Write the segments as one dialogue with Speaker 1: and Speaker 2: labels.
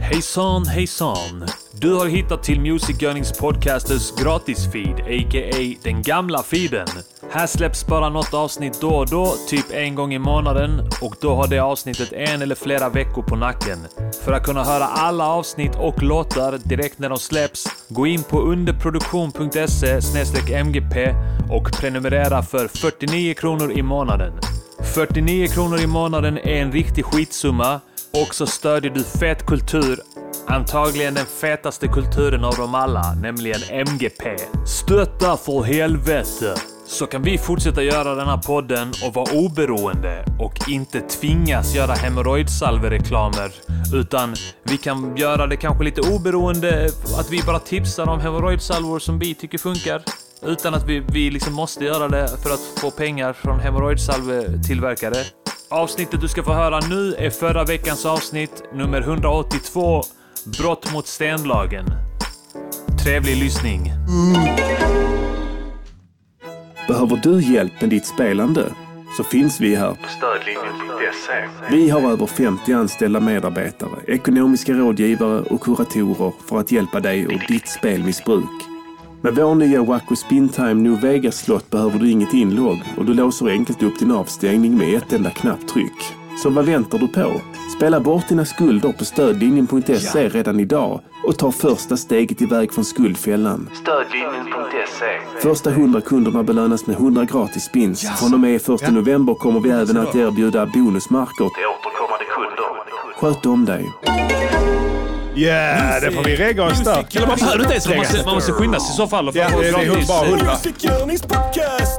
Speaker 1: Hejsan, hejsan! Du har hittat till Music Earnings Podcasters gratisfeed, a.k.a. den gamla feeden. Här släpps bara något avsnitt då och då, typ en gång i månaden och då har det avsnittet en eller flera veckor på nacken. För att kunna höra alla avsnitt och låtar direkt när de släpps, gå in på underproduktion.se mgp och prenumerera för 49 kronor i månaden. 49 kronor i månaden är en riktig skitsumma och så stödjer du fet kultur. Antagligen den fetaste kulturen av dem alla, nämligen MGP. Stötta för helvete! Så kan vi fortsätta göra den här podden och vara oberoende och inte tvingas göra hemorrojdsalvereklamer. Utan vi kan göra det kanske lite oberoende, att vi bara tipsar om hemorrojdsalvor som vi tycker funkar. Utan att vi, vi liksom måste göra det för att få pengar från hemorrojdsalvetillverkare. Avsnittet du ska få höra nu är förra veckans avsnitt, nummer 182, Brott mot stenlagen. Trevlig lyssning.
Speaker 2: Behöver du hjälp med ditt spelande? Så finns vi här.
Speaker 3: Stödlinjen.se.
Speaker 2: Vi har över 50 anställda medarbetare, ekonomiska rådgivare och kuratorer för att hjälpa dig ur ditt spelmissbruk. Med vår nya Waco Spintime New Vegas slott behöver du inget inlogg och du låser enkelt upp din avstängning med ett enda knapptryck. Så vad väntar du på? Spela bort dina skulder på stödlinjen.se redan idag och ta första steget iväg från skuldfällan.
Speaker 3: Stödlinjen.se.
Speaker 2: Första 100 kunderna belönas med 100 gratis spins. Från och med 1 november kommer vi även att erbjuda bonusmarker.
Speaker 3: Det är återkommande kunder.
Speaker 2: Sköt om dig.
Speaker 4: Yeah, det får vi regga oss där.
Speaker 5: Eller man behöver inte ens
Speaker 1: Man måste,
Speaker 5: regga.
Speaker 1: man måste skynda sig i så fall. Och
Speaker 4: Ja, det är bara 100.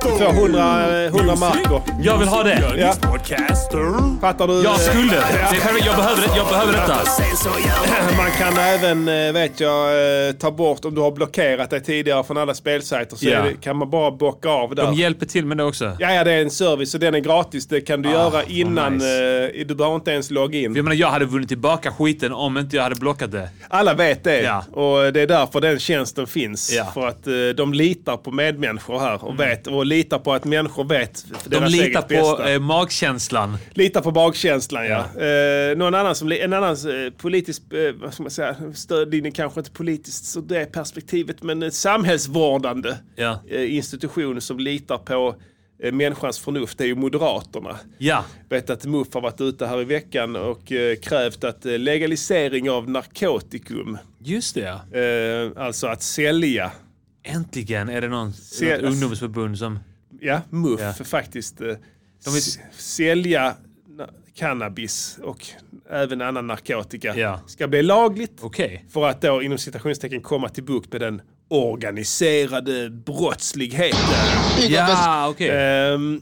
Speaker 4: Du får 100, eh, 100 marker.
Speaker 1: Jag vill ha det.
Speaker 4: Ja. Fattar du? eh,
Speaker 1: Jag skulle. Det
Speaker 4: Ja.
Speaker 1: är perfekt. Jag behöver, det- jag behöver detta.
Speaker 4: Man kan även, eh, vet jag, eh, ta bort, om du har blockerat dig tidigare från alla spelsajter, så
Speaker 1: Ja.
Speaker 4: är det, kan man bara bocka av där.
Speaker 1: De hjälper till med det också.
Speaker 4: Ja, ja, det är en service och den är gratis. Det
Speaker 1: Ah,
Speaker 4: kan du göra innan. eh, Du behöver inte ens logga in.
Speaker 1: Jag menar, jag hade vunnit tillbaka skiten om inte jag hade blockat det.
Speaker 4: Alla vet det.
Speaker 1: Ja.
Speaker 4: Och det är därför den tjänsten finns.
Speaker 1: Ja. Mm.
Speaker 4: För att eh, de litar på medmänniskor här och, vet, och litar på att människor vet
Speaker 1: De
Speaker 4: deras
Speaker 1: litar
Speaker 4: eget bästa.
Speaker 1: på eh, magkänslan.
Speaker 4: Lita på magkänslan, ja. Eh, någon annan som, li- en annan eh, politisk, eh, vad ska man säga, stödlinje kanske inte politiskt så det perspektivet, men en samhällsvårdande
Speaker 1: Ja.
Speaker 4: eh, institution som litar på eh, människans förnuft, det är ju Moderaterna.
Speaker 1: Ja.
Speaker 4: Vet att MUF har varit ute här i veckan och eh, krävt att eh, legalisering av narkotikum,
Speaker 1: Just det, ja.
Speaker 4: eh, alltså att sälja,
Speaker 1: Äntligen är det någon,
Speaker 4: Se-
Speaker 1: något ungdomsförbund som...
Speaker 4: ja MUF
Speaker 1: Ja.
Speaker 4: faktiskt, eh,
Speaker 1: De är-
Speaker 4: s- sälja na- cannabis och även annan narkotika
Speaker 1: Ja.
Speaker 4: ska bli lagligt.
Speaker 1: Okej.
Speaker 4: För att då inom citationstecken komma till bukt med den organiserade brottsligheten.
Speaker 1: Typ Ja, okej.
Speaker 4: Ehm,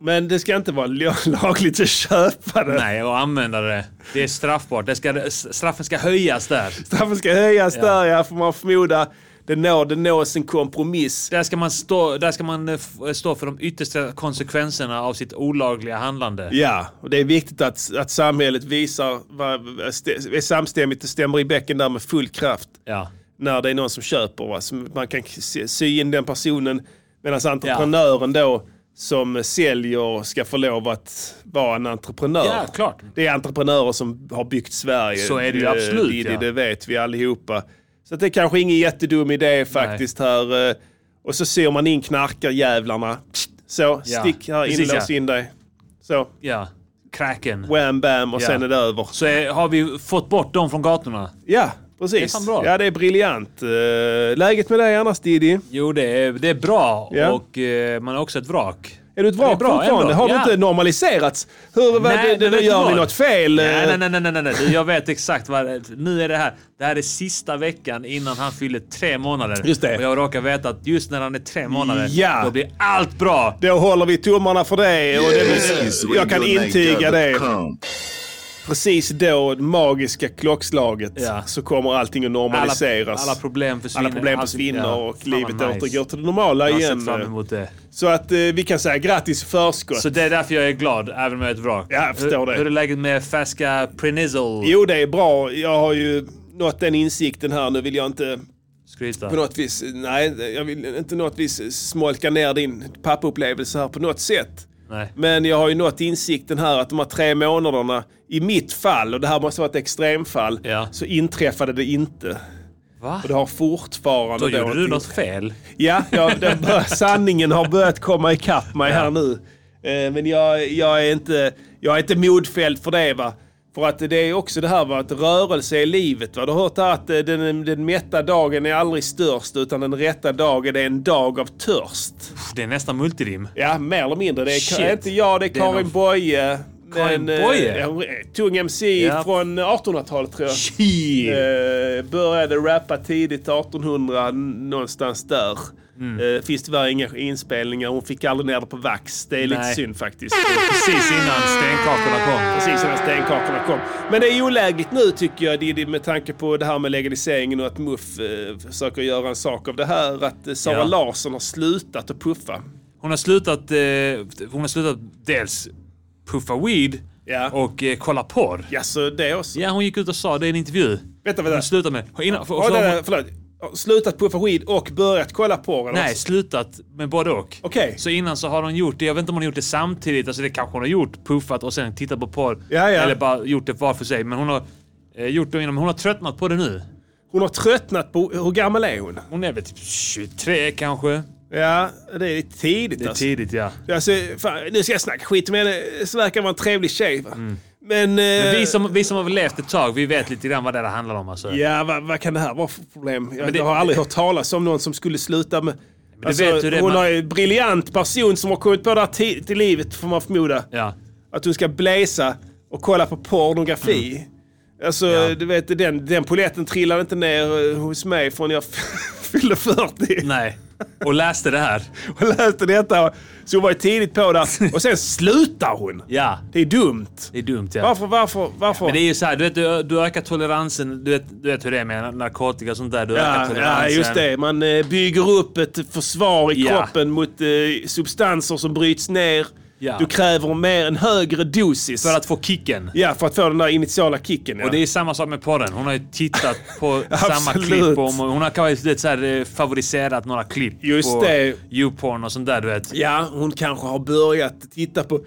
Speaker 4: men det ska inte vara lagligt att köpa det.
Speaker 1: Nej, och använda det. Det är straffbart. Det ska, s- straffen ska höjas där.
Speaker 4: Straffen ska höjas
Speaker 1: Ja.
Speaker 4: där, ja, får man förmoda. Det, når, det nås en kompromiss.
Speaker 1: Där ska man, stå, där ska man eh, f- stå för de yttersta konsekvenserna av sitt olagliga handlande.
Speaker 4: Ja, och det är viktigt att, att samhället visar, vad, stä- är samstämmigt, det stämmer i bäcken där med full kraft.
Speaker 1: Ja.
Speaker 4: när det är någon som köper. Va? Som man kan sy- sy in den personen medan entreprenören då som säljer ska få lov att vara en entreprenör.
Speaker 1: Ja, klart.
Speaker 4: Det är entreprenörer som har byggt Sverige.
Speaker 1: Så är det ju
Speaker 4: Eh,
Speaker 1: absolut,
Speaker 4: Det,
Speaker 1: ja.
Speaker 4: det vet vi allihopa. Så att det är kanske ingen jättedum idé faktiskt här. eh, Och så syr man in knarkarjävlarna. Så,
Speaker 1: Ja,
Speaker 4: stick här,
Speaker 1: precis,
Speaker 4: inlås
Speaker 1: ja.
Speaker 4: in dig. Så,
Speaker 1: ja. Kräken.
Speaker 4: wham bam och
Speaker 1: Ja.
Speaker 4: sen är det över.
Speaker 1: Så eh, har vi fått bort dem från gatorna?
Speaker 4: Ja, precis.
Speaker 1: Det är fan bra.
Speaker 4: Ja, det är briljant. Eh, Läget med dig annars Diddy?
Speaker 1: Jo, det är, det är bra.
Speaker 4: Ja.
Speaker 1: Och eh, man är också ett vrak.
Speaker 4: Är du ett
Speaker 1: Det
Speaker 4: vrak fortfarande? Har
Speaker 1: ändå.
Speaker 4: det
Speaker 1: Ja.
Speaker 4: inte normaliserats? Hur, vad, det, det,
Speaker 1: men vet du
Speaker 4: gör ni
Speaker 1: vad?
Speaker 4: något fel? eh.
Speaker 1: Nej, nej, nej, nej, nej, nej, nej. Du, Jag vet exakt vad det Nu är det här. Det här är sista veckan innan han fyller tre månader.
Speaker 4: Just det.
Speaker 1: Och jag råkar veta att just när han är tre månader,
Speaker 4: Ja.
Speaker 1: då blir allt bra.
Speaker 4: Då håller vi tummarna för det. Och det jag kan intyga det. Precis då, det magiska klockslaget,
Speaker 1: Ja.
Speaker 4: så kommer allting att
Speaker 1: Alla,
Speaker 4: normaliseras.
Speaker 1: alla problem försvinner.
Speaker 4: Alla problem
Speaker 1: Allt-
Speaker 4: försvinner
Speaker 1: ja.
Speaker 4: och
Speaker 1: Fan vad
Speaker 4: livet
Speaker 1: nice.
Speaker 4: återgår till det normala
Speaker 1: Jag har sett
Speaker 4: igen.
Speaker 1: fram emot det.
Speaker 4: Så att eh, vi kan säga grattis i förskott.
Speaker 1: Så det är därför jag är glad, även om jag är ett vrak.
Speaker 4: Ja, jag förstår
Speaker 1: hur,
Speaker 4: det.
Speaker 1: Hur är läget med färska Prenizzle?
Speaker 4: Jo, det är bra. Jag har ju nått den insikten här. Nu vill jag inte
Speaker 1: Skryta.
Speaker 4: på något vis, nej, jag vill inte något vis smolka ner din pappaupplevelse här på något sätt.
Speaker 1: Nej.
Speaker 3: Men jag har ju nått insikten här att de här tre månaderna, i mitt fall, och det här måste vara ett extremfall,
Speaker 1: Ja.
Speaker 3: så inträffade det inte.
Speaker 1: Va?
Speaker 3: Och det har fortfarande...
Speaker 1: Då gjorde du
Speaker 3: inte-
Speaker 1: något fel.
Speaker 3: Ja, ja den bör, sanningen har börjat komma ikapp mig här nu. Eh, Men jag, jag, är inte, jag är inte modfälld för det. Va? För att det är också det här va, att rörelse är livet. Va? Du har hört här att eh, den, den mätta dagen är aldrig störst utan den rätta dagen är en dag av törst.
Speaker 1: Pff, Det är nästan multirim.
Speaker 3: Ja, mer eller mindre. Det är
Speaker 1: Shit.
Speaker 3: inte jag, det är
Speaker 1: Det är
Speaker 3: Karin
Speaker 1: någon-
Speaker 3: Boye.
Speaker 1: Karin
Speaker 3: eh,
Speaker 1: Boye?
Speaker 3: ja, hon är Tung MC
Speaker 1: Ja.
Speaker 3: från 1800-talet tror jag.
Speaker 1: Shit.
Speaker 3: Eh,
Speaker 1: Mm.
Speaker 3: började rappa tidigt 1800, n- någonstans där.
Speaker 1: Mm.
Speaker 3: Eh, finns tyvärr inga inspelningar. Hon fick aldrig ner det på vax. Det är lite
Speaker 1: Nej.
Speaker 3: synd faktiskt.
Speaker 1: Precis innan stenkakorna kom.
Speaker 3: Precis innan stenkakorna kom. Men det är olägligt nu tycker jag Diddy med tanke på det här med legaliseringen och att Muff eh, försöker göra en sak av det här. Att eh, Sara
Speaker 1: Ja.
Speaker 3: Larsson har slutat att puffa.
Speaker 1: Hon har slutat, eh, hon har slutat dels puffa weed
Speaker 3: Ja.
Speaker 1: och eh, kolla porr.
Speaker 3: Ja, så det också.
Speaker 1: Ja, hon gick ut och sa det i en intervju.
Speaker 3: Vänta,
Speaker 1: Hon
Speaker 3: vänta.
Speaker 1: slutade med... Innan, för,
Speaker 3: Oh,
Speaker 1: så har
Speaker 3: nej, nej,
Speaker 1: hon,
Speaker 3: förlåt. Slutat puffa skid och börjat kolla porr? eller?
Speaker 1: nej, slutat med både och.
Speaker 3: Okej.
Speaker 1: Så innan så har hon gjort det. Jag vet inte om hon har gjort det samtidigt. Alltså det kanske hon har gjort. Puffat och sen tittat på porr.
Speaker 3: Ja, ja.
Speaker 1: Eller bara gjort det var för sig. Men hon har eh, gjort det innan. Hon har tröttnat på det nu.
Speaker 3: Hon har tröttnat på... Hur gammal är hon?
Speaker 1: Hon är väl typ 23 kanske.
Speaker 3: Ja, det är lite tidigt
Speaker 1: Det är
Speaker 3: alltså.
Speaker 1: tidigt ja.
Speaker 3: alltså fan, nu ska jag snacka skit med henne. Så verkar vara en trevlig tjej. Va? Men... eh, Men
Speaker 1: Mm. Vi som, vi som har levt ett tag, vi vet lite grann vad det där handlar om alltså.
Speaker 3: Ja, vad, vad kan det här vara för problem? Jag,
Speaker 1: det-
Speaker 3: jag har aldrig hört talas om någon som skulle sluta med... Alltså,
Speaker 1: det vet du det,
Speaker 3: hon
Speaker 1: man-
Speaker 3: är en briljant person som har kommit på det här ti- till livet, får man förmoda.
Speaker 1: Ja.
Speaker 3: Att hon ska bläsa och kolla på pornografi. Alltså,
Speaker 1: Mm. Ja.
Speaker 3: du vet, den, den polletten trillade inte ner eh, hos mig förrän jag fyllde 40
Speaker 1: Nej. Och läste det här.
Speaker 3: och läste detta. Så hon var ju tidigt på där. Och sen slutar hon!
Speaker 1: Ja.
Speaker 3: Det är dumt.
Speaker 1: Det är dumt ja.
Speaker 3: Varför, varför, varför?
Speaker 1: Men det är ju så här, du vet, du, du ökar toleransen. Du vet, du vet hur det är med narkotika och sånt där. Du ökar
Speaker 3: Ja, ja,
Speaker 1: toleransen.
Speaker 3: just det. Man eh, bygger upp ett försvar i
Speaker 1: Ja.
Speaker 3: kroppen mot eh, substanser som bryts ner.
Speaker 1: Ja.
Speaker 3: Du kräver mer, en högre dosis.
Speaker 1: För att få kicken.
Speaker 3: ja, för att få den där initiala kicken. Ja.
Speaker 1: Och det är samma sak med porren. Hon har ju tittat på samma
Speaker 3: Absolut.
Speaker 1: klipp. Och hon har kanske lite så här, eh, favoriserat några klipp
Speaker 3: Just
Speaker 1: på
Speaker 3: det.
Speaker 1: YouPorn och sånt där du vet.
Speaker 3: ja, hon kanske har börjat titta på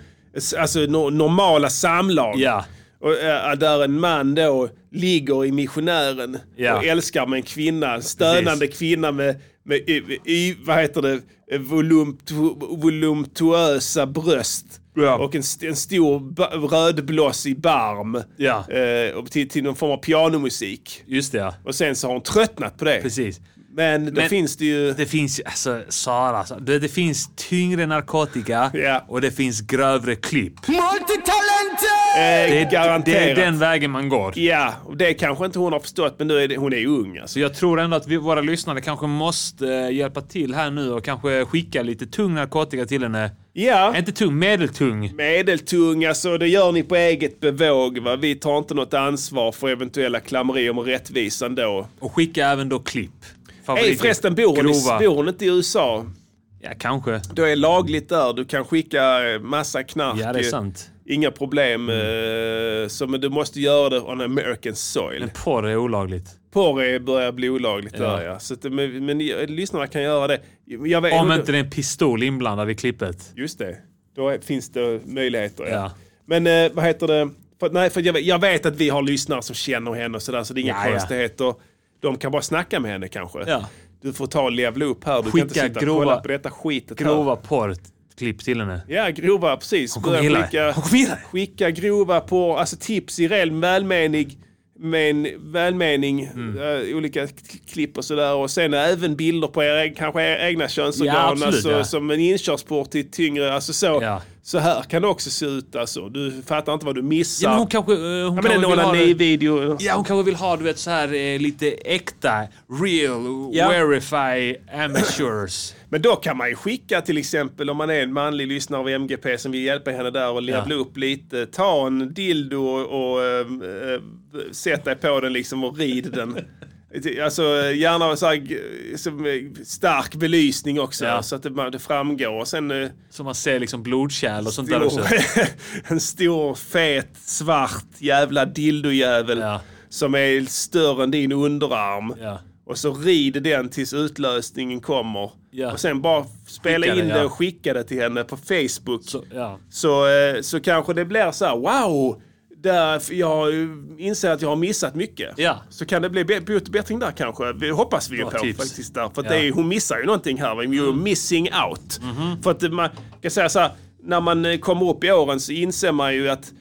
Speaker 3: alltså, no- normala samlag.
Speaker 1: Ja.
Speaker 3: Och, eh, där en man då ligger i missionären
Speaker 1: Ja.
Speaker 3: och älskar med en kvinna, en stönande kvinna med, med i, i, vad heter det, volumtu, volumtuösa bröst.
Speaker 1: Ja.
Speaker 3: Och en, st- en stor ba- rödblåsig barm.
Speaker 1: Ja.
Speaker 3: Eh, och till, till någon form av pianomusik.
Speaker 1: Just det ja.
Speaker 3: Och sen så har hon tröttnat på det.
Speaker 1: Precis.
Speaker 3: Men då
Speaker 1: Men-
Speaker 3: finns det ju... eh,
Speaker 1: Det finns ju, alltså Sara, alltså, du vet, det finns tyngre narkotika
Speaker 3: Ja.
Speaker 1: och det finns grövre klipp.
Speaker 3: Eh,
Speaker 1: Det är,
Speaker 3: garanterat.
Speaker 1: det är den vägen man går.
Speaker 3: Ja, och det kanske inte hon har förstått men nu är det, hon är ju ung alltså.
Speaker 1: Så jag tror ändå att vi, våra lyssnare kanske måste eh, hjälpa till här nu och kanske skicka lite tung narkotika till henne.
Speaker 3: Ja.
Speaker 1: Inte tung, medeltung.
Speaker 3: Medeltung, alltså det gör ni på eget bevåg. Va? Vi tar inte något ansvar för eventuella klammerier med rättvisan då.
Speaker 1: Och skicka även då klipp.
Speaker 3: Hej
Speaker 1: Favorit-
Speaker 3: förresten, bor hon,
Speaker 1: grova.
Speaker 3: i, bor hon inte i USA?
Speaker 1: Ja, kanske.
Speaker 3: Då är lagligt där. Du kan skicka eh, massa knark.
Speaker 1: Ja, det är
Speaker 3: eh,
Speaker 1: sant.
Speaker 3: Inga problem. eh, Så, men du måste göra det on American soil.
Speaker 1: Men porr är olagligt.
Speaker 3: Porr är- börjar bli olagligt
Speaker 1: Ja.
Speaker 3: där ja. Så att, men, men eh, lyssnarna kan göra det. Jag vet,
Speaker 1: Om inte det är en pistol inblandad i klippet.
Speaker 3: Just det. Då är- finns det möjligheter. Ja.
Speaker 1: Ja.
Speaker 3: Men eh, vad heter det? För, nej, för jag, vet, jag vet att vi har lyssnare som känner henne och sådär, så det är inga
Speaker 1: Ja, ja.
Speaker 3: konstigheter. De kan bara snacka med henne kanske.
Speaker 1: Ja.
Speaker 3: Du får ta och levla upp här. Du kan
Speaker 1: Skicka
Speaker 3: inte sitta
Speaker 1: grova-
Speaker 3: och kolla på detta skitet här.
Speaker 1: Grova porrklipp till henne.
Speaker 3: Ja, grova, precis.
Speaker 1: Hon kommer
Speaker 3: Börja
Speaker 1: gilla det.
Speaker 3: skicka,
Speaker 1: Hon kommer gilla det.
Speaker 3: skicka grova på, alltså tips i ren välmening, men, välmening
Speaker 1: Mm.
Speaker 3: eh, olika k- klipp och sådär. Och sen även bilder på er, eg- kanske era egna könsorgan,
Speaker 1: Ja, absolut,
Speaker 3: alltså,
Speaker 1: ja.
Speaker 3: som en inkörsport till tyngre, alltså så.
Speaker 1: Ja.
Speaker 3: Så här kan det också se ut alltså. Du fattar inte vad du missar.
Speaker 1: Ja, men hon kanske... eh, Hon
Speaker 3: Ja,
Speaker 1: kanske
Speaker 3: men en
Speaker 1: vill ha det-
Speaker 3: onani-video.
Speaker 1: Ja, hon kanske vill ha du vet så här eh, lite äkta, real,
Speaker 3: Ja.
Speaker 1: verify amateurs.
Speaker 3: Men då kan man ju skicka till exempel om man är en manlig lyssnare av MGP som vill hjälpa henne där och levla upp lite. Ta en dildo och, och ehm, eh, sätt dig på den liksom och rid den. Alltså gärna så här, g- som, eh, stark belysning också
Speaker 1: Ja.
Speaker 3: så att det, bara- det framgår. Och sen eh,
Speaker 1: Så man ser liksom blodkärl och sånt där också.
Speaker 3: stor, en stor fet svart jävla dildojävel
Speaker 1: Ja.
Speaker 3: som är större än din underarm.
Speaker 1: Ja.
Speaker 3: Och så rid den tills utlösningen kommer.
Speaker 1: Ja.
Speaker 3: Och sen bara spela
Speaker 1: Skicka
Speaker 3: in
Speaker 1: den,
Speaker 3: det
Speaker 1: ja.
Speaker 3: och skicka det till henne på Facebook.
Speaker 1: Så, ja.
Speaker 3: Så, eh, så kanske det blir så här, wow! Där jag inser att jag har missat mycket.
Speaker 1: Ja.
Speaker 3: Så kan det bli bä- bot- bättring där kanske. Vi hoppas vi ju
Speaker 1: Bra
Speaker 3: på
Speaker 1: tips.
Speaker 3: faktiskt. Där. För att
Speaker 1: Ja. Mm. Mm-hmm.
Speaker 3: det är, hon missar ju någonting här. va? You're missing out. För att man kan säga så här, när man eh, kommer upp i åren så inser man ju att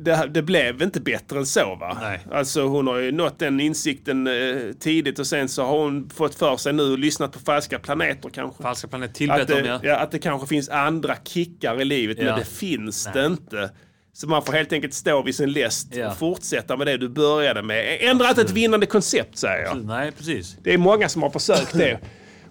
Speaker 3: det, här- det blev inte bättre än så va?
Speaker 1: Nej.
Speaker 3: Alltså hon har ju nått den insikten eh, tidigt och sen så har hon fått för sig nu och lyssnat på falska planeter kanske.
Speaker 1: Falska planet
Speaker 3: Att
Speaker 1: tillbett om
Speaker 3: det,
Speaker 1: jag.
Speaker 3: ja, att det kanske finns andra kickar i livet,
Speaker 1: Ja.
Speaker 3: men det finns det inte. Så man får helt enkelt stå vid sin läst
Speaker 1: Ja.
Speaker 3: och fortsätta med det du började med. Ändra inte ett vinnande koncept, säger jag.
Speaker 1: Nej, precis.
Speaker 3: Det är många som har försökt det.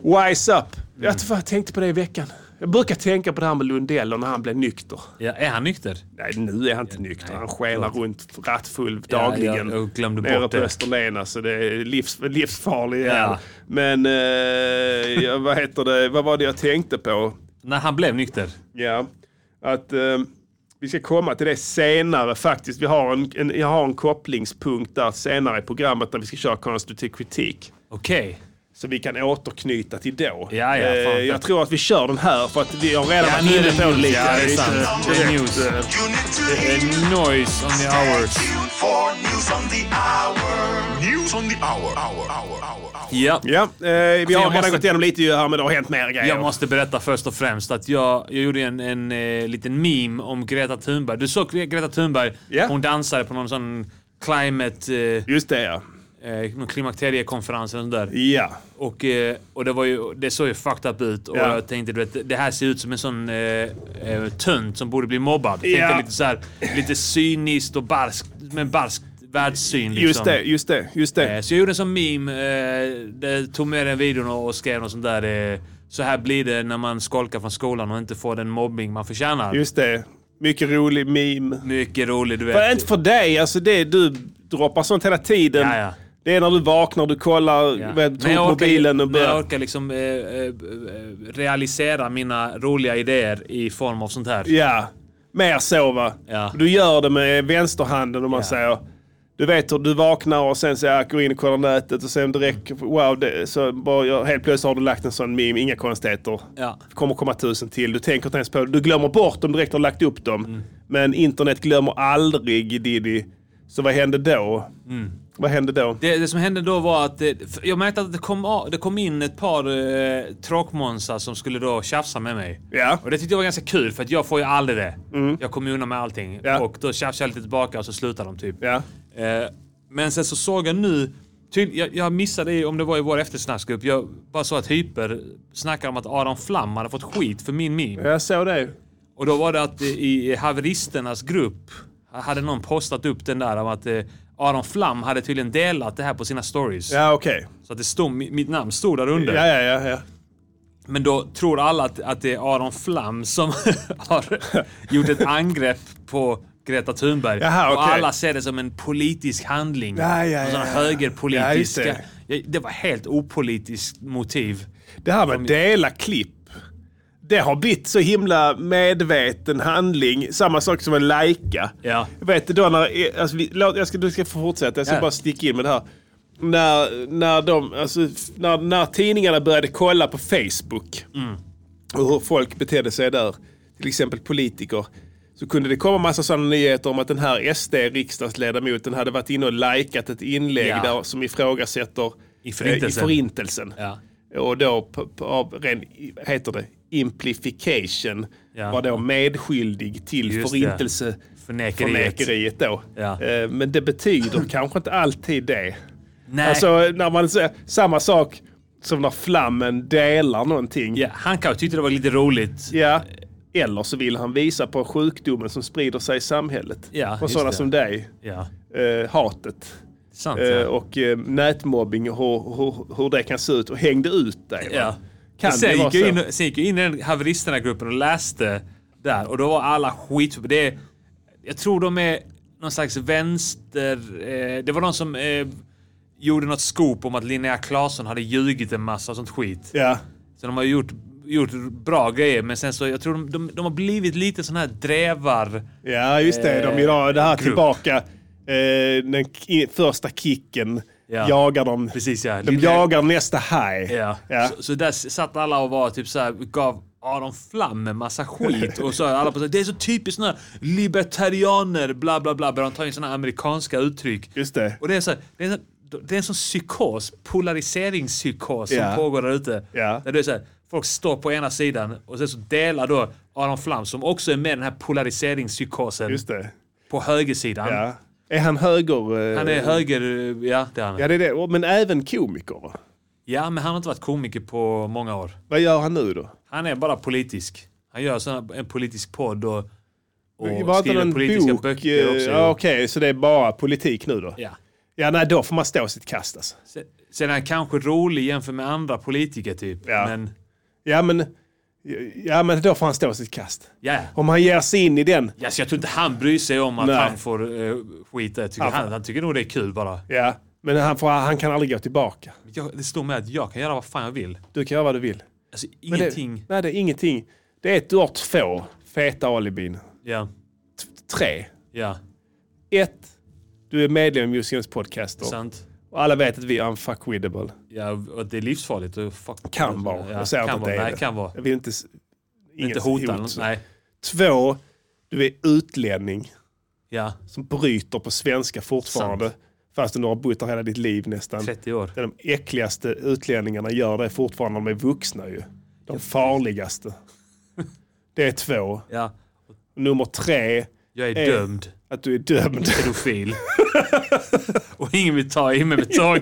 Speaker 3: Wise up. Jag, vet inte vad jag tänkte på det i veckan. Jag brukar tänka på det här med Lundell och när han blev nykter.
Speaker 1: Ja, är han nykter?
Speaker 3: Nej, nu är han inte nykter. Han skenar runt rattfull
Speaker 1: Ja,
Speaker 3: dagligen.
Speaker 1: jag- jag glömde
Speaker 3: nere
Speaker 1: bort
Speaker 3: på
Speaker 1: det.
Speaker 3: Österlen alltså. Det är livs, livsfarlig
Speaker 1: Ja.
Speaker 3: jävel. Men eh, ja, vad heter det? Vad var det jag tänkte på?
Speaker 1: När han blev nykter?
Speaker 3: Ja, att eh, vi ska komma till det senare faktiskt. Vi har en, en, jag har en kopplingspunkt där senare i programmet när vi ska köra konstruktiv kritik.
Speaker 1: Okej.
Speaker 3: Så vi kan återknyta till då.
Speaker 1: Ja, ja,
Speaker 3: Eh,
Speaker 1: fan.
Speaker 3: jag tror att vi kör den här för att vi har redan
Speaker 1: Ja,
Speaker 3: varit
Speaker 1: nu är
Speaker 3: inne
Speaker 1: det
Speaker 3: på det
Speaker 1: news.
Speaker 3: lite.
Speaker 1: Ja, det är
Speaker 3: Lite
Speaker 1: sant. Det är
Speaker 3: direkt,
Speaker 1: news.
Speaker 3: eh,
Speaker 5: You need to
Speaker 1: A
Speaker 5: hear
Speaker 1: noise on the hours.
Speaker 5: tuned for news on the hour. News on the hour. Hour. Hour. Hour. hour.
Speaker 1: Ja.
Speaker 3: Ja, eh, vi har redan
Speaker 1: Alltså, måste-
Speaker 3: gått igenom lite ju här men det har hänt mer grejer.
Speaker 1: Jag måste berätta först och främst att jag, jag gjorde en, en eh, liten meme om Greta Thunberg. Du såg Gre- Greta Thunberg?
Speaker 3: Ja.
Speaker 1: Hon dansade på någon sån climate... Eh,
Speaker 3: Just det ja.
Speaker 1: eh, någon klimakteriekonferens eller sånt där.
Speaker 3: Ja.
Speaker 1: Och, eh, och det, var ju, det såg ju fucked up ut. Och
Speaker 3: Ja.
Speaker 1: jag tänkte du vet, det här ser ut som en sån eh, eh, tönt som borde bli mobbad. Jag
Speaker 3: Ja.
Speaker 1: Tänkte lite så här, lite cyniskt och barskt, men barskt världssyn liksom.
Speaker 3: Just det, just det, just det.
Speaker 1: Eh, Så jag gjorde en sån meme, eh, där jag tog med den videon och och skrev något sånt där. eh, Så här blir det när man skolkar från skolan och inte får den mobbing man förtjänar.
Speaker 3: Just det. Mycket rolig meme.
Speaker 1: Mycket rolig, du
Speaker 3: För,
Speaker 1: vet.
Speaker 3: inte för dig, alltså det du droppar sånt hela tiden.
Speaker 1: Ja, ja.
Speaker 3: Det är när du vaknar, du kollar,
Speaker 1: Ja.
Speaker 3: ja.
Speaker 1: Men
Speaker 3: tar
Speaker 1: jag
Speaker 3: upp
Speaker 1: orkar-
Speaker 3: mobilen och
Speaker 1: men jag
Speaker 3: börjar.
Speaker 1: orkar liksom eh, eh, eh, realisera mina roliga idéer i form av sånt här.
Speaker 3: Ja, mer så va.
Speaker 1: Ja.
Speaker 3: Du gör det med vänsterhanden om man
Speaker 1: Ja.
Speaker 3: säger. Du vet hur du vaknar och sen så jag går in och kollar nätet och sen direkt, wow, det, så bara, jag- helt plötsligt har du lagt en sån meme, inga konstigheter.
Speaker 1: Ja.
Speaker 3: Det kommer komma tusen till, du tänker inte ens på det. Du glömmer bort dem direkt när du lagt upp dem.
Speaker 1: Mm.
Speaker 3: Men internet glömmer aldrig Diddy. Så vad hände då?
Speaker 1: Mm.
Speaker 3: Vad hände då?
Speaker 1: Det, det som hände då var att eh, f- jag märkte att det kom, a- det kom in ett par eh, tråkmånsar som skulle då tjafsa med mig.
Speaker 3: Ja. Mm.
Speaker 1: Och det tyckte jag var ganska kul för att jag får ju aldrig det. Jag kommer ju undan med allting.
Speaker 3: Ja.
Speaker 1: Och då tjafsar jag lite tillbaka och så slutar de typ.
Speaker 3: Ja.
Speaker 1: Eh, men sen så såg jag nu... Tydl, jag, jag missade ju om det var i vår eftersnacksgrupp. Jag bara såg att Hyper snackade om att Aron Flam hade fått skit för min meme.
Speaker 3: Jag såg det.
Speaker 1: Och då var det att eh, i haveristernas grupp hade någon postat upp den där om att eh, Aron Flam hade tydligen delat det här på sina stories.
Speaker 3: Ja, okej.
Speaker 1: Så att det stod, mi- mitt namn stod där under.
Speaker 3: Ja, ja, ja, ja.
Speaker 1: Men då tror alla att, att det är Aron Flam som har gjort ett angrepp på Greta Thunberg.
Speaker 3: Jaha,
Speaker 1: Och
Speaker 3: okej.
Speaker 1: alla ser det som en politisk handling.
Speaker 3: Ja, ja,
Speaker 1: en sån
Speaker 3: ja, ja. Ja, just
Speaker 1: högerpolitisk.
Speaker 3: det.
Speaker 1: Ja, det var helt opolitiskt motiv.
Speaker 3: Det här med att dela klipp. Det har blivit så himla medveten handling. Samma sak som en lajka.
Speaker 1: Ja.
Speaker 3: Jag Vet du, då när... Alltså, vi, låt, jag ska, du ska få fortsätta. Jag ska
Speaker 1: Ja.
Speaker 3: bara sticka in med det här. När, när, de, alltså, f- när, när tidningarna började kolla på Facebook
Speaker 1: Mm.
Speaker 3: och hur folk betedde sig där, till exempel politiker, så kunde det komma massa sådana nyheter om att den här SD-riksdagsledamoten hade varit inne och likat ett inlägg
Speaker 1: Ja.
Speaker 3: där som ifrågasätter
Speaker 1: I
Speaker 3: eh,
Speaker 1: Förintelsen.
Speaker 3: i förintelsen.
Speaker 1: Ja.
Speaker 3: Och då p- p- av ren, heter det, implification
Speaker 1: Ja.
Speaker 3: var då medskyldig till
Speaker 1: Just det. Förnekeriet.
Speaker 3: förintelseförnekeriet då.
Speaker 1: Ja.
Speaker 3: Eh, Men det betyder kanske inte alltid det.
Speaker 1: Nej,
Speaker 3: Alltså när man säger samma sak som när flammen delar någonting.
Speaker 1: ja, han kanske tyckte det var lite roligt.
Speaker 3: Ja. Eller så vill han visa på sjukdomen som sprider sig i samhället.
Speaker 1: Ja,
Speaker 3: och
Speaker 1: just
Speaker 3: sådana
Speaker 1: det.
Speaker 3: som dig.
Speaker 1: Ja,
Speaker 3: Eh, hatet.
Speaker 1: sant.
Speaker 3: Eh,
Speaker 1: ja.
Speaker 3: och eh, nätmobbing och hur, hur, hur det kan se ut. Och hängde ut dig. va?
Speaker 1: Ja.
Speaker 3: Kan
Speaker 1: Men sen,
Speaker 3: det vara
Speaker 1: gick jag
Speaker 3: så?
Speaker 1: in, sen gick jag in i den haveristerna-gruppen och läste där och då var alla skit... Det är, jag tror de är någon slags vänster... Eh, det var någon som eh, gjorde något skop om att Linnea Claesson hade ljugit en massa och sånt skit.
Speaker 3: Ja.
Speaker 1: Så de har gjort, gjort bra grejer men sen så... Jag tror de, de, de har blivit lite sån här drävar...
Speaker 3: Ja, just det. De vill ha det här
Speaker 1: Eh, grupp.
Speaker 3: tillbaka. Eh, den ki- första kicken
Speaker 1: Ja.
Speaker 3: jagar dem.
Speaker 1: Precis, ja.
Speaker 3: De
Speaker 1: Lilla-
Speaker 3: jagar nästa haj.
Speaker 1: Ja. Så, så där s- satt alla och var typ så här, gav Aron Flam en massa skit och så alla på så här, det är så typiskt såna här libertarianer, bla bla bla, börjar de ta in såna här amerikanska uttryck.
Speaker 3: Just det.
Speaker 1: Och det är så här, det är så här, det är en sån psykos, polariseringspsykos
Speaker 3: Ja.
Speaker 1: som pågår där ute.
Speaker 3: Ja.
Speaker 1: Där det är så här, folk står på ena sidan och sen så delar då Aron Flam, som också är med i den här polariseringspsykosen,
Speaker 3: Just det.
Speaker 1: på högersidan.
Speaker 3: Ja. Är han höger? eh,
Speaker 1: Han är höger, ja det är han.
Speaker 3: Ja, det är det. Och- Men även komiker. va?
Speaker 1: Ja, men han har inte varit komiker på många år.
Speaker 3: Vad gör han nu då?
Speaker 1: Han är bara politisk. Han gör såna, en politisk podd och, och
Speaker 3: Var inte
Speaker 1: skriver
Speaker 3: någon
Speaker 1: politiska
Speaker 3: bok,
Speaker 1: böcker
Speaker 3: eh,
Speaker 1: också.
Speaker 3: Ja, Okej, så det är bara politik nu då?
Speaker 1: Ja.
Speaker 3: Ja, nej, då får man stå sitt kast alltså.
Speaker 1: Se- Sen är han kanske rolig jämfört med andra politiker typ.
Speaker 3: Ja.
Speaker 1: Men
Speaker 3: Ja, men, ja, men då får han stå sitt kast.
Speaker 1: ja,
Speaker 3: Om han ger sig in i den.
Speaker 1: ja. Så jag tror inte han bryr sig om att
Speaker 3: Nej.
Speaker 1: han får eh, skita. Jag tycker,
Speaker 3: Han får-
Speaker 1: han, han tycker nog det är kul bara.
Speaker 3: Ja, men han, får, han kan aldrig gå tillbaka.
Speaker 1: Jag, det står med att jag kan göra vad fan jag vill.
Speaker 3: Du kan göra vad du vill.
Speaker 1: Alltså
Speaker 3: Men
Speaker 1: ingenting.
Speaker 3: Det, nej, det är ingenting. Det är ett, du har två feta alibin.
Speaker 1: Ja,
Speaker 3: Tre.
Speaker 1: ja,
Speaker 3: Ett, du är medlem i Jussi podcaster.
Speaker 1: sant.
Speaker 3: Och alla vet att vi är unfuckwidable.
Speaker 1: Ja, och det är livsfarligt. och Fuck.
Speaker 3: Kan vara.
Speaker 1: Ja,
Speaker 3: jag säger
Speaker 1: kan
Speaker 3: inte att
Speaker 1: vara.
Speaker 3: det är
Speaker 1: Nej,
Speaker 3: det.
Speaker 1: kan vara.
Speaker 3: Jag vill inte... s- Ingen
Speaker 1: Inte hota. någon.
Speaker 3: hot.
Speaker 1: Nej,
Speaker 3: Två, du är utlänning
Speaker 1: ja.
Speaker 3: som bryter på svenska fortfarande.
Speaker 1: Sant.
Speaker 3: Fast du har bott här hela ditt liv nästan.
Speaker 1: 30 år.
Speaker 3: Det är de äckligaste utlänningarna gör det fortfarande när de är vuxna ju. De farligaste. Det är två.
Speaker 1: Ja.
Speaker 3: Nummer tre,
Speaker 1: Jag är
Speaker 3: Eh.
Speaker 1: dömd.
Speaker 3: att du är dömd.
Speaker 1: pedofil. och ingen vill ta i mig med tång.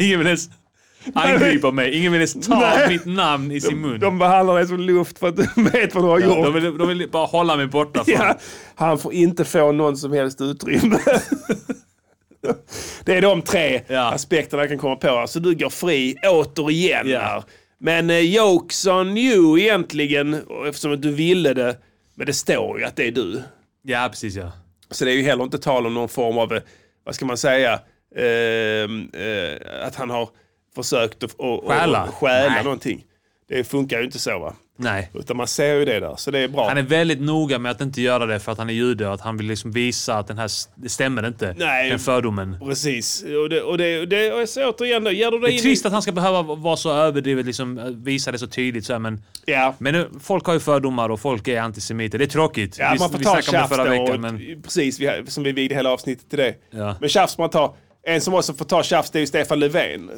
Speaker 1: ingen vill ens angripa mig. Ingen vill ens ta
Speaker 3: Nej.
Speaker 1: mitt namn i sin mun.
Speaker 3: De behandlar dig som luft för att du vet vad du har
Speaker 1: De
Speaker 3: gjort.
Speaker 1: vill, de vill bara hålla mig borta från...
Speaker 3: Ja, han får inte få någon som helst utrymme. Det är de tre
Speaker 1: Ja.
Speaker 3: aspekterna jag kan komma på. här. Så du går fri återigen
Speaker 1: Ja.
Speaker 3: här. Men eh, jokes on you egentligen, och eftersom att du ville det. Men det står ju att det är du.
Speaker 1: Ja, precis ja.
Speaker 3: Så det är ju heller inte tal om någon form av, eh, vad ska man säga, ehm, eh, att han har försökt att och, och,
Speaker 1: Stjäla.
Speaker 3: Och, stjäla
Speaker 1: Nej.
Speaker 3: någonting. Det funkar ju inte så va.
Speaker 1: Nej.
Speaker 3: Utan man ser ju det där, så det är bra.
Speaker 1: Han är väldigt noga med att inte göra det för att han är jude och att han vill liksom visa att den här, s- det stämmer inte.
Speaker 3: Nej.
Speaker 1: Den fördomen.
Speaker 3: Precis, och det, och det, och det och så återigen då, ger du dig
Speaker 1: Det är
Speaker 3: in
Speaker 1: trist
Speaker 3: i...
Speaker 1: att han ska behöva vara så överdrivet, liksom, eh, visa det så tydligt. Så här, men
Speaker 3: Ja.
Speaker 1: men nu, folk har ju fördomar och folk är antisemiter. Det är tråkigt.
Speaker 3: Ja,
Speaker 1: vi,
Speaker 3: man får
Speaker 1: vi
Speaker 3: ta
Speaker 1: snackade om det
Speaker 3: tjafs
Speaker 1: förra
Speaker 3: då,
Speaker 1: veckan.
Speaker 3: och-
Speaker 1: Men...
Speaker 3: Precis, vi, som vi vigde hela avsnittet till det.
Speaker 1: Ja.
Speaker 3: Men tjafs man tar. En som också får ta tjafs det är ju Stefan Löfven.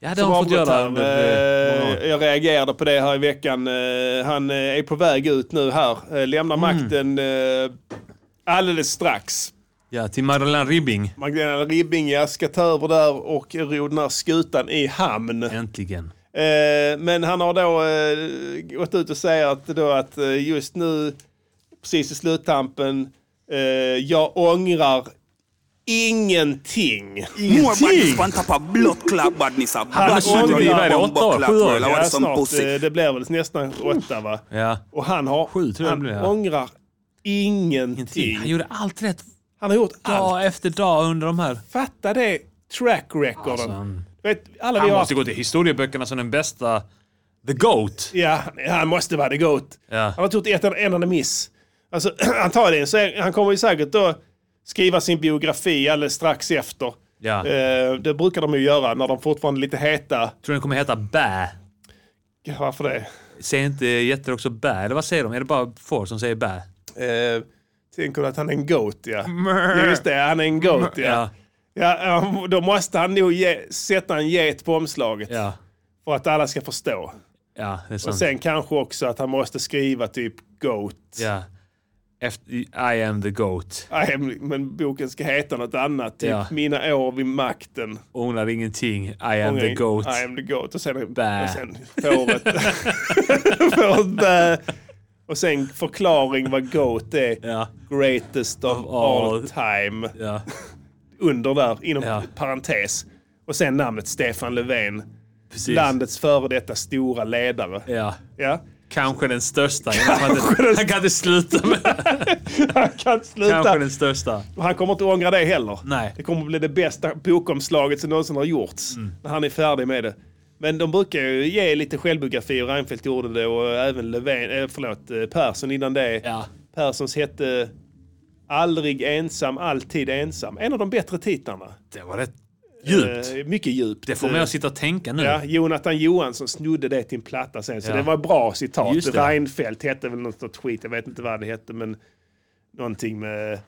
Speaker 1: Ja, det
Speaker 3: Som
Speaker 1: har han fått
Speaker 3: avgått
Speaker 1: göra
Speaker 3: här.
Speaker 1: under eh, många år.
Speaker 3: Eh, Jag reagerade på det här i veckan. Eh, Han eh, är på väg ut nu här. Eh, Lämnar
Speaker 1: Mm.
Speaker 3: makten eh, alldeles strax.
Speaker 1: Ja, till Magdalena Ribbing.
Speaker 3: Magdalena Ribbinga ska ta över där och ro den här skutan i hamn.
Speaker 1: Äntligen.
Speaker 3: Eh, men han har då eh, gått ut och säger att, då att eh, just nu, precis i sluttampen, eh, jag ångrar ingenting.
Speaker 6: More badness on top of blood clot badness. A
Speaker 1: Han har
Speaker 6: blood
Speaker 1: suttit i, vad är det,
Speaker 6: bomb
Speaker 1: åtta år?
Speaker 6: clot
Speaker 1: Sju år?
Speaker 6: world. I
Speaker 1: Ja,
Speaker 6: want
Speaker 3: Ja,
Speaker 6: some
Speaker 3: snart,
Speaker 6: pussy.
Speaker 3: eh, det blir väl nästan åtta va?
Speaker 1: Ja.
Speaker 3: Och han har,
Speaker 1: Sju tror jag
Speaker 3: han
Speaker 1: det blir, ja.
Speaker 3: ångrar ingenting.
Speaker 1: Han gjorde allt rätt
Speaker 3: Han har gjort allt.
Speaker 1: dag efter dag under de här.
Speaker 3: Fatta det track recorden.
Speaker 1: han-
Speaker 3: Du vet, alla
Speaker 1: Han
Speaker 3: vi har
Speaker 1: måste gå till historieböckerna som den bästa. The GOAT.
Speaker 3: Ja, han måste vara the GOAT.
Speaker 1: Ja.
Speaker 3: Han har inte gjort ett en enda miss. Alltså, antagligen så är, han kommer ju säkert då skriva sin biografi alldeles strax efter.
Speaker 1: Ja.
Speaker 3: Eh, det brukar de ju göra när de fortfarande är lite heta.
Speaker 1: Tror den kommer heta Bä.
Speaker 3: Ja, Varför det?
Speaker 1: Säger inte getter också Bä? Eller vad säger de? Är det bara får som säger Bä?
Speaker 3: Eh, tänker du att han är en GOAT, ja. ja just det, han är en GOAT, ja.
Speaker 1: Ja.
Speaker 3: ja. eh, Då måste han nog ge, sätta en get på omslaget
Speaker 1: Ja.
Speaker 3: för att alla ska förstå.
Speaker 1: Ja, det är
Speaker 3: Och
Speaker 1: sant.
Speaker 3: sen kanske också att han måste skriva typ GOAT.
Speaker 1: Ja. Efter, I am the GOAT.
Speaker 3: Nej, men boken ska heta något annat. Typ
Speaker 1: Ja.
Speaker 3: Mina år vid makten.
Speaker 1: Ångrar ingenting. I am the
Speaker 3: Ångrar-
Speaker 1: GOAT.
Speaker 3: I am the goat. Och sen,
Speaker 1: Bä.
Speaker 3: och sen fåret. fåret bä. Och sen förklaring vad goat är.
Speaker 1: Ja.
Speaker 3: Greatest of, all,
Speaker 1: all.
Speaker 3: time.
Speaker 1: Ja.
Speaker 3: Under där, inom
Speaker 1: Ja.
Speaker 3: parentes. Och sen namnet Stefan Löfven.
Speaker 1: Precis.
Speaker 3: Landets före detta stora ledare.
Speaker 1: Ja.
Speaker 3: Ja.
Speaker 1: Kanske den största. Han kan inte- Han kan inte sluta med
Speaker 3: Han kan inte
Speaker 1: Kanske
Speaker 3: sluta.
Speaker 1: den största.
Speaker 3: Han kommer inte ångra det heller.
Speaker 1: Nej. Mm.
Speaker 3: Det kommer bli det bästa bokomslaget som någonsin har gjorts. När han är färdig med det. Men de brukar ju ge lite självbiografier. Reinfeldt gjorde det och även Löfven, eh, förlåt, eh, Persson innan det.
Speaker 1: Ja.
Speaker 3: Perssons hette Aldrig ensam, alltid ensam. En av de bättre titlarna.
Speaker 1: Det var rätt djupt.
Speaker 3: Eh, mycket djupt.
Speaker 1: Det får mig att sitta och tänka nu.
Speaker 3: Ja, Jonathan Johansson snodde det till en platta sen, så
Speaker 1: Ja.
Speaker 3: det var bra citat.
Speaker 1: Just det.
Speaker 3: Reinfeldt hette väl något sånt skit, jag vet inte vad det hette, men någonting med...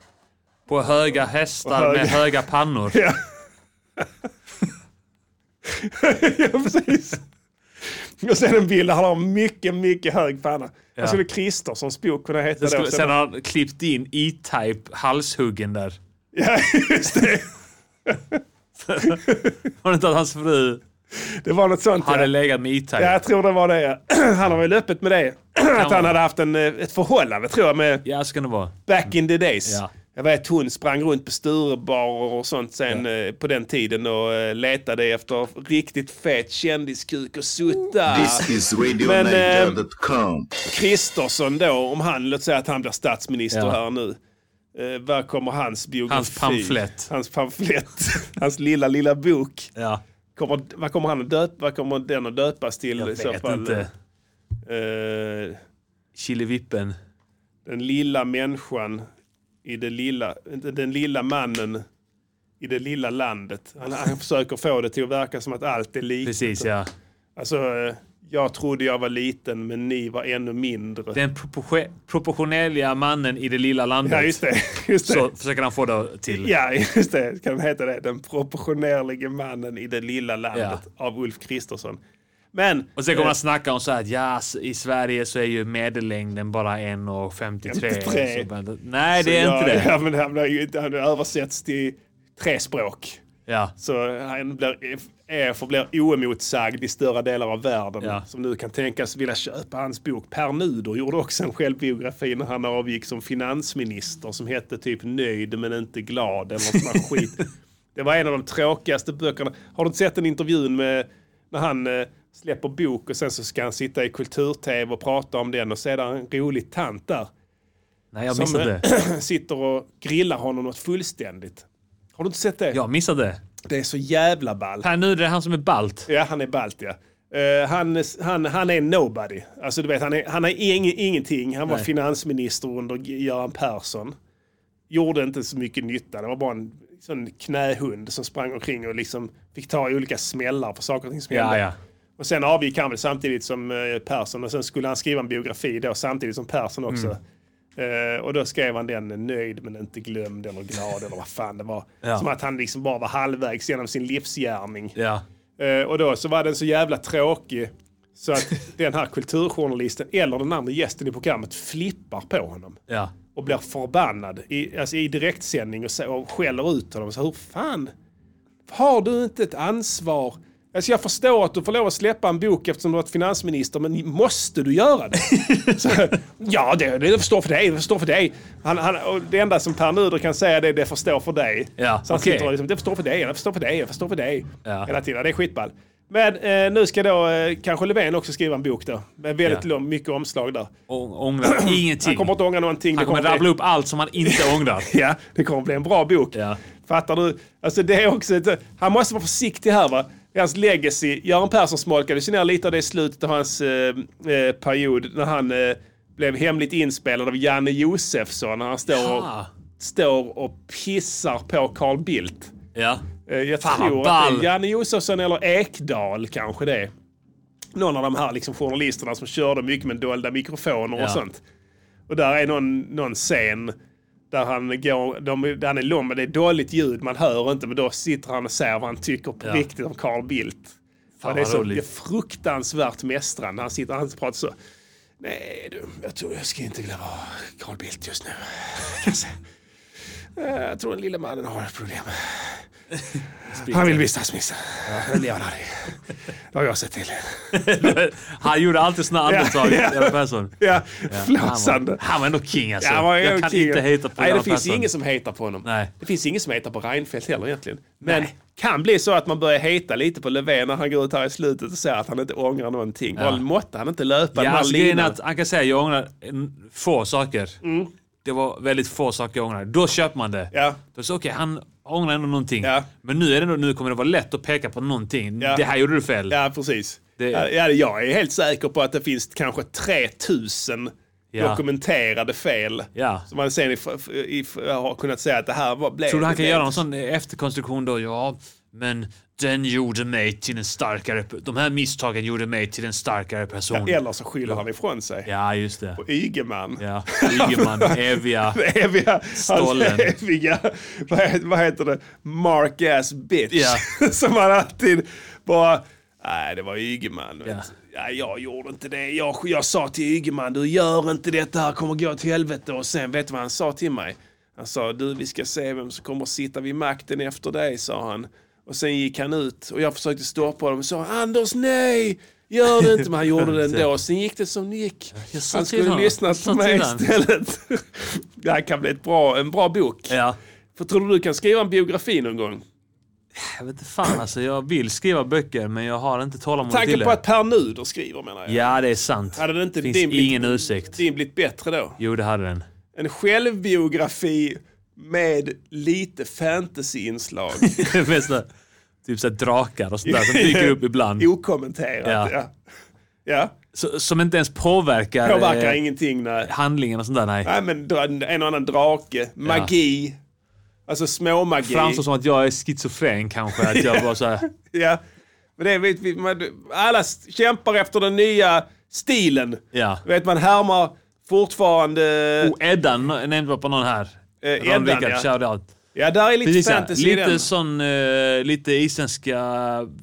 Speaker 1: På höga hästar
Speaker 3: höga-
Speaker 1: med höga pannor.
Speaker 3: Ja. ja, precis. Och sen en bild där han har mycket, mycket hög panna. Alltså Vad skulle Kristerssons bok kunna heta
Speaker 1: Det skulle,
Speaker 3: då?
Speaker 1: sen har han klippt in E-Type halshuggen där.
Speaker 3: Ja, just det.
Speaker 1: Var det inte att hans fru
Speaker 3: Det var något sånt.
Speaker 1: hade
Speaker 3: ja.
Speaker 1: legat med E-Type?
Speaker 3: Ja, jag tror det var det. ja. Han har väl öppet med det. Att han hade haft en, eh, ett förhållande tror jag med
Speaker 1: Ja, så kan det vara.
Speaker 3: back in the days.
Speaker 1: Ja.
Speaker 3: Jag vet hon sprang runt på Sturebarer och sånt sen eh, på den tiden och eh, letade efter riktigt fet kändiskuk och sutta.
Speaker 7: This is
Speaker 3: Men, ehm,
Speaker 7: RadioNaja.com.
Speaker 3: Kristersson då, om han, låt säga att han blir statsminister
Speaker 1: Ja.
Speaker 3: här nu. Eh, var kommer hans biografi?
Speaker 1: Hans pamflett.
Speaker 3: Hans pamflett. hans lilla, lilla bok.
Speaker 1: Ja.
Speaker 3: Kommer, vad kommer han att döpa? Vad kommer den att döpas till
Speaker 1: Jag
Speaker 3: i så
Speaker 1: vet
Speaker 3: fall?
Speaker 1: inte.
Speaker 3: Eh,
Speaker 1: Chilivippen.
Speaker 3: den lilla människan i det lilla, inte den lilla mannen i det lilla landet. Han, han försöker få det till att verka som att allt är likt.
Speaker 1: Precis, ja.
Speaker 3: Alltså, eh, jag trodde jag var liten men ni var ännu mindre.
Speaker 1: Den proportio- proportionella mannen i det lilla landet.
Speaker 3: Ja, just det. Just det.
Speaker 1: Så försöker han få det till.
Speaker 3: Ja, just det. Kan de heta det? Den proportionerlige mannen i det lilla landet av Ulf Kristersson. Men... eh,
Speaker 1: Och sen kommer han snacka om så här att ja, s- i Sverige så är ju medellängden bara 1,53.
Speaker 3: 53.
Speaker 1: Så bara, Nej, det är
Speaker 3: jag,
Speaker 1: inte det.
Speaker 3: Ja, men han, blir, ju- han översätts till tre språk.
Speaker 1: Ja.
Speaker 3: Så han blir, är, förblir oemotsagd i större delar av världen.
Speaker 1: Ja.
Speaker 3: Som nu kan tänkas vilja köpa hans bok. Per Nuder gjorde också en självbiografi när han avgick som finansminister som hette typ Nöjd men inte glad eller sån här skit. Det var en av de tråkigaste böckerna. Har du inte sett den intervjun med när han eh, släpper bok och sen så ska han sitta i kultur-tv och prata om den och så är det en rolig tant där
Speaker 1: Nej, jag
Speaker 3: som
Speaker 1: missade
Speaker 3: eh,
Speaker 1: det.
Speaker 3: sitter och grillar honom något fullständigt. Har du inte sett det?
Speaker 1: Jag missade det.
Speaker 3: Det är så jävla ball.
Speaker 1: Per Nuder är han som är balt.
Speaker 3: Ja, han är balt ja. Eh, han, han, han är nobody. Alltså du vet, han är, han är ing, ingenting. Han var
Speaker 1: Nej.
Speaker 3: finansminister under G- Göran Persson. Gjorde inte så mycket nytta. Det var bara en sån knähund som sprang omkring och liksom fick ta olika smällar för saker och ting som
Speaker 1: Ja,
Speaker 3: hände.
Speaker 1: ja.
Speaker 3: Och sen avgick han väl samtidigt som eh, Persson och sen skulle han skriva en biografi då samtidigt som Persson också.
Speaker 1: Mm.
Speaker 3: Eh, och då skrev han den nöjd men inte glömd eller glad eller vad fan det var.
Speaker 1: Ja.
Speaker 3: Som att han liksom bara var halvvägs genom sin livsgärning.
Speaker 1: Ja.
Speaker 3: Eh, och då så var den så jävla tråkig så att den här kulturjournalisten eller den andra gästen i programmet flippar på honom
Speaker 1: Ja.
Speaker 3: och blir förbannad i, alltså i direktsändning och, så, och skäller ut honom. Så, hur fan har du inte ett ansvar? Alltså jag förstår att du får lov att släppa en bok eftersom du varit finansminister, men måste du göra det? så, ja, det, det förstår för dig, det förstår för dig. Han, han, och det enda som Per Nuder kan säga det är det förstår för dig.
Speaker 1: Ja,
Speaker 3: så han
Speaker 1: okej.
Speaker 3: sitter och liksom, det förstår för dig, det förstår för dig, det förstår för dig.
Speaker 1: Ja.
Speaker 3: Hela tiden, det är skitball. Men eh, nu ska då eh, kanske Löfven också skriva en bok då. Med väldigt
Speaker 1: Ja.
Speaker 3: lång, mycket omslag där.
Speaker 1: Å- Ångrar ingenting.
Speaker 3: Han kommer inte ångra någonting.
Speaker 1: Han
Speaker 3: Det
Speaker 1: kommer
Speaker 3: bli-
Speaker 1: rabbla upp allt som han inte ångrar.
Speaker 3: Ja, det kommer bli en bra bok.
Speaker 1: Ja.
Speaker 3: Fattar du? Alltså det är också ett, han måste vara försiktig här va. Hans legacy, Göran Persson smolkade sig ner lite av det i slutet av hans eh, eh, period när han eh, blev hemligt inspelad av Janne Josefsson när han står och,
Speaker 1: Ja.
Speaker 3: står och pissar på Carl Bildt.
Speaker 1: Ja.
Speaker 3: Eh, Jag
Speaker 1: Fan, vad
Speaker 3: tror att det
Speaker 1: ball.
Speaker 3: är Janne Josefsson eller Ekdal kanske det. är. Någon av de här liksom journalisterna som körde mycket med dolda mikrofoner
Speaker 1: Ja.
Speaker 3: och sånt. Och där är någon, någon scen där han går, de, där han är lång men det är dåligt ljud, man hör inte men då sitter han och säger vad han tycker på
Speaker 1: Ja.
Speaker 3: riktigt om Carl Bildt.
Speaker 1: Fan,
Speaker 3: det är
Speaker 1: vad
Speaker 3: så det är
Speaker 1: roligt.
Speaker 3: fruktansvärt mästrande. Han sitter han pratar så. Nej du, jag tror jag ska inte glömma Carl Bildt just nu. Jag kan säga. Eh, Jag tror den lille mannen har ett problem. Han vill bli statsminister. Men det gör han aldrig. Det har jag sett till.
Speaker 1: Han gjorde alltid såna andetag,
Speaker 3: ja.
Speaker 1: Göran Persson.
Speaker 3: Ja,
Speaker 1: Ja,
Speaker 3: flåsande.
Speaker 1: Han var, han var ändå king alltså.
Speaker 3: Ja, han var
Speaker 1: jag
Speaker 3: en
Speaker 1: kan
Speaker 3: king.
Speaker 1: inte hejta på
Speaker 3: Nej, det
Speaker 1: Göran
Speaker 3: finns
Speaker 1: Persson.
Speaker 3: ingen som hatar på honom.
Speaker 1: Nej.
Speaker 3: Det finns ingen som hatar på Reinfeldt heller egentligen. Men kan bli så att man börjar heta lite på Löfven när han går ut här i slutet och säger att han inte ångrar någonting. Bara måtte han inte löpa
Speaker 1: Ja,
Speaker 3: den här
Speaker 1: alltså, grejen är
Speaker 3: linan.
Speaker 1: att han kan säga jag ångrar en- få saker. Det var väldigt få saker jag ångrar. Då köper man det.
Speaker 3: Mm. Ja.
Speaker 1: Då så okej, han ångrar ändå någonting.
Speaker 3: Ja.
Speaker 1: Men nu, är det, ändå- nu kommer det vara lätt att peka på någonting.
Speaker 3: Ja.
Speaker 1: Det här gjorde du fel.
Speaker 3: Ja, precis.
Speaker 1: Det-
Speaker 3: Ja, jag är helt säker på att det finns kanske 3000
Speaker 1: Ja.
Speaker 3: dokumenterade fel.
Speaker 1: Ja.
Speaker 3: Så man sen i, i, har kunnat säga att det här var, blev...
Speaker 1: Tror du han kan
Speaker 3: blev-
Speaker 1: göra någon sån eh, efterkonstruktion då? Ja, men den gjorde mig till en starkare... De här misstagen gjorde mig till en starkare person.
Speaker 3: Eller så skyller han ifrån sig.
Speaker 1: Ja, just det.
Speaker 3: Ygeman.
Speaker 1: Ja, Ygeman, eviga...
Speaker 3: Det eviga,
Speaker 1: Stollen.
Speaker 3: hans eviga, vad heter, vad heter det, mark ass bitch.
Speaker 1: Ja.
Speaker 3: Som han alltid bara, nej det var Ygeman. vet
Speaker 1: Ja.
Speaker 3: du. Nej, jag gjorde inte det. Jag, jag sa till Ygeman, du gör inte detta, här kommer gå till helvete. Och sen vet du vad han sa till mig? Han sa, du vi ska se vem som kommer sitta vid makten efter dig, sa han. Och sen gick han ut och jag försökte stoppa honom och sa, Anders nej! Gör det inte, men han gjorde det ändå. Sen gick det som det gick.
Speaker 1: Jag sa
Speaker 3: Han
Speaker 1: till
Speaker 3: skulle
Speaker 1: honom.
Speaker 3: lyssna
Speaker 1: Jag sa
Speaker 3: på mig
Speaker 1: till honom.
Speaker 3: istället. Det här kan bli ett bra, en bra bok.
Speaker 1: Ja.
Speaker 3: För tror du du kan skriva en biografi någon gång?
Speaker 1: Jag vet inte fan alltså, jag vill skriva böcker men jag har inte tålamod till
Speaker 3: Tanken
Speaker 1: det.
Speaker 3: på att Per Nuder skriver menar jag.
Speaker 1: Ja, det är sant.
Speaker 3: Hade det inte
Speaker 1: finns
Speaker 3: din-
Speaker 1: ingen ursäkt.
Speaker 3: Din blivit bättre då?
Speaker 1: Jo, det hade den.
Speaker 3: En självbiografi med lite fantasyinslag.
Speaker 1: Det bästa, typ såhär drakar och sådär som dyker upp ibland.
Speaker 3: Okommenterat.
Speaker 1: Ja.
Speaker 3: Ja. ja.
Speaker 1: Så, som inte ens påverkar,
Speaker 3: Påverkar
Speaker 1: eh,
Speaker 3: ingenting. Nej.
Speaker 1: handlingen och sånt där. Nej.
Speaker 3: Nej, men dra- en och annan drake. Magi. Alltså småmagi.
Speaker 1: Framstår som att jag är schizofren kanske. Att jag bara såhär,
Speaker 3: Ja. Men det vet vi, man, alla s- kämpar efter den nya stilen.
Speaker 1: Ja.
Speaker 3: Du Vet man härmar fortfarande...
Speaker 1: oh, Eddan nämnde jag på någon här. Ron
Speaker 3: Eh, Eddan,
Speaker 1: Rickard,
Speaker 3: ja.
Speaker 1: shoutout.
Speaker 3: Ja, där är lite
Speaker 1: Precis, ja.
Speaker 3: fantasy i den.
Speaker 1: lite sån, eh, lite isländska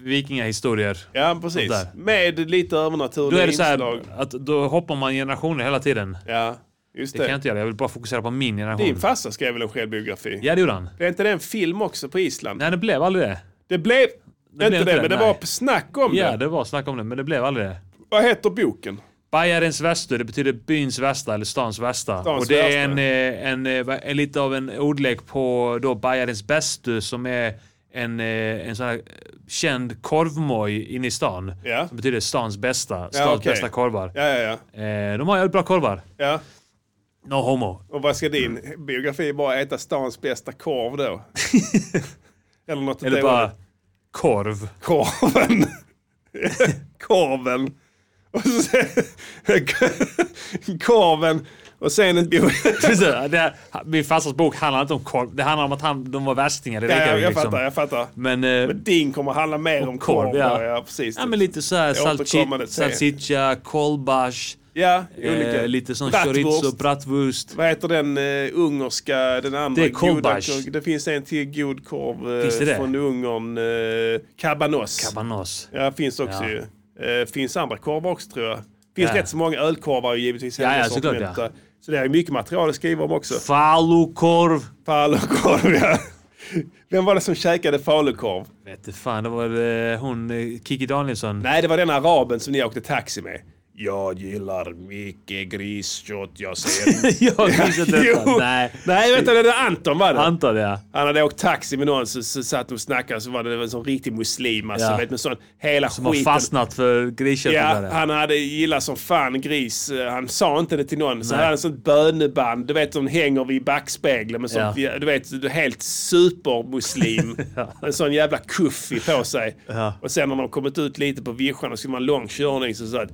Speaker 1: vikingahistorier.
Speaker 3: Ja, precis.
Speaker 1: Sånt där.
Speaker 3: Med lite
Speaker 1: Då
Speaker 3: övernaturliga
Speaker 1: är det så
Speaker 3: inslag.
Speaker 1: här att då hoppar man generationer hela tiden.
Speaker 3: Ja, just
Speaker 1: Det kan jag
Speaker 3: det.
Speaker 1: inte göra. Jag vill bara fokusera på min generation.
Speaker 3: Din farsa skrev väl en självbiografi?
Speaker 1: Ja, det gjorde han.
Speaker 3: Blev inte det en film också på Island?
Speaker 1: Nej, det blev aldrig det.
Speaker 3: Det blev inte
Speaker 1: inte
Speaker 3: det,
Speaker 1: det,
Speaker 3: men det
Speaker 1: nej.
Speaker 3: var snack om
Speaker 1: Ja,
Speaker 3: det.
Speaker 1: det var snack om det, men det blev aldrig det.
Speaker 3: Vad heter boken?
Speaker 1: Bajarens värsta, det betyder byns värsta eller stans värsta.
Speaker 3: Stans
Speaker 1: och det är en,
Speaker 3: värsta.
Speaker 1: eh, en, eh, va- en, lite av en ordlek på då Bajarens bästu som är en, eh, en sån här eh, känd korvmoj inne i stan.
Speaker 3: Ja.
Speaker 1: Som betyder stans bästa. Stans
Speaker 3: okej.
Speaker 1: bästa korvar.
Speaker 3: Ja, ja, ja.
Speaker 1: Eh, de har jävligt bra korvar.
Speaker 3: ja.
Speaker 1: No homo.
Speaker 3: Och vad ska din biografi bara äta stans bästa korv då? Eller något åt
Speaker 1: Eller
Speaker 3: det
Speaker 1: bara
Speaker 3: hållet.
Speaker 1: korv.
Speaker 3: Korven. korven. Och sen... korven. Och sen en biografi.
Speaker 1: Precis, det här, min farsas bok handlar inte om korv. Det handlar om att han, de var värstingar. Det
Speaker 3: Ja,
Speaker 1: vet
Speaker 3: jag,
Speaker 1: ju
Speaker 3: jag
Speaker 1: liksom.
Speaker 3: fattar, jag fattar.
Speaker 1: Men, eh,
Speaker 3: Men din kommer handla mer om
Speaker 1: korv,
Speaker 3: korv.
Speaker 1: ja.
Speaker 3: ja. ja, precis.
Speaker 1: ja, men lite så här salchi-
Speaker 3: återkommande scen.
Speaker 1: salsiccia, kolbash,
Speaker 3: Ja, olika.
Speaker 1: eh, lite sån
Speaker 3: Bratwurst.
Speaker 1: chorizo, bratwurst.
Speaker 3: Vad heter den eh, ungerska, den andra
Speaker 1: Det är kolbash.
Speaker 3: goda korv- Det finns en till god korv
Speaker 1: Finns det
Speaker 3: eh,
Speaker 1: det?
Speaker 3: från Ungern. Eh, kabanos.
Speaker 1: Cabanos.
Speaker 3: ja, finns också
Speaker 1: Ja.
Speaker 3: ju. Eh, finns andra korvar också tror jag. Finns
Speaker 1: Ja.
Speaker 3: rätt så många ölkorvar ju givetvis. i
Speaker 1: Ja,
Speaker 3: hela
Speaker 1: ja, såklart,
Speaker 3: sortimentet. Så det är mycket material att skriva om också.
Speaker 1: Falukorv.
Speaker 3: Falukorv, ja. Vem var det som käkade falukorv?
Speaker 1: Vet du fan, det var eh, hon eh, Kiki Danielsson.
Speaker 3: Nej, det var den araben som ni åkte taxi med. Jag gillar mycket griskött, jag ser
Speaker 1: jag minns inte detta.
Speaker 3: Jo.
Speaker 1: Nej.
Speaker 3: Nej, vänta, det är Anton var det.
Speaker 1: Antar det.
Speaker 3: han hade åkt taxi med någon så, så satt de och snackade så var det en sån riktig muslim alltså,
Speaker 1: Ja.
Speaker 3: vet, med sån hela
Speaker 1: Som har
Speaker 3: skiten.
Speaker 1: fastnat för grisköttet.
Speaker 3: Ja,
Speaker 1: där.
Speaker 3: han hade gillat som fan gris. Han sa inte det till någon. Så han hade en sånt böneband, du vet som hänger vid backspegeln. Med sånt,
Speaker 1: Ja.
Speaker 3: Du vet, du är helt supermuslim. En sån jävla kuffi på sig. Och sen när de kommit ut lite på vischan och skulle man lång körning så sa han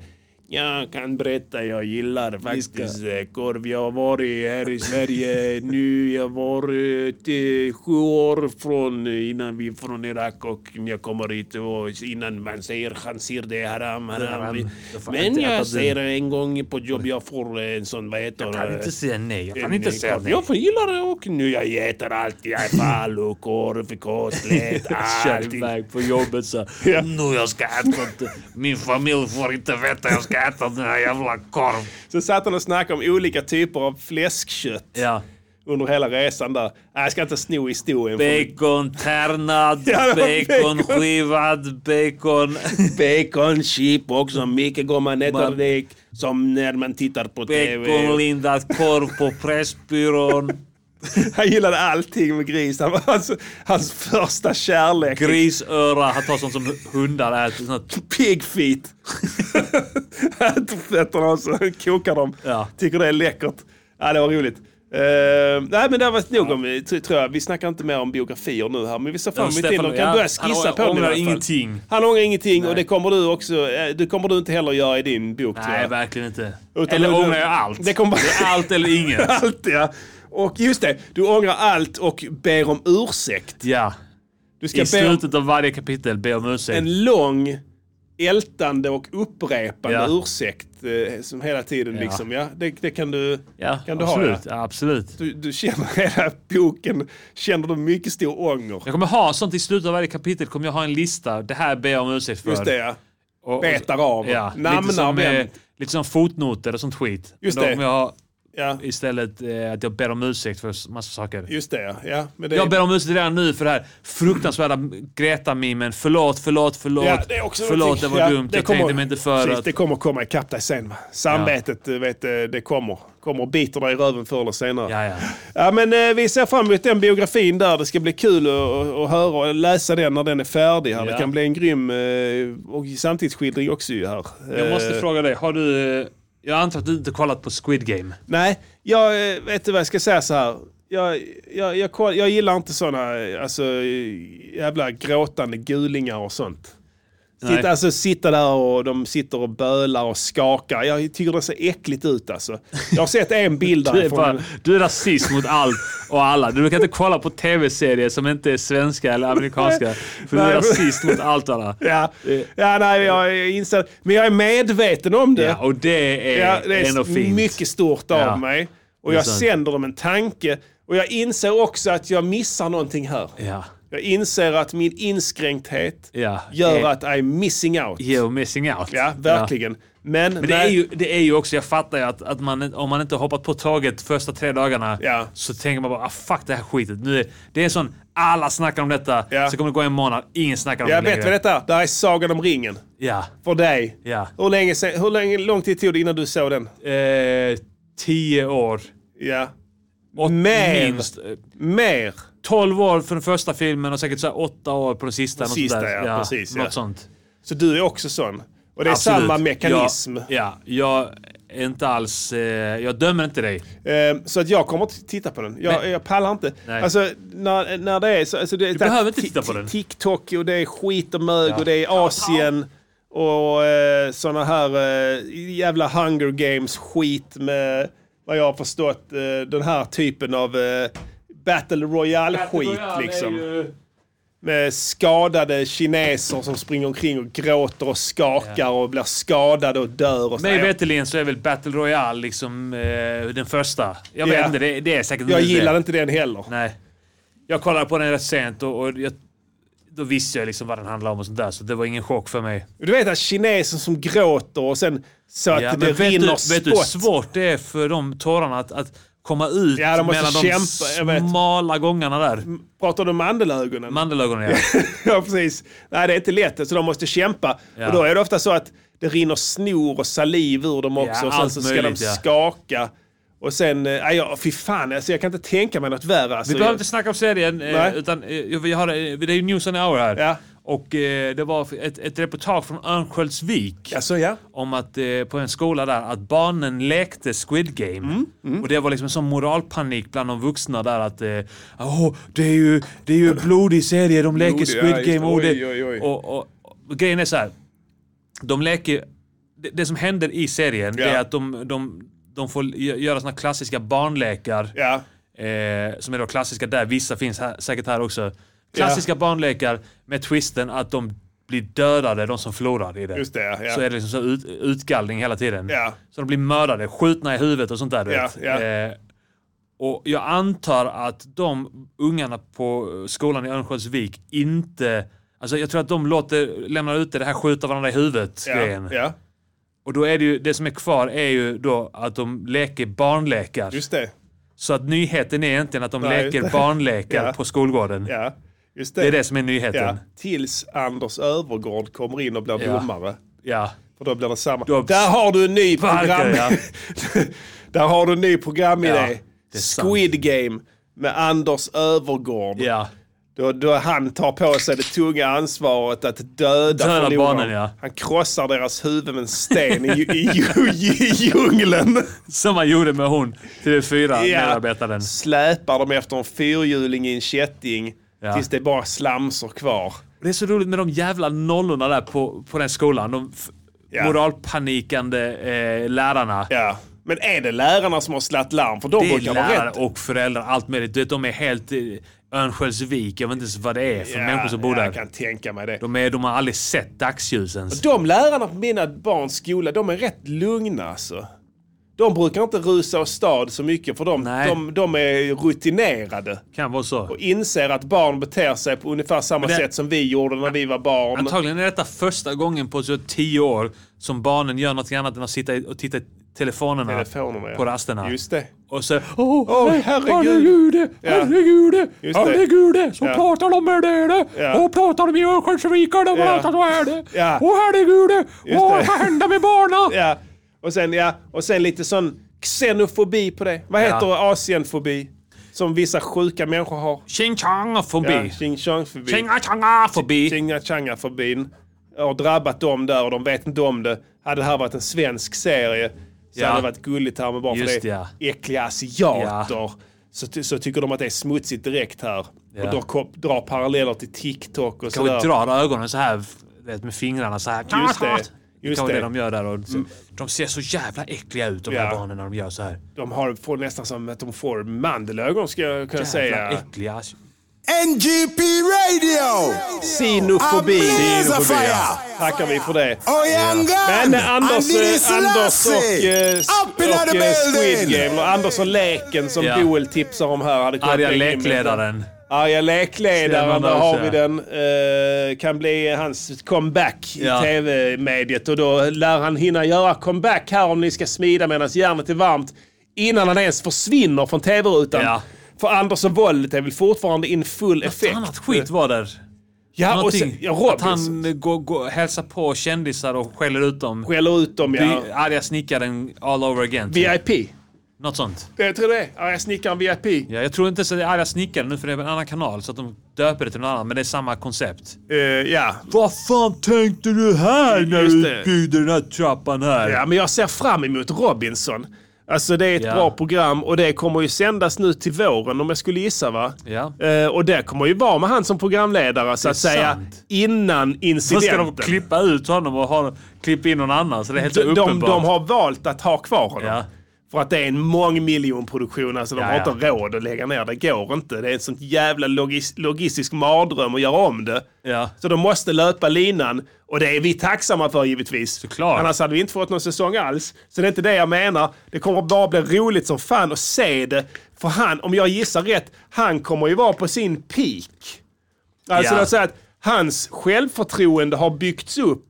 Speaker 3: jag kan berätta, jag gillar faktiskt eh, korv. Jag har varit här i Sverige nu. Jag har varit eh, sju år från, eh, innan vi från Irak och jag kommer hit och innan man säger han ser det haram, haram.
Speaker 1: Haram. Jag får
Speaker 3: Men
Speaker 1: inte äta
Speaker 3: jag säger
Speaker 1: det.
Speaker 3: en gång på jobb jag får eh, en sån, vad heter
Speaker 1: Jag kan
Speaker 3: det?
Speaker 1: inte säga nej. Jag kan
Speaker 3: En,
Speaker 1: inte
Speaker 3: eh,
Speaker 1: säga
Speaker 3: korv.
Speaker 1: nej.
Speaker 3: Jag får gilla det och nu jag äter allt. Jag är falukorv, kotlett,
Speaker 1: Kör
Speaker 3: allting.
Speaker 1: iväg på jobbet så.
Speaker 3: Ja.
Speaker 1: Nu jag ska äta. inte- Min familj får inte veta jag ska äta den här jävla korv.
Speaker 3: Så satt han och snackade om olika typer av fläskkött.
Speaker 1: Ja.
Speaker 3: under hela resan där. Nej, jag ska inte sno historien. från-
Speaker 1: Bacon tärnad,
Speaker 3: Ja, det var
Speaker 1: bacon
Speaker 3: bacon.
Speaker 1: skivad, bacon...
Speaker 3: Bacon, chip också. Mm. Mycket går man äter
Speaker 1: Man-
Speaker 3: det som när man tittar på
Speaker 1: Bacon
Speaker 3: TV.
Speaker 1: lindad korv på Pressbyrån.
Speaker 3: Han gillade allting med gris. Han var hans, hans första kärlek.
Speaker 1: Grisöra. Han tar sånt som hundar äter. Sånt.
Speaker 3: Pig feet. Han tog Fötterna och så kokar dem.
Speaker 1: Ja.
Speaker 3: Tycker det är läckert. Ja, det var roligt. Eh, nej men det har varit nog om, tr- tror jag. Vi snackar inte mer om biografier nu här, men vi ser fram emot
Speaker 1: Stefan,
Speaker 3: till och kan
Speaker 1: ja,
Speaker 3: börja
Speaker 1: han
Speaker 3: skissa
Speaker 1: ång-
Speaker 3: på dem i
Speaker 1: ångrar
Speaker 3: alla fall.
Speaker 1: ingenting.
Speaker 3: Han ångrar ingenting och det kommer du också, eh, det kommer du inte heller göra i din bok tror
Speaker 1: Nej,
Speaker 3: jag.
Speaker 1: verkligen inte.
Speaker 3: Utan
Speaker 1: Eller
Speaker 3: du-
Speaker 1: ångrar jag allt?
Speaker 3: Det kommer bara-
Speaker 1: är allt eller inget.
Speaker 3: Allt ja. Och just det, du ångrar allt och ber om ursäkt.
Speaker 1: Ja.
Speaker 3: Du ska
Speaker 1: I
Speaker 3: be om
Speaker 1: slutet av varje kapitel ber jag om ursäkt.
Speaker 3: en lång ältande och upprepande
Speaker 1: Ja.
Speaker 3: ursäkt eh, som hela tiden liksom, ja. Det, det kan du,
Speaker 1: Ja,
Speaker 3: kan du ha.
Speaker 1: absolut.
Speaker 3: Ja.
Speaker 1: ja, absolut.
Speaker 3: Du, du känner hela boken, känner du mycket stor ånger.
Speaker 1: Jag kommer ha sånt i slutet av varje kapitel. Kommer jag ha en lista. Det här ber jag om ursäkt för.
Speaker 3: Just det ja.
Speaker 1: Och- och-
Speaker 3: Betar av.
Speaker 1: Ja, lite
Speaker 3: Namnar
Speaker 1: som, eh,
Speaker 3: vem.
Speaker 1: lite som fotnoter och sånt skit.
Speaker 3: Just
Speaker 1: Då
Speaker 3: det.
Speaker 1: kommer jag ha
Speaker 3: Ja,
Speaker 1: istället eh, att jag ber om ursäkt för massa saker.
Speaker 3: just det ja. ja men det,
Speaker 1: Jag ber om ursäkt redan nu för det här fruktansvärda Greta-mimen. Förlåt, förlåt, förlåt.
Speaker 3: ja, det är också
Speaker 1: förlåt,
Speaker 3: någonting-
Speaker 1: det var
Speaker 3: ja,
Speaker 1: dumt. jag
Speaker 3: kommer-
Speaker 1: tänkte mig inte för
Speaker 3: precis,
Speaker 1: att...
Speaker 3: Det kommer komma ikapp dig sen. va? Samvetet, eh, vet, eh, det kommer. Kommer och biter dig i röven förr eller senare.
Speaker 1: Ja, ja.
Speaker 3: Ja, men eh, vi ser fram emot den biografin där. Det ska bli kul att- att att höra och läsa den när den är färdig. Här.
Speaker 1: Ja.
Speaker 3: Det kan bli en grym eh, och samtidsskildring också ju här.
Speaker 1: Jag måste
Speaker 3: Eh,
Speaker 1: fråga dig, har du... eh, Jag antar att du inte kollat på Squid Game?
Speaker 3: Nej, jag eh, vet du vad jag ska säga så här. Jag, jag, jag, koll- jag gillar inte sådana alltså, jävla gråtande gulingar och sånt.
Speaker 1: Nej.
Speaker 3: Sitta, alltså, sitta där och de sitter och bölar och skakar. Jag tycker det ser äckligt ut alltså. Jag har sett en bild
Speaker 1: Du är,
Speaker 3: därifrån.
Speaker 1: bara, du är rasist mot allt och alla. Du brukar inte kolla på tv-serier som inte är svenska eller amerikanska. För du är
Speaker 3: Nej.
Speaker 1: rasist mot allt och alla.
Speaker 3: Ja, ja nej, jag inser, men jag är medveten om det.
Speaker 1: Ja, och det är,
Speaker 3: Ja, det
Speaker 1: ändå
Speaker 3: är
Speaker 1: fint.
Speaker 3: mycket stort av
Speaker 1: Ja.
Speaker 3: mig. Och
Speaker 1: Det är
Speaker 3: jag
Speaker 1: sant.
Speaker 3: sänder dem en tanke. Och jag inser också att jag missar någonting här.
Speaker 1: Ja.
Speaker 3: Jag inser att min inskränkthet
Speaker 1: Ja.
Speaker 3: gör
Speaker 1: Eh,
Speaker 3: att I'm missing out.
Speaker 1: You're missing out.
Speaker 3: Ja, verkligen. Men,
Speaker 1: Men det är, ju, det är ju också, jag fattar ju att, att man, om man inte har hoppat på tåget första tre dagarna
Speaker 3: Ja.
Speaker 1: så tänker man bara ah, fuck det här skitet. Nu är, det är en sån, alla snackar om detta,
Speaker 3: Ja.
Speaker 1: så kommer det gå en månad, ingen snackar om
Speaker 3: Jag
Speaker 1: det
Speaker 3: vet vad detta är. Det här är Sagan om ringen.
Speaker 1: Ja.
Speaker 3: För dig.
Speaker 1: Ja.
Speaker 3: Hur, länge sen, hur länge, lång tid tog det innan du såg den?
Speaker 1: Eh, tio år.
Speaker 3: Ja.
Speaker 1: Och
Speaker 3: Mer.
Speaker 1: minst. eh,
Speaker 3: Mer.
Speaker 1: 12 år för den första filmen och säkert så här 8 år på den sista. något
Speaker 3: sista,
Speaker 1: sånt där.
Speaker 3: ja, precis, ja.
Speaker 1: Något sånt.
Speaker 3: Så du är också sån. Och det är
Speaker 1: Absolut.
Speaker 3: samma mekanism.
Speaker 1: Ja, ja, jag är inte alls... Eh, jag dömer inte dig.
Speaker 3: Ehm, så att jag kommer att titta på den. Jag,
Speaker 1: Nej.
Speaker 3: jag pallar inte.
Speaker 1: Nej.
Speaker 3: Alltså, när, när det är så... Alltså det, du
Speaker 1: behöver inte titta på den.
Speaker 3: TikTok och det är skit och mög
Speaker 1: Ja.
Speaker 3: och det är Asien. Och eh, såna här eh, jävla hunger games-skit med vad jag har förstått eh, den här typen av eh, battle royale-skit. liksom. Med skadade kineser som springer omkring och gråter och skakar och blir skadade och dör. Och så.
Speaker 1: Mig
Speaker 3: Jag-
Speaker 1: veterligen så är väl Battle Royale liksom eh, den första. Jag
Speaker 3: Ja.
Speaker 1: vet inte, det, det är säkert
Speaker 3: jag
Speaker 1: inte
Speaker 3: gillar
Speaker 1: det.
Speaker 3: inte den heller.
Speaker 1: Nej. Jag kollade på den rätt sent och, och jag, då visste jag liksom vad den handlade om och sånt där. Så det var ingen chock för mig.
Speaker 3: Du vet att kinesen som gråter och sen så att
Speaker 1: Ja,
Speaker 3: det
Speaker 1: men vet
Speaker 3: rinner
Speaker 1: du, vet du hur
Speaker 3: spott.
Speaker 1: svårt det är för de tårarna att, att komma ut
Speaker 3: Ja, de måste
Speaker 1: mellan de
Speaker 3: kämpa, jag vet. Mm.
Speaker 1: smala gångarna där?
Speaker 3: Pratar du om mandelögonen?
Speaker 1: Mandelögonen, ja.
Speaker 3: ja, precis. Nej, det är inte lätt så de måste kämpa.
Speaker 1: Ja.
Speaker 3: Och då är det ofta så att det rinner snor och saliv ur dem också. och sen
Speaker 1: allt
Speaker 3: så
Speaker 1: möjligt,
Speaker 3: ska de
Speaker 1: ja.
Speaker 3: skaka. Och sen, eh, nej, ja, fy fan alltså, jag kan inte tänka mig något värre. Alltså,
Speaker 1: Vi behöver inte snacka om serien, eh,
Speaker 3: Nej.
Speaker 1: utan eh, vi har, eh, det är ju News on the Hour här.
Speaker 3: Ja.
Speaker 1: Och eh, det var ett, ett reportage från Örnsköldsvik.
Speaker 3: Alltså, ja.
Speaker 1: om att eh, på en skola där att barnen lekte Squid Game.
Speaker 3: Mm,
Speaker 1: Och det var liksom en sån moralpanik bland de vuxna där att eh, "Åh, det, är ju, det är ju blodig serie, de leker
Speaker 3: Blodig, ja,
Speaker 1: Squid
Speaker 3: just
Speaker 1: Game. Och,
Speaker 3: det.
Speaker 1: det,
Speaker 3: Oj, oj, oj.
Speaker 1: Och, och, och grejen är så här. De leker, det, det som händer i serien det
Speaker 3: Ja.
Speaker 1: är att de, de, de får gö- göra såna klassiska barnlekar.
Speaker 3: Ja.
Speaker 1: Eh, som är då klassiska där, vissa finns här, säkert här också. Klassiska barnlekar med twisten att de blir dödade, de som förlorar i det.
Speaker 3: Just det, ja.
Speaker 1: Så är det liksom så ut, utgallring hela tiden.
Speaker 3: Ja.
Speaker 1: Så de blir mördade, skjutna i huvudet och sånt där. Du
Speaker 3: Ja,
Speaker 1: vet.
Speaker 3: ja.
Speaker 1: Eh, och jag antar att de ungarna på eh, skolan i Örnsköldsvik inte... Alltså jag tror att de låter, lämnar ute det här skjuta varandra i
Speaker 3: Ja.
Speaker 1: huvudet-grejen.
Speaker 3: ja,
Speaker 1: Och då är det ju, det som är kvar är ju då att de leker barnlekar.
Speaker 3: just det.
Speaker 1: Så att nyheten är egentligen att de
Speaker 3: Nej,
Speaker 1: leker
Speaker 3: just det.
Speaker 1: barnlekar
Speaker 3: Ja.
Speaker 1: på skolgården.
Speaker 3: Ja, just det.
Speaker 1: Det är det som är nyheten.
Speaker 3: ja.
Speaker 1: Ja.
Speaker 3: Tills Anders Övergård kommer in och blir
Speaker 1: Ja.
Speaker 3: domare. För då blir det samma.
Speaker 1: Då-
Speaker 3: Där har du en ny program.
Speaker 1: Sparkar, ja.
Speaker 3: Där har du en ny programidé.
Speaker 1: Ja, det är sant.
Speaker 3: Squid Game med Anders Övergård.
Speaker 1: Ja.
Speaker 3: Då, då han tar på sig det tunga ansvaret att döda
Speaker 1: Döda
Speaker 3: förlorarna.
Speaker 1: barnen, ja.
Speaker 3: Han krossar deras huvud med en sten i, ju- i, ju- i djungeln.
Speaker 1: Som man gjorde med hon, TV4,
Speaker 3: Ja.
Speaker 1: medarbetaren.
Speaker 3: Släpar dem efter en fyrhjuling i en kätting
Speaker 1: Ja.
Speaker 3: tills det är bara slamsor kvar.
Speaker 1: Det är så roligt med de jävla nollorna där på, på den skolan. De f-
Speaker 3: Ja.
Speaker 1: moralpanikande eh, lärarna.
Speaker 3: Ja. Men är det lärarna som har slagit larm? För de
Speaker 1: Det är
Speaker 3: brukar vara
Speaker 1: lärare
Speaker 3: rätt.
Speaker 1: och föräldrar, allt möjligt. Du vet, de är helt eh, Örnsköldsvik. Jag vet inte ens vad det är för
Speaker 3: Ja,
Speaker 1: människor som bor
Speaker 3: ja,
Speaker 1: där.
Speaker 3: Jag kan tänka mig det.
Speaker 1: De, är, de har aldrig sett dagsljus ens.
Speaker 3: De lärarna på mina barns skola, de är rätt lugna alltså. De brukar inte rusa åstad så mycket för de,
Speaker 1: Nej.
Speaker 3: de, de är rutinerade
Speaker 1: Kan vara så.
Speaker 3: och inser att barn beter sig på ungefär samma
Speaker 1: Men det-
Speaker 3: sätt som vi gjorde när vi var barn.
Speaker 1: Antagligen är detta första gången på så tio år som barnen gör något annat än att sitta i- och titta i telefonerna
Speaker 3: Telefonerna, ja.
Speaker 1: på rasterna.
Speaker 3: Just det.
Speaker 1: Och så... Åh,
Speaker 3: Åh,
Speaker 1: nej,
Speaker 3: herregud. Ja.
Speaker 1: herregud,
Speaker 3: Just det.
Speaker 1: Så
Speaker 3: Ja.
Speaker 1: pratar de med det.
Speaker 3: Ja.
Speaker 1: pratar de i örnsköldsvikare. De
Speaker 3: Ja.
Speaker 1: här. det.
Speaker 3: Ja.
Speaker 1: Åh, herregud.
Speaker 3: Just det.
Speaker 1: händer med barna?
Speaker 3: Ja. Och, sen, ja. och sen lite sån xenofobi på det. Vad heter asienfobi? Som vissa sjuka människor har.
Speaker 1: Ching chang
Speaker 3: Ja,
Speaker 1: förbi.
Speaker 3: Xing Chang-fobi.
Speaker 1: Chinga changa förbi.
Speaker 3: Chinga Changa-fobin har drabbat dem där och de vet inte om det. Hade det här varit en svensk serie så
Speaker 1: Ja.
Speaker 3: hade det varit gulligt här med bara för
Speaker 1: Just
Speaker 3: det är
Speaker 1: ja.
Speaker 3: äckliga asiater. Så, ty- så tycker de att det är smutsigt direkt här.
Speaker 1: Ja.
Speaker 3: Och då kom, drar paralleller till TikTok och
Speaker 1: Kanske
Speaker 3: sådär.
Speaker 1: drar ögonen så här vet, med fingrarna så här.
Speaker 3: Just det.
Speaker 1: det
Speaker 3: Just
Speaker 1: kan vara det
Speaker 3: det. Mm.
Speaker 1: de gör där. Och så, De ser så jävla äckliga ut de här
Speaker 3: Ja.
Speaker 1: barnen när de gör så här.
Speaker 3: De har, får nästan som att de får mandelögon ska jag kunna
Speaker 1: Jävla
Speaker 3: säga.
Speaker 1: äckliga.
Speaker 7: NGP Radio.
Speaker 3: Sinofobi.
Speaker 7: Sinofobi, ja.
Speaker 3: Tackar vi för det.
Speaker 7: Oyangan.
Speaker 3: Men Anders, eh, Anders och, eh, s-
Speaker 7: Up in
Speaker 3: och
Speaker 7: the
Speaker 3: eh, Squid
Speaker 7: building.
Speaker 3: Game och Anders och leken som
Speaker 1: Ja.
Speaker 3: Joel tipsar om här. Hade kunnat
Speaker 1: Arga
Speaker 3: lägga in med.
Speaker 1: lekledaren.
Speaker 3: Arga
Speaker 1: Stämmer
Speaker 3: lekledaren, där
Speaker 1: också,
Speaker 3: har
Speaker 1: ja.
Speaker 3: vi den. Eh, kan bli hans comeback
Speaker 1: Ja.
Speaker 3: i tv-mediet och då lär han hinna göra comeback här om ni ska smida medan järnet är varmt innan han ens försvinner från tv-rutan.
Speaker 1: Ja.
Speaker 3: För Anders och våldet är väl fortfarande in full effekt.
Speaker 1: Annat skit var där.
Speaker 3: Ja, och sen,
Speaker 1: Någonting.
Speaker 3: ja,
Speaker 1: att
Speaker 3: Robinson
Speaker 1: han eh, går, går, hälsar på kändisar och skäller ut dem.
Speaker 3: skäller ut dem, ja.
Speaker 1: Vi- Arga snickaren all over again. typ.
Speaker 3: VIP.
Speaker 1: Något sånt.
Speaker 3: Jag tror det. Arga snickaren VIP.
Speaker 1: Ja, jag tror inte så det är arga snickaren nu för det är en annan kanal så att de döper det till något annat men det är samma koncept.
Speaker 3: Eh, ja.
Speaker 1: Vad fan tänkte du här när
Speaker 3: Just
Speaker 1: du
Speaker 3: det.
Speaker 1: byggde den här trappan här?
Speaker 3: ja, men jag ser fram emot Robinson. Alltså det är ett
Speaker 1: Ja.
Speaker 3: bra program och det kommer ju sändas nu till våren om jag skulle gissa va?
Speaker 1: Ja.
Speaker 3: Eh, och det kommer ju vara med han som programledare så
Speaker 1: är
Speaker 3: att säga
Speaker 1: sant.
Speaker 3: innan
Speaker 1: Då ska
Speaker 3: incidenten.
Speaker 1: de klippa ut honom och ha, klippa in någon annan så det är helt
Speaker 3: de, de,
Speaker 1: uppenbart.
Speaker 3: de har valt att ha kvar honom.
Speaker 1: Ja.
Speaker 3: För att det är en mångmiljonproduktion, alltså de
Speaker 1: Ja,
Speaker 3: har
Speaker 1: ja.
Speaker 3: inte råd att lägga ner det. går inte. Det är en sån jävla logis- logistisk mardröm att göra om det.
Speaker 1: Ja.
Speaker 3: Så de måste löpa linan och det är vi tacksamma för givetvis.
Speaker 1: Såklart.
Speaker 3: Annars hade vi inte fått någon säsong alls. Så det är inte det jag menar. Det kommer bara bli roligt som fan att se det. För han, om jag gissar rätt, han kommer ju vara på sin peak. Alltså
Speaker 1: Ja.
Speaker 3: det är så att hans självförtroende har byggts upp.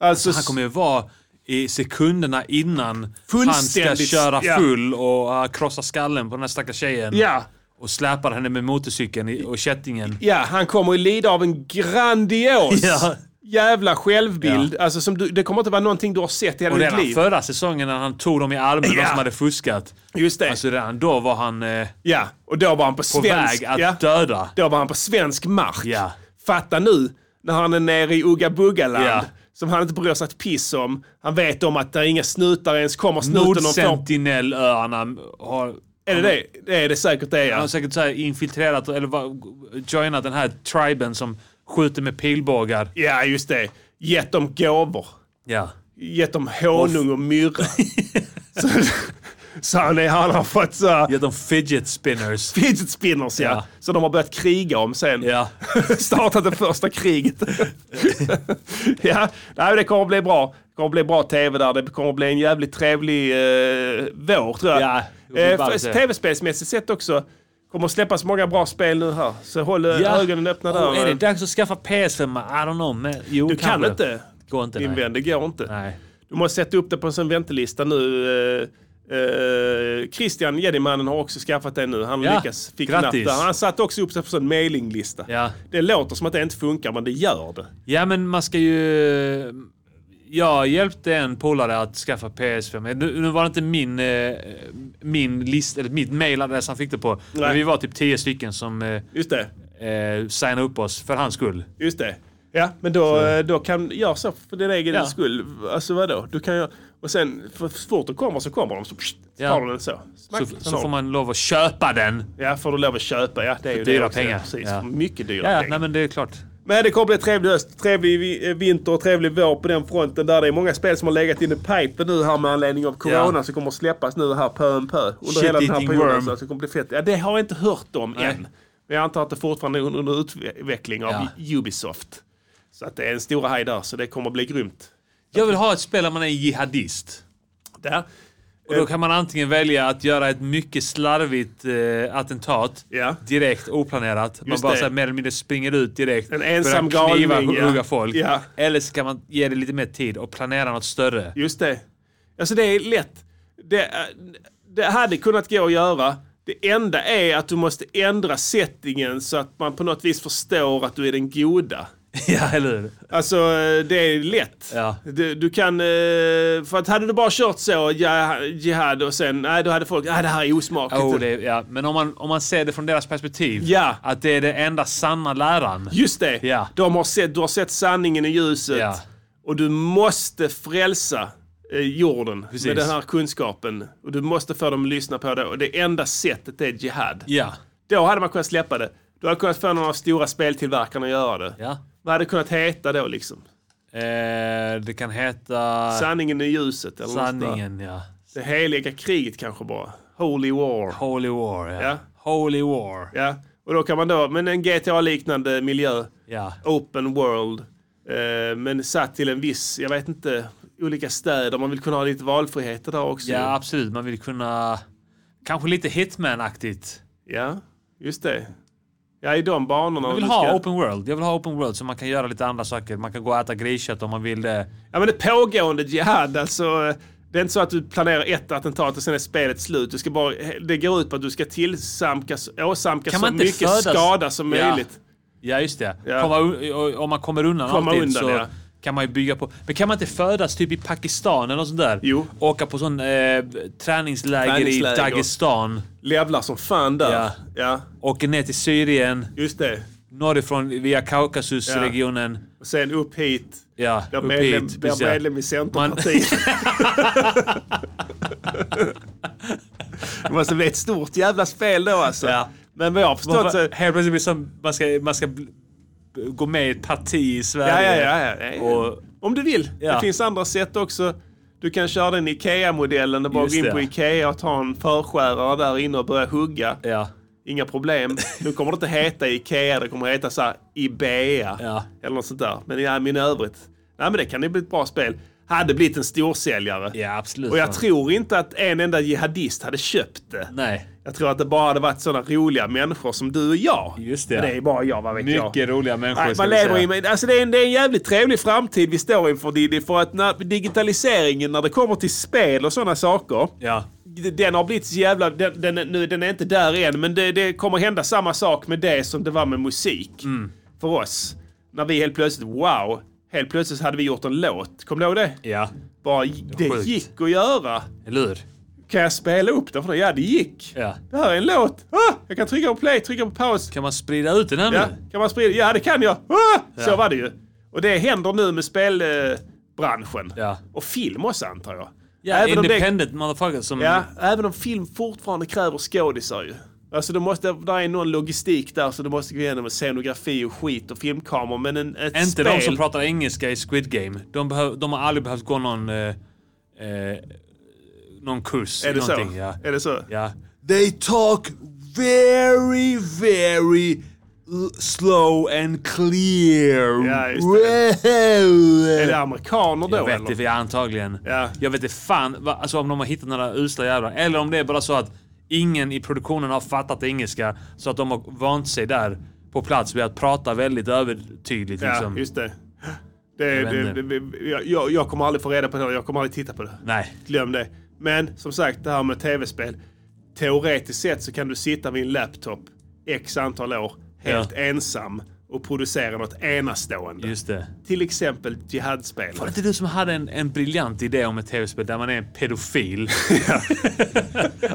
Speaker 3: Alltså,
Speaker 1: Han kommer ju vara i sekunderna innan han ska
Speaker 3: Fullständigt,
Speaker 1: köra
Speaker 3: ja.
Speaker 1: full och uh, krossa skallen på den här stackars tjejen.
Speaker 3: Ja.
Speaker 1: Och släpar henne med motorcykeln i- och kättingen.
Speaker 3: Ja, han kommer ju lida av en grandios
Speaker 1: Ja.
Speaker 3: jävla självbild. Alltså, som du, det kommer inte vara någonting du har sett i hela
Speaker 1: Och
Speaker 3: ditt
Speaker 1: redan
Speaker 3: liv.
Speaker 1: förra säsongen när han tog dem i armen,
Speaker 3: Ja.
Speaker 1: de som hade fuskat.
Speaker 3: Just det.
Speaker 1: Alltså redan då var han eh,
Speaker 3: ja, och då var han på,
Speaker 1: på
Speaker 3: svensk...
Speaker 1: väg att
Speaker 3: ja,
Speaker 1: döda.
Speaker 3: då var han på svensk mark.
Speaker 1: Ja.
Speaker 3: Fatta nu när han är nere i Ugga Bugga-land.
Speaker 1: Ja.
Speaker 3: Som han inte bryr sig ett piss om. Han vet om att där inga snutar ens kommer. Snuten de får...
Speaker 1: Nordsentinellöarna har...
Speaker 3: Är det det? Det är det säkert det,
Speaker 1: Han har
Speaker 3: ja.
Speaker 1: säkert så här infiltrerat eller va- joinat den här triben som skjuter med pilbågar.
Speaker 3: Ja, just det. Gett dem gåvor.
Speaker 1: Ja.
Speaker 3: Gett dem honung och myrra. så, så han, är, han har fått så här...
Speaker 1: Gett dem fidget spinners.
Speaker 3: Fidget spinners ja.
Speaker 1: Ja.
Speaker 3: Så de har börjat kriga om sen.
Speaker 1: Ja.
Speaker 3: Startat det första kriget. ja, nej, men det kommer att bli bra. Det kommer att bli bra tv där. Det kommer att bli en jävligt trevlig eh, vår tror jag.
Speaker 1: Ja, det blir
Speaker 3: eh,
Speaker 1: bara
Speaker 3: för-
Speaker 1: så.
Speaker 3: Tv-spelsmässigt sett också. Kommer att släppas många bra spel nu här. Så håll eh, ögonen öppna där. eh,
Speaker 1: Och är det dags att skaffa PS5? I don't know. Men, jo,
Speaker 3: du kan
Speaker 1: kanske.
Speaker 3: inte.
Speaker 1: Går inte,
Speaker 3: Din
Speaker 1: nej.
Speaker 3: vän, det går inte.
Speaker 1: Nej.
Speaker 3: Du måste sätta upp det på en sån väntelista nu. Eh, eh, Christian Jedimannen har också skaffat det nu. Han
Speaker 1: Ja,
Speaker 3: lyckas. Fick napp
Speaker 1: grattis.
Speaker 3: där. Han satte också upp sig på en sån mailinglista.
Speaker 1: Ja.
Speaker 3: Det låter som att det inte funkar, men det gör det.
Speaker 1: Ja, men man ska ju... Jag hjälpte en polare att skaffa PS5. Men Nu, nu var det inte min, eh, min list, eller mitt mailadress han fick det på. Men
Speaker 3: Nej.
Speaker 1: vi var typ tio stycken som eh,
Speaker 3: Just det.
Speaker 1: eh, signa upp oss för hans skull.
Speaker 3: Just det. Ja, men då, eh, då kan gör så för din egen
Speaker 1: Ja.
Speaker 3: skull. Alltså vadå? Du kan ju, och sen, för så fort de kommer så kommer de så pssst,
Speaker 1: Ja.
Speaker 3: tar de den så. Smack,
Speaker 1: Så,
Speaker 3: så,
Speaker 1: så får man lov att köpa den.
Speaker 3: Ja, får du lov att köpa. Ja, det är ju
Speaker 1: dyra
Speaker 3: det också.
Speaker 1: pengar.
Speaker 3: Precis,
Speaker 1: Ja.
Speaker 3: mycket dyra
Speaker 1: Ja, ja,
Speaker 3: pengar.
Speaker 1: nej men det är klart.
Speaker 3: Men det kommer bli en trevlig höst, trevlig vi- eh, vinter och trevlig vår på den fronten där. Det är många spel som har legat in i pipen nu här med anledning av corona
Speaker 1: Ja.
Speaker 3: som kommer att släppas nu här pö om pö. Under
Speaker 1: Shit
Speaker 3: hela den här
Speaker 1: eating
Speaker 3: perioden.
Speaker 1: worm.
Speaker 3: Så att det kommer bli fett. Ja, det har jag inte hört om
Speaker 1: Nej.
Speaker 3: än. Men jag antar att det fortfarande är under- under utveckling av Ubisoft. Så att det är en stora haj där, så det kommer att bli grymt.
Speaker 1: Jag vill ha ett spel där man är jihadist.
Speaker 3: Där.
Speaker 1: Och
Speaker 3: Eh.
Speaker 1: då kan man antingen välja att göra ett mycket slarvigt eh, attentat.
Speaker 3: Ja.
Speaker 1: Direkt, oplanerat. Man
Speaker 3: Just
Speaker 1: bara
Speaker 3: det.
Speaker 1: så här, mer eller mindre springer ut direkt.
Speaker 3: En ensam
Speaker 1: börjar kniva
Speaker 3: galning,
Speaker 1: och
Speaker 3: ja.
Speaker 1: hugga folk.
Speaker 3: Ja.
Speaker 1: Eller så kan man ge det lite mer tid och planera något större.
Speaker 3: Just det. Alltså det är lätt. Det, eh, det hade kunnat gå att göra. Det enda är att du måste ändra settingen så att man på något vis förstår att du är den goda.
Speaker 1: ja, eller hur?
Speaker 3: Alltså eh, det är lätt.
Speaker 1: Ja.
Speaker 3: Du, du kan, eh, för att hade du bara kört så, ja, jihad och sen, nej då hade folk, nej det här är osmakligt.
Speaker 1: Oh, det, är- ja. Men om man, om man ser det från deras perspektiv.
Speaker 3: Ja.
Speaker 1: Att det är den enda sanna läran.
Speaker 3: Just det,
Speaker 1: Ja.
Speaker 3: de har sett, du har sett sanningen i ljuset
Speaker 1: Ja.
Speaker 3: och du måste frälsa eh, jorden
Speaker 1: Precis.
Speaker 3: med den här kunskapen. Och du måste få dem att lyssna på det och det enda sättet är jihad.
Speaker 1: Ja.
Speaker 3: Då hade man kunnat släppa det. Du hade kunnat få någon av de stora speltillverkarna att göra det.
Speaker 1: ja.
Speaker 3: Vad hade det kunnat heta då liksom?
Speaker 1: Eh, det kan heta...
Speaker 3: Sanningen i ljuset eller något sånt där.
Speaker 1: Sanningen, ja.
Speaker 3: Det heliga kriget kanske bara. Holy War.
Speaker 1: Holy War, ja.
Speaker 3: Ja.
Speaker 1: Holy War.
Speaker 3: Ja, och då kan man då, men en GTA-liknande miljö.
Speaker 1: Ja.
Speaker 3: Open world. Eh, men satt till en viss, jag vet inte, olika städer. Man vill kunna ha lite valfriheter där också.
Speaker 1: Ja, absolut. Man vill kunna... Kanske lite Hitman-aktigt.
Speaker 3: ja just det. Ja, i de banorna.
Speaker 1: Jag
Speaker 3: om
Speaker 1: vill
Speaker 3: du
Speaker 1: ha
Speaker 3: ska-
Speaker 1: open world. Jag vill ha open world så man kan göra lite andra saker. Man kan gå och äta griskött om man vill det.
Speaker 3: Ja, men det pågående jihad, alltså. eh, Det är inte så att du planerar ett attentat och sen är spelet slut. Du ska bara, eh, det går ut på att du ska tillsamkas, åsamka
Speaker 1: Kan
Speaker 3: så
Speaker 1: man inte
Speaker 3: mycket
Speaker 1: födas-
Speaker 3: skada som
Speaker 1: Ja.
Speaker 3: möjligt.
Speaker 1: Ja, just det.
Speaker 3: Ja.
Speaker 1: Komma, un- och- om man kommer undan
Speaker 3: Komma
Speaker 1: alltid
Speaker 3: undan,
Speaker 1: så
Speaker 3: ja.
Speaker 1: kan man ju bygga på... Men kan man inte födas typ i Pakistan eller något sånt där?
Speaker 3: Jo.
Speaker 1: Åka på sån eh, träningsläger,
Speaker 3: Träningsläger.
Speaker 1: i Dagestan.
Speaker 3: Levlar som fan där.
Speaker 1: Ja.
Speaker 3: ja,
Speaker 1: Åka ner till Syrien.
Speaker 3: just det.
Speaker 1: Norrifrån via Kaukasusregionen.
Speaker 3: Och sen upp hit.
Speaker 1: Ja,
Speaker 3: Blir
Speaker 1: upp
Speaker 3: medlem,
Speaker 1: hit.
Speaker 3: blir
Speaker 1: precis, ja.
Speaker 3: medlem i Centerpartiet. det måste bli ett stort jävla spel då alltså.
Speaker 1: Ja.
Speaker 3: Men vad jag har förstått
Speaker 1: Varför-
Speaker 3: så...
Speaker 1: Helt plötsligt blir det som man ska, man ska bl- gå med i ett parti i
Speaker 3: Ja,
Speaker 1: Sverige.
Speaker 3: ja, ja, ja.
Speaker 1: Och-
Speaker 3: Om du vill. Det
Speaker 1: Ja.
Speaker 3: finns andra sätt också. Du kan köra den Ikea-modellen och bara
Speaker 1: Just
Speaker 3: gå in
Speaker 1: det.
Speaker 3: på Ikea och ta en förskärare där inne och börja hugga.
Speaker 1: ja.
Speaker 3: Inga problem. Nu kommer det inte heta Ikea, det kommer heta så här Ibea.
Speaker 1: Ja.
Speaker 3: Eller något sånt där. Men ja, men i övrigt. Nej, men det kan ju bli ett bra spel. Hade blivit en storsäljare.
Speaker 1: Ja, absolut.
Speaker 3: Och jag tror inte att en enda jihadist hade köpt det.
Speaker 1: Nej.
Speaker 3: Jag tror att det bara hade varit sådana roliga människor som du och jag.
Speaker 1: Just det.
Speaker 3: Men det är bara jag, vad vet jag.
Speaker 1: Mycket roliga människor
Speaker 3: Nej,
Speaker 1: ska
Speaker 3: man
Speaker 1: vi
Speaker 3: lever
Speaker 1: säga.
Speaker 3: i, men alltså det, är en, det är en jävligt trevlig framtid vi står inför Diddy. För att när, digitaliseringen när det kommer till spel och sådana saker.
Speaker 1: Ja.
Speaker 3: d- Den har blivit så jävla... Den, den, är- nu, den är inte där än men det, det kommer hända samma sak med det som det var med musik.
Speaker 1: Mm.
Speaker 3: För oss. När vi helt plötsligt, wow. Helt plötsligt hade vi gjort en låt. Kommer du ihåg det?
Speaker 1: Ja.
Speaker 3: Bara, det
Speaker 1: Sjukt.
Speaker 3: gick att göra.
Speaker 1: Eller hur?
Speaker 3: Kan jag spela upp den för dig? Ja, det gick.
Speaker 1: Ja.
Speaker 3: Det här är en låt. Ah, jag kan trycka på play, trycka på paus.
Speaker 1: Kan man sprida ut den här
Speaker 3: Ja,
Speaker 1: nu?
Speaker 3: kan man sprida? Ja, det kan jag. Ah, så var det ju. Och det händer nu med spelbranschen.
Speaker 1: Ja.
Speaker 3: Och film också antar jag.
Speaker 1: Ja,
Speaker 3: även, om det,
Speaker 1: independent motherfucker som...
Speaker 3: ja, även om film fortfarande kräver skådisar ju. Alltså det måste, där är någon logistik där så du måste gå igenom scenografi och skit och filmkameror. Men en, ett
Speaker 1: Inte
Speaker 3: spel...
Speaker 1: de som pratar engelska i Squid Game. De, behöv, de har aldrig behövt gå någon... Eh, eh, någon kurs.
Speaker 3: Är det så?
Speaker 1: någonting, Ja.
Speaker 3: Är det så?
Speaker 1: ja.
Speaker 8: They talk very, very l- slow and clear.
Speaker 3: Ja, just
Speaker 8: Well.
Speaker 3: Är det amerikaner då
Speaker 1: Jag vet
Speaker 3: eller?
Speaker 1: inte, ja, antagligen.
Speaker 3: Ja.
Speaker 1: Jag vet inte fan va, alltså, om de har hittat några usla jävlar. Eller om det är bara så att ingen i produktionen har fattat engelska. Så att de har vant sig där på plats vid att prata väldigt övertydligt.
Speaker 3: Ja,
Speaker 1: liksom.
Speaker 3: just det. det,
Speaker 1: Jag
Speaker 3: det,
Speaker 1: vet
Speaker 3: det, jag- jag, jag kommer aldrig få reda på det. Jag kommer aldrig titta på det.
Speaker 1: Nej.
Speaker 3: Glöm det. Men som sagt, det här med tv-spel. Teoretiskt sett så kan du sitta vid en laptop x antal år helt
Speaker 1: Ja.
Speaker 3: ensam och producera något enastående.
Speaker 1: Just det.
Speaker 3: Till exempel jihadspel.
Speaker 1: Var det inte du som hade en, en briljant idé om ett tv-spel där man är en pedofil?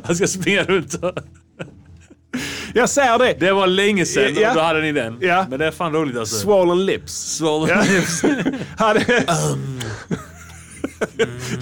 Speaker 1: Han ska springa runt och...
Speaker 3: Jag säger det.
Speaker 1: Det var länge sedan
Speaker 3: Ja.
Speaker 1: och då hade ni den.
Speaker 3: Ja.
Speaker 1: Men det är fan roligt alltså.
Speaker 3: Swollen lips.
Speaker 1: Swallow lips.
Speaker 3: Hade...
Speaker 1: Um.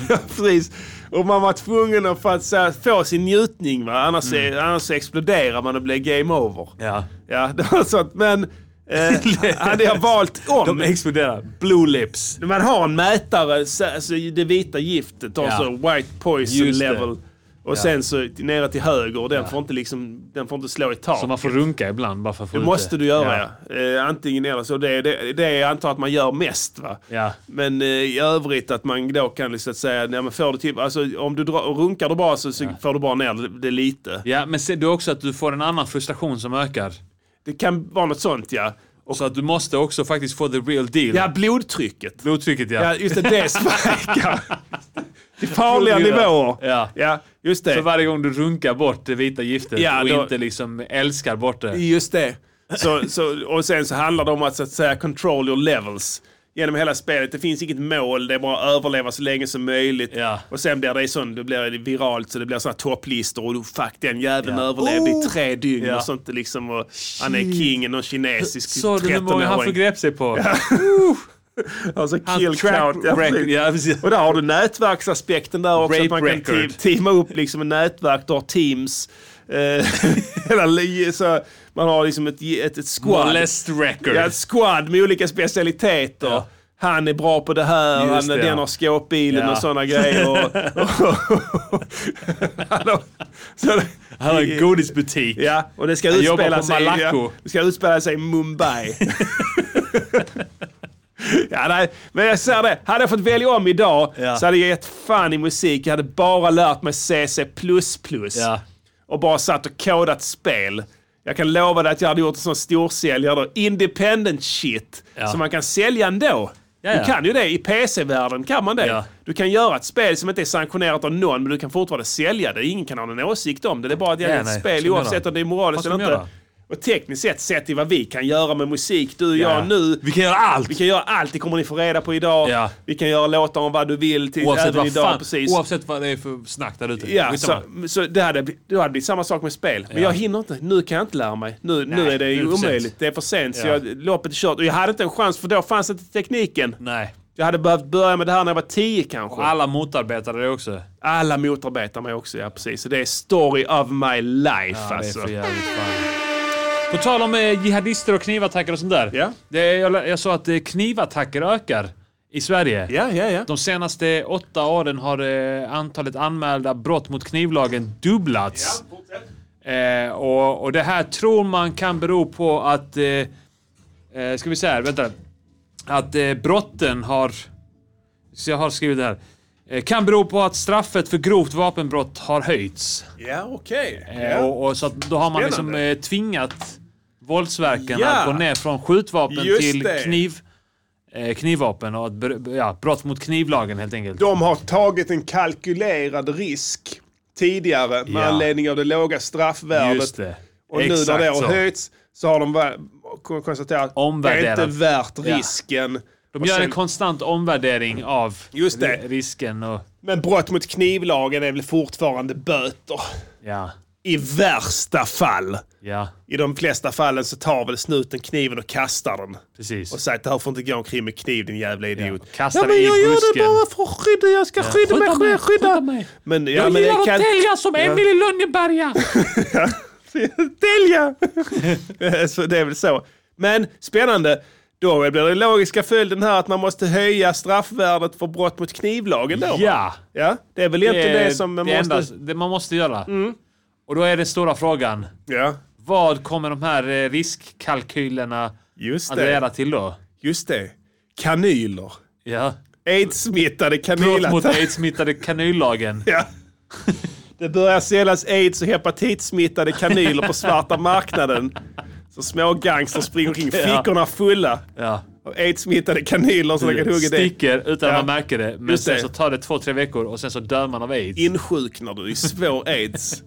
Speaker 3: Ja, Precis. Och man var tvungen att för att så här, få sin njutning. Va? Annars, är, annars så exploderar man och blir game over.
Speaker 1: Mm. Ja.
Speaker 3: Ja, det var sånt. Men eh, hade jag valt om...
Speaker 1: De exploderar.
Speaker 3: Blue lips. Man har en mätare, så, alltså det vita giftet,
Speaker 1: Ja.
Speaker 3: alltså white poison
Speaker 1: Just det.
Speaker 3: level. Och sen så nere till höger, och den, får inte liksom, den får inte slå i tak.
Speaker 1: Så man får runka ibland bara för att få
Speaker 3: det
Speaker 1: ut
Speaker 3: måste du göra ja. Eh, antingen eller så. Det, det, det är jag antar att man gör mest va.
Speaker 1: Ja.
Speaker 3: Men eh, i övrigt att man då kan liksom säga, nej, men får du typ, alltså, om du drar, runkar du bara så, så får du bara ner det, det lite.
Speaker 1: Ja, men ser du också att du får en annan frustration som ökar?
Speaker 3: Det kan vara något sånt ja.
Speaker 1: Och så att du måste också faktiskt få the real deal.
Speaker 3: Ja, blodtrycket.
Speaker 1: Blodtrycket ja.
Speaker 3: Ja, just det. Det spikar. Till farliga
Speaker 1: Trodde ju det.
Speaker 3: nivåer.
Speaker 1: Ja.
Speaker 3: ja, just
Speaker 1: För
Speaker 3: det.
Speaker 1: varje gång du runkar bort det vita giftet
Speaker 3: Ja,
Speaker 1: och
Speaker 3: då-
Speaker 1: inte liksom älskar bort det.
Speaker 3: Just det. Så, så, och sen så handlar det om att, så att säga control your levels. Genom hela spelet. Det finns inget mål. Det är bara att överleva så länge som möjligt.
Speaker 1: Ja.
Speaker 3: Och sen blir det sån, det blir viralt så det blir såna här topplistor. Och du, fuck den jäveln överlevde i tre dygn
Speaker 1: Oh! Ja.
Speaker 3: och sånt liksom. Och han är king, någon kinesisk
Speaker 1: Såg du hur många han
Speaker 3: 13-åring.
Speaker 1: förgrep sig på?
Speaker 3: Alltså
Speaker 1: Han
Speaker 3: kill
Speaker 1: track
Speaker 3: count. Ja,
Speaker 1: record.
Speaker 3: precis.
Speaker 1: Ja, precis.
Speaker 3: Och där har du nätverksaspekten där också.
Speaker 1: Rape
Speaker 3: att man kan
Speaker 1: record.
Speaker 3: te- teama upp liksom en nätverk, du har teams. eh, hela li- så man har liksom ett, ett, ett squad.
Speaker 1: Molest record.
Speaker 3: Ja, ett squad med olika specialiteter.
Speaker 1: Ja.
Speaker 3: Han är bra på det här,
Speaker 1: Just
Speaker 3: han,
Speaker 1: det, ja.
Speaker 3: den har skåpbilen
Speaker 1: Ja.
Speaker 3: och sådana grejer. Och, och, han har- så-
Speaker 1: Han har en godisbutik.
Speaker 3: Ja, och det ska
Speaker 1: Han jobbar
Speaker 3: utspela
Speaker 1: på
Speaker 3: sig,
Speaker 1: Malaco.
Speaker 3: ja, det ska utspela sig i Mumbai. ja, nej, men jag säger det. Hade jag fått välja om idag
Speaker 1: Ja.
Speaker 3: så hade jag gett fan i musik. Jag hade bara lärt mig CC++
Speaker 1: Ja.
Speaker 3: och bara satt och kodat spel. Jag kan lova dig att jag hade gjort en sån storsäljare då. Independent shit.
Speaker 1: Ja.
Speaker 3: Som man kan sälja ändå.
Speaker 1: Ja, ja.
Speaker 3: Du kan ju det. I PC-världen kan man det.
Speaker 1: Ja.
Speaker 3: Du kan göra ett spel som inte är sanktionerat av någon, men du kan fortfarande sälja det. Ingen kan ha någon åsikt om det. Det är bara att jag
Speaker 1: Ja,
Speaker 3: är
Speaker 1: nej.
Speaker 3: ett spel
Speaker 1: Så menar
Speaker 3: oavsett
Speaker 1: de.
Speaker 3: om det är
Speaker 1: Vad
Speaker 3: moraliskt
Speaker 1: ska
Speaker 3: eller
Speaker 1: de
Speaker 3: inte.
Speaker 1: göra?
Speaker 3: Och tekniskt sett, sett till vad vi kan göra med musik, du och
Speaker 1: Ja.
Speaker 3: jag nu.
Speaker 1: Vi kan göra allt!
Speaker 3: Vi kan göra allt, det kommer ni få reda på idag.
Speaker 1: Ja.
Speaker 3: Vi kan göra låtar om vad du vill, till,
Speaker 1: Oavsett,
Speaker 3: även
Speaker 1: vad
Speaker 3: idag.
Speaker 1: fan,
Speaker 3: precis.
Speaker 1: oavsett vad det är för snack där ute.
Speaker 3: Ja,
Speaker 1: Skitsamma.
Speaker 3: så, så det hade, bli- det hade blivit samma sak med spel. Men
Speaker 1: Ja.
Speaker 3: jag hinner inte. Nu kan jag inte lära mig. Nu, nu
Speaker 1: Nej,
Speaker 3: är det
Speaker 1: nu är
Speaker 3: ju
Speaker 1: det för sent.
Speaker 3: omöjligt. Det är för sent. Så
Speaker 1: Ja.
Speaker 3: jag, loppet är kört. Och jag hade inte en chans för då fanns inte tekniken.
Speaker 1: Nej.
Speaker 3: Jag hade behövt börja med det här när jag var 10 kanske.
Speaker 1: Och alla motarbetade det också. Ja,
Speaker 3: Alla motarbetar mig också, ja precis. Så det är story of my life
Speaker 1: det är
Speaker 3: alltså.
Speaker 1: för jävligt fan. På tal om eh, jihadister och knivattacker och sånt där.
Speaker 3: Ja.
Speaker 1: Det, är- jag, lä- jag sa att eh, knivattacker ökar i Sverige.
Speaker 3: Ja, ja, ja.
Speaker 1: De senaste åtta åren har eh, antalet anmälda brott mot knivlagen dubblats. eh, och, och det här tror man kan bero på att... Eh, eh, ska vi säga här, vänta. Att eh, brotten har... Så jag har skrivit det här. Eh, kan bero på att straffet för grovt vapenbrott har höjts.
Speaker 3: Ja, okej.
Speaker 1: Eh, Och, och så att då har man liksom
Speaker 3: Spännande.
Speaker 1: eh, tvingat våldsverkarna
Speaker 3: Ja.
Speaker 1: att gå ner från skjutvapen
Speaker 3: Just
Speaker 1: till
Speaker 3: det.
Speaker 1: kniv, eh, knivvapen och att, br- ja, brott mot knivlagen helt enkelt.
Speaker 3: De har tagit en kalkylerad risk tidigare med
Speaker 1: Ja.
Speaker 3: anledning av det låga straffvärdet.
Speaker 1: Just det.
Speaker 3: Och
Speaker 1: Exakt
Speaker 3: nu när det har
Speaker 1: så.
Speaker 3: höjts så har de va- kon- konstaterat att det är
Speaker 1: Omvärderat.
Speaker 3: inte värt
Speaker 1: Ja.
Speaker 3: risken.
Speaker 1: De
Speaker 3: Och
Speaker 1: gör
Speaker 3: sen-
Speaker 1: en konstant omvärdering av
Speaker 3: Just det.
Speaker 1: ri- risken och...
Speaker 3: Men brott mot knivlagen är väl fortfarande böter.
Speaker 1: Ja,
Speaker 3: I värsta fall.
Speaker 1: ja,
Speaker 3: I de flesta fallen så tar väl snuten kniven och kastar den.
Speaker 1: precis.
Speaker 3: Och säger att det här får inte gå omkring med kniv din jävla idiot.
Speaker 1: Ja, kastar det
Speaker 3: men
Speaker 1: i
Speaker 3: jag gör det
Speaker 1: busken.
Speaker 3: bara för att skydda, jag ska skydda mig själv. Skydda. Men, ja, men det kan...
Speaker 1: som Emil i Lönneberga!
Speaker 3: Tälja! så det är väl så. Men spännande. Då blir den logiska följden här att man måste höja straffvärdet för brott mot knivlagen då. va?
Speaker 1: Ja.
Speaker 3: ja det är väl egentligen det, som man
Speaker 1: det
Speaker 3: måste... Mm.
Speaker 1: enda det man måste göra. Och då är den stora frågan.
Speaker 3: Ja,
Speaker 1: Vad kommer de här eh, riskkalkylerna
Speaker 3: just
Speaker 1: att
Speaker 3: det.
Speaker 1: leda till då?
Speaker 3: Just det. Kanyler.
Speaker 1: Ja.
Speaker 3: Aids-smittade
Speaker 1: Brott mot
Speaker 3: kanyler.
Speaker 1: aidssmittade kanyllagen.
Speaker 3: Ja. Det börjar säljas aids och hepatitsmittade kanyler på svarta marknaden. Så små gangsters springer omkring fickorna fulla
Speaker 1: Ja.
Speaker 3: av aids-smittade kanyler som de kan hugga i.
Speaker 1: Sticker utan
Speaker 3: Ja.
Speaker 1: att man märker det. Men
Speaker 3: Just
Speaker 1: sen
Speaker 3: det.
Speaker 1: så tar det två, tre veckor och sen så dör man av aids.
Speaker 3: insjuknar du i svår aids.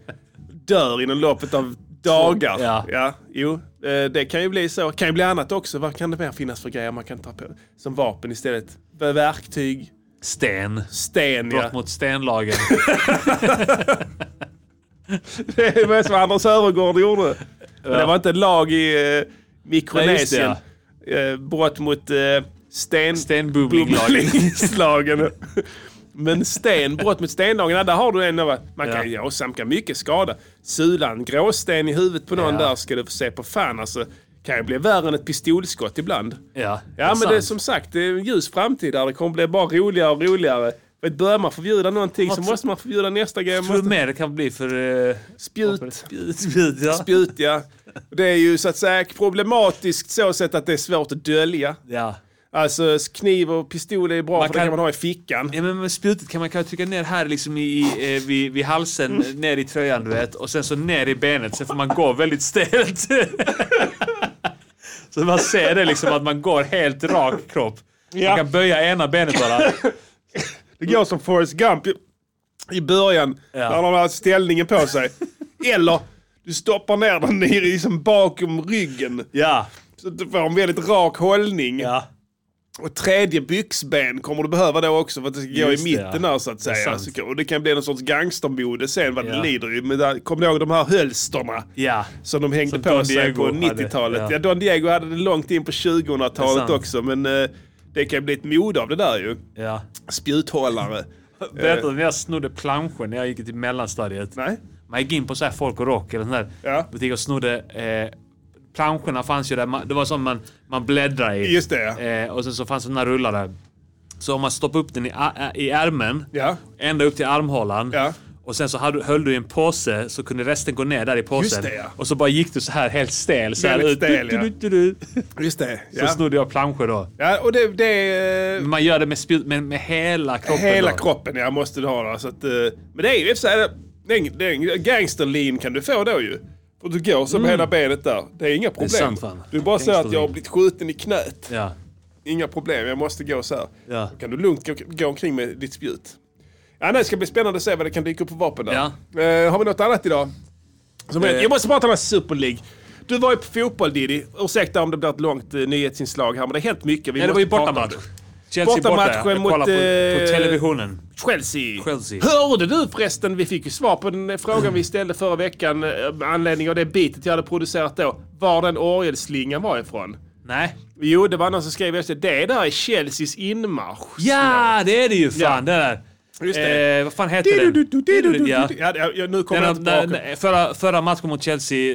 Speaker 3: Dör inom loppet av dagar.
Speaker 1: Ja.
Speaker 3: jo. Eh, Det kan ju bli så. kan ju bli annat också. Vad kan det mer finnas för grejer man kan ta på? Som vapen istället. Verktyg,
Speaker 1: Sten.
Speaker 3: sten
Speaker 1: Brott
Speaker 3: ja.
Speaker 1: mot stenlagen.
Speaker 3: Det är som Anders Öfvergård gjorde. Men det var inte lag i eh,
Speaker 1: Nej, just
Speaker 3: Mikronesien.
Speaker 1: det,
Speaker 3: Eh, brott mot eh, sten...
Speaker 1: Stenbumlinglagen.
Speaker 3: bumlingslagen. Men sten, brott mot stenlagen, ja, där har du en av Man kan
Speaker 1: Ja.
Speaker 3: ja. åsamka mycket skada. Sula en gråsten i huvudet på någon
Speaker 1: Ja.
Speaker 3: där ska du få se på fan alltså. Kan ju bli värre än ett pistolskott ibland.
Speaker 1: Ja, det är
Speaker 3: Ja, men det är
Speaker 1: sant.
Speaker 3: som sagt, det är en ljus framtid där det kommer bli bara roligare och roligare. För att börjar man förbjuda någonting så
Speaker 1: Vad-
Speaker 3: måste man förbjuda nästa grej. Man
Speaker 1: Tror du
Speaker 3: måste...
Speaker 1: mer det kan bli för... eh,
Speaker 3: Spjut.
Speaker 1: Spjut, spjut, ja.
Speaker 3: Spjut, ja. Det är ju så att säga problematiskt så sett att det är svårt att dölja.
Speaker 1: ja.
Speaker 3: Alltså kniv och pistol är bra
Speaker 1: Man
Speaker 3: för det
Speaker 1: kan- Mm.
Speaker 3: kan man ha i fickan.
Speaker 1: Ja men med spjutet kan man kanske trycka ner här liksom i, i, eh, vid, vid halsen,
Speaker 3: Mm.
Speaker 1: ner i tröjan du vet. Och sen så ner i benet, sen får man gå väldigt stelt. så man ser det liksom att man går helt rak kropp. Man
Speaker 3: Ja.
Speaker 1: kan böja ena benet bara.
Speaker 3: Det går som Forrest Gump i, i början. När han har ställningen på sig. Eller du stoppar ner den i liksom bakom ryggen.
Speaker 1: Ja.
Speaker 3: Så att du får en väldigt rak hållning.
Speaker 1: Ja.
Speaker 3: Och tredje byxben kommer du behöva då också för att det ska gå i
Speaker 1: Just det,
Speaker 3: mitten
Speaker 1: ja.
Speaker 3: där så att
Speaker 1: är
Speaker 3: säga.
Speaker 1: sant.
Speaker 3: Så, kan- och det kan bli någon sorts gangstermode sen vad
Speaker 1: Ja.
Speaker 3: det lider i. Men där, kom ni ihåg de här hölsterna?
Speaker 1: Ja.
Speaker 3: Som de hängde
Speaker 1: Som
Speaker 3: på
Speaker 1: Don
Speaker 3: sig
Speaker 1: Diego
Speaker 3: på
Speaker 1: hade,
Speaker 3: 90-talet.
Speaker 1: ja.
Speaker 3: ja. Don Diego hade det långt in på
Speaker 1: Det är
Speaker 3: 2000-talet
Speaker 1: sant.
Speaker 3: också. Men eh, det kan bli ett mode av det där ju.
Speaker 1: ja.
Speaker 3: Spjuthållare.
Speaker 1: Berätta när jag snodde planschen när jag gick till mellanstadiet.
Speaker 3: Eh. Nej.
Speaker 1: Man gick in på så här folk och rock eller sån där
Speaker 3: Ja.
Speaker 1: butik och snodde. Eh, planscherna fanns ju där. Man, det var som man, man bläddrar i.
Speaker 3: Just det, ja.
Speaker 1: eh, Och sen så fanns det den här rullar där. Så om man stoppade upp den i, a- i ärmen.
Speaker 3: Ja.
Speaker 1: Ända upp till armhålan.
Speaker 3: Ja.
Speaker 1: Och sen så hade, höll du i en påse så kunde resten gå ner där i påsen.
Speaker 3: Just det, ja.
Speaker 1: Och så bara gick du så här helt stel. Så här
Speaker 3: Väldigt
Speaker 1: ut. Du,
Speaker 3: stel,
Speaker 1: du,
Speaker 3: ja.
Speaker 1: du, du, du.
Speaker 3: Just det.
Speaker 1: Så
Speaker 3: Ja.
Speaker 1: snodde jag planscher då.
Speaker 3: ja och det, det är eh,
Speaker 1: Man gör det med, spjut, med, med hela kroppen.
Speaker 3: hela
Speaker 1: då.
Speaker 3: kroppen jag måste du ha. Där, så att, eh, men det är ju i och för sig, det- det är en- det är en gangsterlim kan du få då ju. För du går så med hela benet där. Det är inga problem.
Speaker 1: Mm. sant, fan.
Speaker 3: Du bara säger att jag har
Speaker 1: Gangsterlim.
Speaker 3: blivit skjuten i knät.
Speaker 1: Ja.
Speaker 3: Inga problem, jag måste gå så här.
Speaker 1: Ja.
Speaker 3: Då kan du lugnt gå, gå omkring med ditt spjut. Ja, nej, det ska bli spännande att se vad det kan dyka upp på vapen där. Eh, har vi något annat idag? Som
Speaker 1: Eh.
Speaker 3: är, jag måste bara ta den här Super League. Du var ju på fotboll Diddy. Ursäkta om det blir ett långt eh, nyhetsinslag här, men det har hänt mycket. Vi
Speaker 1: Nej, det var ju
Speaker 3: måste prata om
Speaker 1: bortamatch.
Speaker 3: det.
Speaker 1: Chelsea borta.
Speaker 3: Bortamatchen
Speaker 1: Jag
Speaker 3: mot,
Speaker 1: kollar på, på
Speaker 3: eh,
Speaker 1: televisionen.
Speaker 3: Chelsea.
Speaker 1: Chelsea.
Speaker 3: Hörde du förresten, vi fick ju svar på den frågan vi ställde förra veckan eh, med anledning av det bitet jag hade producerat då. Var den orgelslingan var ifrån.
Speaker 1: Nej.
Speaker 3: Jo, det var någon som skrev efter det där är Chelseas inmarsch.
Speaker 1: Ja, det är det ju fan.
Speaker 3: Ja.
Speaker 1: Det där.
Speaker 3: Just det.
Speaker 1: Eh, vad fan heter den?
Speaker 3: Ja.
Speaker 1: Ja.
Speaker 3: Ja, ja, nu kommer
Speaker 1: Den,
Speaker 3: jag
Speaker 1: har-
Speaker 3: inte på
Speaker 1: den,
Speaker 3: raken.
Speaker 1: den, förra, förra matchen mot Chelsea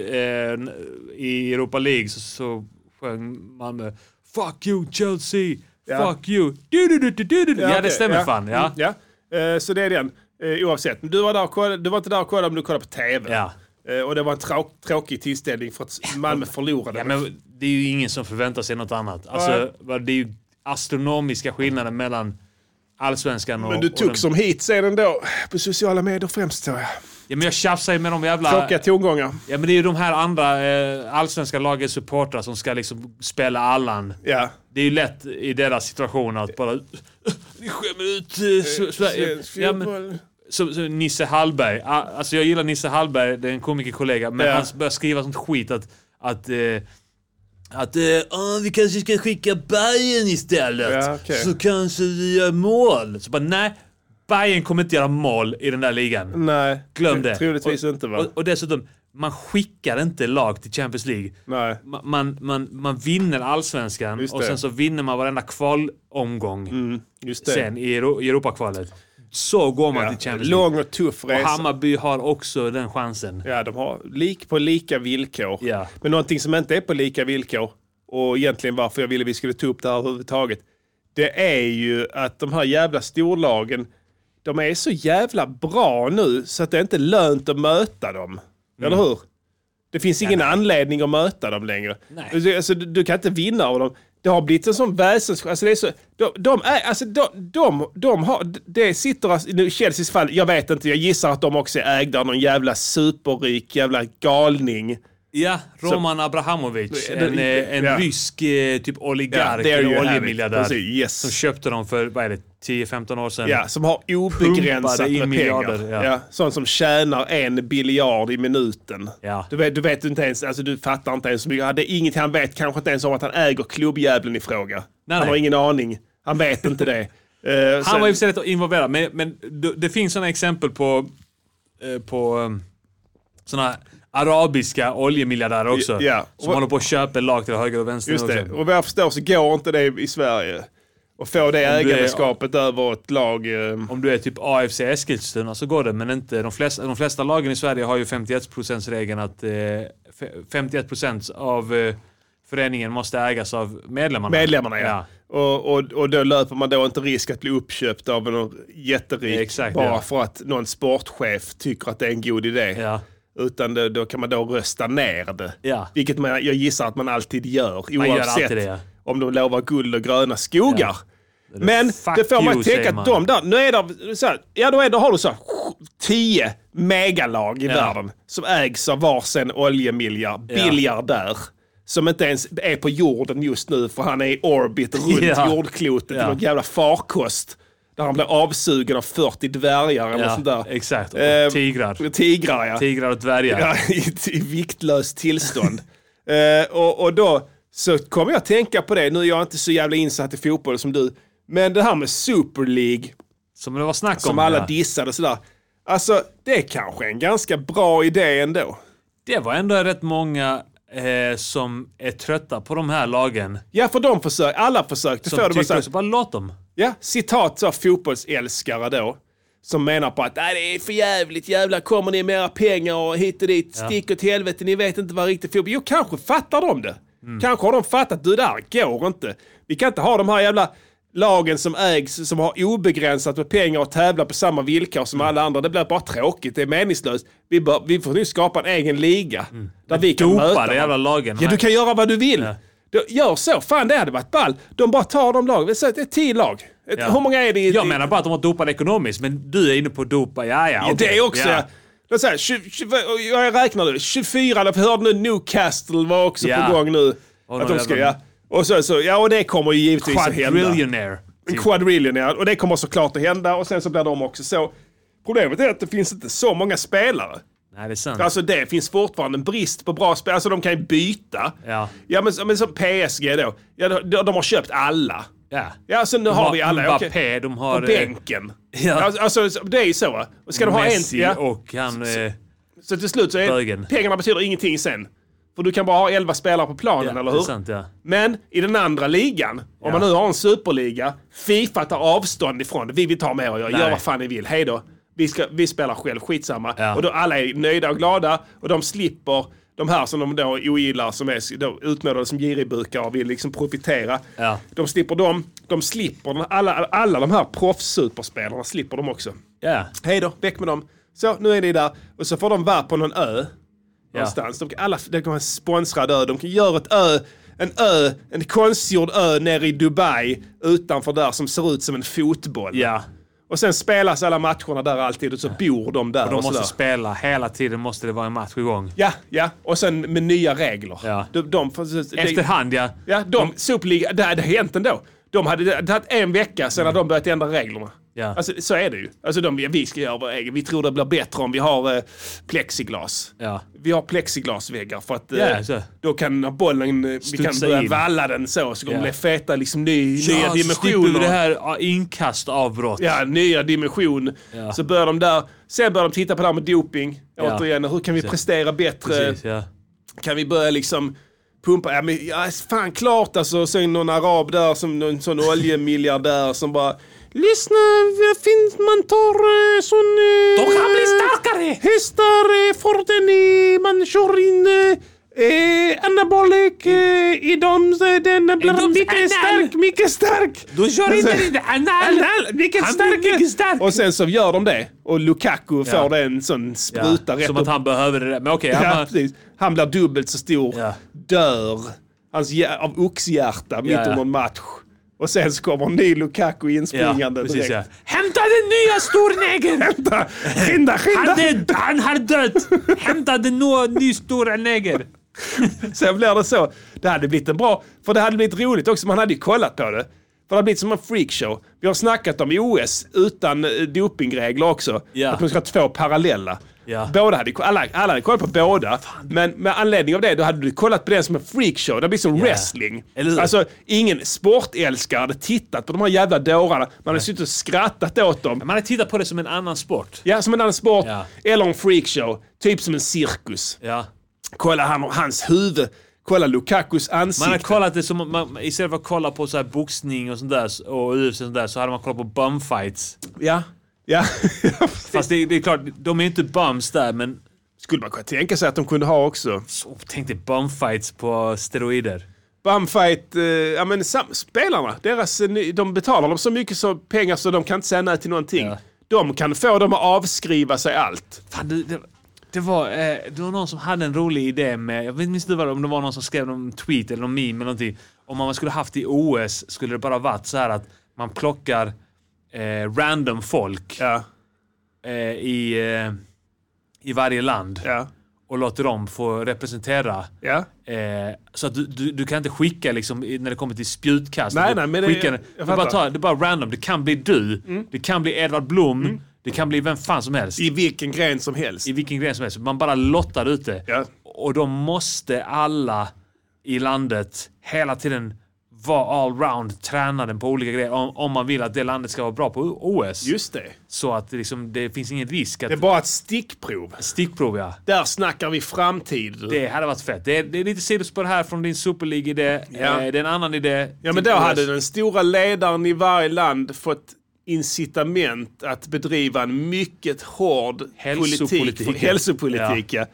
Speaker 1: eh, n- i Europa League så, så sjöng Malmö Fuck you Chelsea!
Speaker 3: Ja.
Speaker 1: Fuck you! Du, du, du, du, du, du. Ja,
Speaker 3: okej,
Speaker 1: det stämmer fan. Ja.
Speaker 3: Mm, ja. Eh, så det är den, eh, oavsett. Men du var, där och kollade, du var inte där och kollade, men du kollade på TV.
Speaker 1: Ja.
Speaker 3: Eh, och det var en trå- tråkig tillställning för att Malmö förlorade.
Speaker 1: ja, men det är ju ingen som förväntar sig något annat. Alltså, vad- det är ju astronomiska skillnader mellan allsvenskan och...
Speaker 3: Men du
Speaker 1: och
Speaker 3: tog
Speaker 1: den-
Speaker 3: som hit sen ändå, på sociala medier främst tror jag.
Speaker 1: Ja, men jag tjafsar ju med de jävla...
Speaker 3: Tråkiga tongångar.
Speaker 1: Ja men det är ju de här andra eh, allsvenska lagets supportrar som ska liksom spela Allan.
Speaker 3: Ja.
Speaker 1: Det är ju lätt i deras situation att bara... Ni skämmer ut eh, Sve- Sverige.
Speaker 3: Svensk
Speaker 1: Ja, men,
Speaker 3: fotboll.
Speaker 1: som, som Nisse Hallberg. Ah, Alltså jag gillar Nisse Hallberg, det är en komikerkollega, men
Speaker 3: Ja.
Speaker 1: han börjar skriva sånt skit att... Att... Eh, att eh, "Ah, vi kanske ska skicka Bayern istället.
Speaker 3: Ja, okej.
Speaker 1: Så kanske vi gör mål. Så bara nej, Bayern kommer inte göra mål i den där ligan.
Speaker 3: Nej,
Speaker 1: Glöm det.
Speaker 3: Troligtvis
Speaker 1: och,
Speaker 3: inte va?
Speaker 1: Och, och dessutom, man skickar inte lag till Champions League.
Speaker 3: Nej.
Speaker 1: Ma- Man, man, man vinner allsvenskan
Speaker 3: Just
Speaker 1: och
Speaker 3: det.
Speaker 1: sen så vinner man varenda kvalomgång
Speaker 3: Just det.
Speaker 1: sen i Euro- i Europakvalet. Så går man
Speaker 3: ja.
Speaker 1: till Champions League.
Speaker 3: Lång och tuff
Speaker 1: Och
Speaker 3: resa.
Speaker 1: Hammarby har också den chansen.
Speaker 3: Ja, de har lik på lika villkor.
Speaker 1: Ja.
Speaker 3: Men någonting som inte är på lika villkor och egentligen varför jag ville vi skulle ta upp det här överhuvudtaget. Det är ju att de här jävla storlagen, de är så jävla bra nu så att det är inte lönt att möta dem. Eller hur? Det finns ingen anledning att möta dem längre.
Speaker 1: Nej.
Speaker 3: Alltså, du, du kan inte vinna av dem. Det har blivit en sån väsens... Alltså det är så... De, de är... Alltså de, de, de har... Det sitter... alltså- Nu Chelseas fall, jag vet inte. Jag gissar att de också är ägda av någon jävla superrik jävla galning.
Speaker 1: Ja, Roman Abrahamovic.
Speaker 3: Det-
Speaker 1: En,
Speaker 3: det-
Speaker 1: eh, en
Speaker 3: ja.
Speaker 1: rysk eh, typ oligark
Speaker 3: there you
Speaker 1: eller
Speaker 3: have it.
Speaker 1: oljemiljardär.
Speaker 3: Precis, yes.
Speaker 1: Som köpte dem för, vad är det, 10-15 år sedan.
Speaker 3: Ja, som har obegränsat
Speaker 1: Pumpade in
Speaker 3: med pengar.
Speaker 1: miljarder,
Speaker 3: Ja.
Speaker 1: ja.
Speaker 3: sån som tjänar en biljard i minuten.
Speaker 1: Ja.
Speaker 3: Du, vet, du vet inte ens, alltså du fattar inte ens så mycket. Ja, Det är inget, han vet kanske inte ens om att han äger klubbjäveln i fråga.
Speaker 1: Nej,
Speaker 3: han har
Speaker 1: nej.
Speaker 3: ingen aning. Han vet inte det. Eh,
Speaker 1: Han
Speaker 3: sen-
Speaker 1: var i och för sig rätt involverad, men, men det, det finns sådana exempel på, eh, på um, sådana arabiska oljemiljardärer också.
Speaker 3: Ja, ja.
Speaker 1: Som
Speaker 3: Och-
Speaker 1: håller på att köpa lag till höger och vänster
Speaker 3: Just
Speaker 1: nu
Speaker 3: det.
Speaker 1: också.
Speaker 3: Och vad jag förstår så går inte det i Sverige. Att få det
Speaker 1: du är-
Speaker 3: ägandeskapet över ett lag. eh,
Speaker 1: Om du är typ AFC Eskilstuna så går det, men inte. De flesta, de flesta lagen i Sverige har ju 51%-regeln att eh, fe- 51% av eh, föreningen måste ägas av medlemmarna.
Speaker 3: Medlemmarna ja. Och, och, och då löper man då inte risk att bli uppköpt av någon jätterik
Speaker 1: Exakt,
Speaker 3: bara
Speaker 1: ja.
Speaker 3: för att någon sportchef tycker att det är en god idé.
Speaker 1: Ja.
Speaker 3: Utan då, då kan man då rösta ner det.
Speaker 1: Ja.
Speaker 3: Vilket man, jag gissar att man alltid gör. Oavsett
Speaker 1: gör alltid det, ja.
Speaker 3: om de lovar guld och gröna skogar.
Speaker 1: Ja.
Speaker 3: Men
Speaker 1: Fuck
Speaker 3: det får man
Speaker 1: you,
Speaker 3: tänka
Speaker 1: säger
Speaker 3: att
Speaker 1: man.
Speaker 3: de där, nu är det så här, ja då, är, då har du så här, tio megalag i
Speaker 1: Ja.
Speaker 3: världen som ägs av varsin oljemiljard, biljardär. Som inte ens är på jorden just nu för han är i orbit runt
Speaker 1: Ja.
Speaker 3: jordklotet i
Speaker 1: Ja.
Speaker 3: någon jävla farkost. Där han blir avsugen av 40 dvärgar eller
Speaker 1: Ja,
Speaker 3: sånt där.
Speaker 1: exakt. Och
Speaker 3: Eh,
Speaker 1: tigrar.
Speaker 3: Tigrar ja.
Speaker 1: Tigrar och dvärgar.
Speaker 3: Ja, i, I viktlöst tillstånd. Eh, och, och då så kommer jag tänka på det, nu är jag inte så jävla insatt i fotboll som du, men det här med Super League,
Speaker 1: Som det var snack om.
Speaker 3: som alla
Speaker 1: ja.
Speaker 3: dissade och sådär. Alltså, det är kanske en ganska bra idé ändå.
Speaker 1: Det var ändå rätt många eh, som är trötta på de här lagen.
Speaker 3: Ja, för de försök, alla försökte
Speaker 1: Som
Speaker 3: få det bara
Speaker 1: tyckte
Speaker 3: så typ här-
Speaker 1: också, bara låt dem.
Speaker 3: Ja, citat så fotbollsälskare då. Som menar på att "Nej, det är för jävligt jävlar, kommer ni med era pengar och hit och dit, stick åt helvete, ni vet inte vad riktigt fotboll... Jo, kanske fattar de det. Kanske har de fattat, du där går inte. Vi kan inte ha de här jävla lagen som ägs, som har obegränsat med pengar och tävlar på samma villkor som alla andra. Det blir bara tråkigt, det är meningslöst. Vi, bör, vi får nu skapa en egen liga. Där vi kan möta
Speaker 1: Dopa de
Speaker 3: varandra.
Speaker 1: jävla lagen.
Speaker 3: Ja, du kan göra vad du vill.
Speaker 1: Ja.
Speaker 3: Då, gör så. Fan, det hade varit ball. De bara tar de lagen. Vi säger att Det är tio lag. Ett-
Speaker 1: Ja.
Speaker 3: Hur många är det? i-
Speaker 1: Jag menar bara att de har dopat ekonomiskt, men du är inne på dopa, ja ja.
Speaker 3: Ja,
Speaker 1: okej.
Speaker 3: Det också.
Speaker 1: Ja.
Speaker 3: Ja. Låt säga, 20, 20, vad- jag räknar nu. 24, eller hörde nu Newcastle var också
Speaker 1: Ja.
Speaker 3: på gång nu.
Speaker 1: Och
Speaker 3: att
Speaker 1: de
Speaker 3: de ska,
Speaker 1: jävla-
Speaker 3: ja. Och så, så, ja, och det kommer ju givetvis att hända.
Speaker 1: Quadrillionaire.
Speaker 3: En
Speaker 1: typ.
Speaker 3: quadrillion, ja. Och det kommer såklart att hända. Och sen så blir de också så. Problemet är att det finns inte så många spelare.
Speaker 1: Nej, det är sant.
Speaker 3: Alltså det finns fortfarande en brist på bra spelare. Alltså de kan ju byta.
Speaker 1: Ja.
Speaker 3: Ja men, men som PSG då. Ja, de, de har köpt alla.
Speaker 1: ja.
Speaker 3: Ja, så nu har, vi alla.
Speaker 1: Mbappé,
Speaker 3: okej.
Speaker 1: de har...
Speaker 3: Och
Speaker 1: eh,
Speaker 3: bänken.
Speaker 1: Ja.
Speaker 3: Alltså, Alltså, så- det är ju så. va? Och Ska du ha en...
Speaker 1: Messi
Speaker 3: Ja.
Speaker 1: och han... Eh,
Speaker 3: Så till slut så är
Speaker 1: Bögen.
Speaker 3: pengarna betyder ingenting sen. För du kan bara ha 11 spelare på planen,
Speaker 1: ja,
Speaker 3: eller
Speaker 1: det är
Speaker 3: hur?
Speaker 1: sant, ja.
Speaker 3: Men i den andra ligan, om man nu har en superliga, Fifa tar avstånd ifrån det. Vi vill ta med er och gör, gör
Speaker 1: Nej.
Speaker 3: vad fan ni vill. Hej då. Vi, ska, vi spelar själv, skitsamma.
Speaker 1: Ja.
Speaker 3: Och då alla är nöjda och glada och de slipper de här som de då ogillar, som är då utmålade som giribukar och vill liksom profitera.
Speaker 1: Ja.
Speaker 3: De slipper dem. De slipper den- alla, alla de här proffssuperspelarna slipper de också.
Speaker 1: Ja.
Speaker 3: Hej då, väck med dem. Så, nu är ni där. Och så får de vara på någon ö någonstans. De kan, alla, de kan ha en sponsrad ö. De kan göra ett ö, en ö, en konstgjord ö nere i Dubai utanför där som ser ut som en fotboll.
Speaker 1: ja.
Speaker 3: Och sen spelas alla matcherna där alltid och så bor de där.
Speaker 1: De
Speaker 3: och
Speaker 1: måste
Speaker 3: sådär.
Speaker 1: spela. Hela tiden måste det vara en match igång.
Speaker 3: Ja, ja. Och sen med nya regler.
Speaker 1: Ja.
Speaker 3: De, de, får- det-
Speaker 1: Efterhand, ja.
Speaker 3: Ja,
Speaker 1: Mm.
Speaker 3: de, Superliga, det hade hänt ändå. De hade det hade tagit en vecka sedan de börjat ändra reglerna.
Speaker 1: Mm. Ja.
Speaker 3: Alltså, så är det ju. Alltså, de, vi ska göra vår egen. Vi tror det blir bättre om vi har eh, plexiglas.
Speaker 1: Ja.
Speaker 3: Vi har plexiglasväggar för att eh,
Speaker 1: Ja, så.
Speaker 3: då kan bollen, eh, vi kan
Speaker 1: Studsa
Speaker 3: börja
Speaker 1: in.
Speaker 3: valla den så, så kommer
Speaker 1: Ja.
Speaker 3: det feta liksom, ny, nya
Speaker 1: Ja, så slipper vi
Speaker 3: dimensioner.
Speaker 1: det här ja, inkastavbrott.
Speaker 3: Ja, nya dimension.
Speaker 1: Ja.
Speaker 3: Så börjar de där. Sen börjar de titta på det här med doping.
Speaker 1: Ja.
Speaker 3: Återigen, hur kan vi prestera bättre?
Speaker 1: Precis, ja.
Speaker 3: kan vi börja liksom pumpa, ja men ja, fan klart alltså, sen någon arab där som någon sån oljemiljardär som bara Lyssna, det finns, man tar eh, sån... Eh,
Speaker 1: De kan bli starkare!
Speaker 3: Hästar eh, för den, eh, man kör in eh, eh, anabolik eh, i dem, så den blir
Speaker 1: doms anal.
Speaker 3: mycket stark, mycket stark.
Speaker 1: Du kör inte
Speaker 3: Alltså-
Speaker 1: i det anal!
Speaker 3: Anal, vilken
Speaker 1: Han blir
Speaker 3: stark!
Speaker 1: mycket stark!
Speaker 3: Och sen så gör de det och Lukaku
Speaker 1: Ja.
Speaker 3: får en sån
Speaker 1: Ja,
Speaker 3: spruta rätt
Speaker 1: Som att
Speaker 3: upp
Speaker 1: han behöver det där. Men okej, han
Speaker 3: Ja,
Speaker 1: har-
Speaker 3: precis. Han blir dubbelt så stor,
Speaker 1: Ja.
Speaker 3: dör hans hjär- av oxhjärta mitt
Speaker 1: Ja, ja.
Speaker 3: under en match. Och sen så kommer en ny Lukaku inspringande
Speaker 1: precis, ja.
Speaker 3: direkt.
Speaker 1: Hämta den nya stornägen!
Speaker 3: Ja. Skynda,
Speaker 1: Han,
Speaker 3: skynda!
Speaker 1: är, han har dött! Hämta den nya, ny stora neger!
Speaker 3: Sen blir det så. Det hade blivit en bra, för det hade blivit roligt också. Man hade ju kollat på det. För det har blivit som en freakshow. Vi har snackat om OS utan eh, dopingregler också.
Speaker 1: Ja.
Speaker 3: Att man ska ha två parallella.
Speaker 1: Ja.
Speaker 3: Båda hade, alla, alla hade kollat på båda. Men med anledning av det, då hade du kollat på den som en freakshow. Det blir som wrestling.
Speaker 1: Eller hur?
Speaker 3: Alltså, ingen sportälskare hade tittat på de här jävla dårarna. Man hade suttit och skrattat åt dem.
Speaker 1: Man har tittat på det som en annan sport.
Speaker 3: Ja, som en annan sport.
Speaker 1: Ja.
Speaker 3: Eller en freakshow. Typ som en cirkus.
Speaker 1: Ja.
Speaker 3: Kolla han, hans huvud. Kolla Lukakus ansikte.
Speaker 1: Man har kollat det som, man, istället för att kolla på så här boxning och sånt där och UFC och sånt där så hade man kollat på bumfights.
Speaker 3: Ja. ja.
Speaker 1: Fast det, det är klart, de är inte bums där men
Speaker 3: Skulle man kunna tänka sig att de kunde ha också.
Speaker 1: så, tänk dig bumfights på steroider.
Speaker 3: Bumfight, eh, ja men sam- spelarna, deras, eh, ny- de betalar dem så mycket så pengar så de kan inte säga nej till någonting.
Speaker 1: Ja.
Speaker 3: De kan få dem att avskriva sig allt.
Speaker 1: Fan, det, det, det, var, eh, det var någon som hade en rolig idé med, jag vet inte vad det- om det var någon som skrev någon tweet eller någon meme eller någonting. Om man skulle haft i OS skulle det bara varit så här att man plockar eh, random folk
Speaker 3: Ja,
Speaker 1: eh, i, eh, i varje land
Speaker 3: ja,
Speaker 1: och låter dem få representera.
Speaker 3: ja.
Speaker 1: Eh, så att du, du, du kan inte skicka liksom, i- när det kommer till spjutkast.
Speaker 3: Nej,
Speaker 1: du,
Speaker 3: nej, men det-
Speaker 1: skicka,
Speaker 3: jag- jag
Speaker 1: du
Speaker 3: fattar. Mm.
Speaker 1: bara tar, det är bara random. Det kan bli du, det kan bli Edvard Blom, det kan bli vem fan som helst
Speaker 3: I vilken gren som helst.
Speaker 1: i vilken gren som helst. Man bara lottar ut det.
Speaker 3: Ja.
Speaker 1: Och då måste alla i landet hela tiden vara allround tränade på olika grejer om, om man vill att det landet ska vara bra på OS.
Speaker 3: Just det.
Speaker 1: Så att det, liksom, det finns ingen risk att...
Speaker 3: Det är bara ett stickprov.
Speaker 1: Stickprov ja.
Speaker 3: Där snackar vi framtid.
Speaker 1: Det hade varit fett. Det är, det är lite sidospår här från din Super League-idé.
Speaker 3: Ja.
Speaker 1: Eh, det är en annan idé.
Speaker 3: Ja
Speaker 1: till
Speaker 3: men då
Speaker 1: OS.
Speaker 3: hade den stora ledaren i varje land fått incitament att bedriva en mycket hård
Speaker 1: Hälsopolitik.
Speaker 3: politik. Hälsopolitik, ja.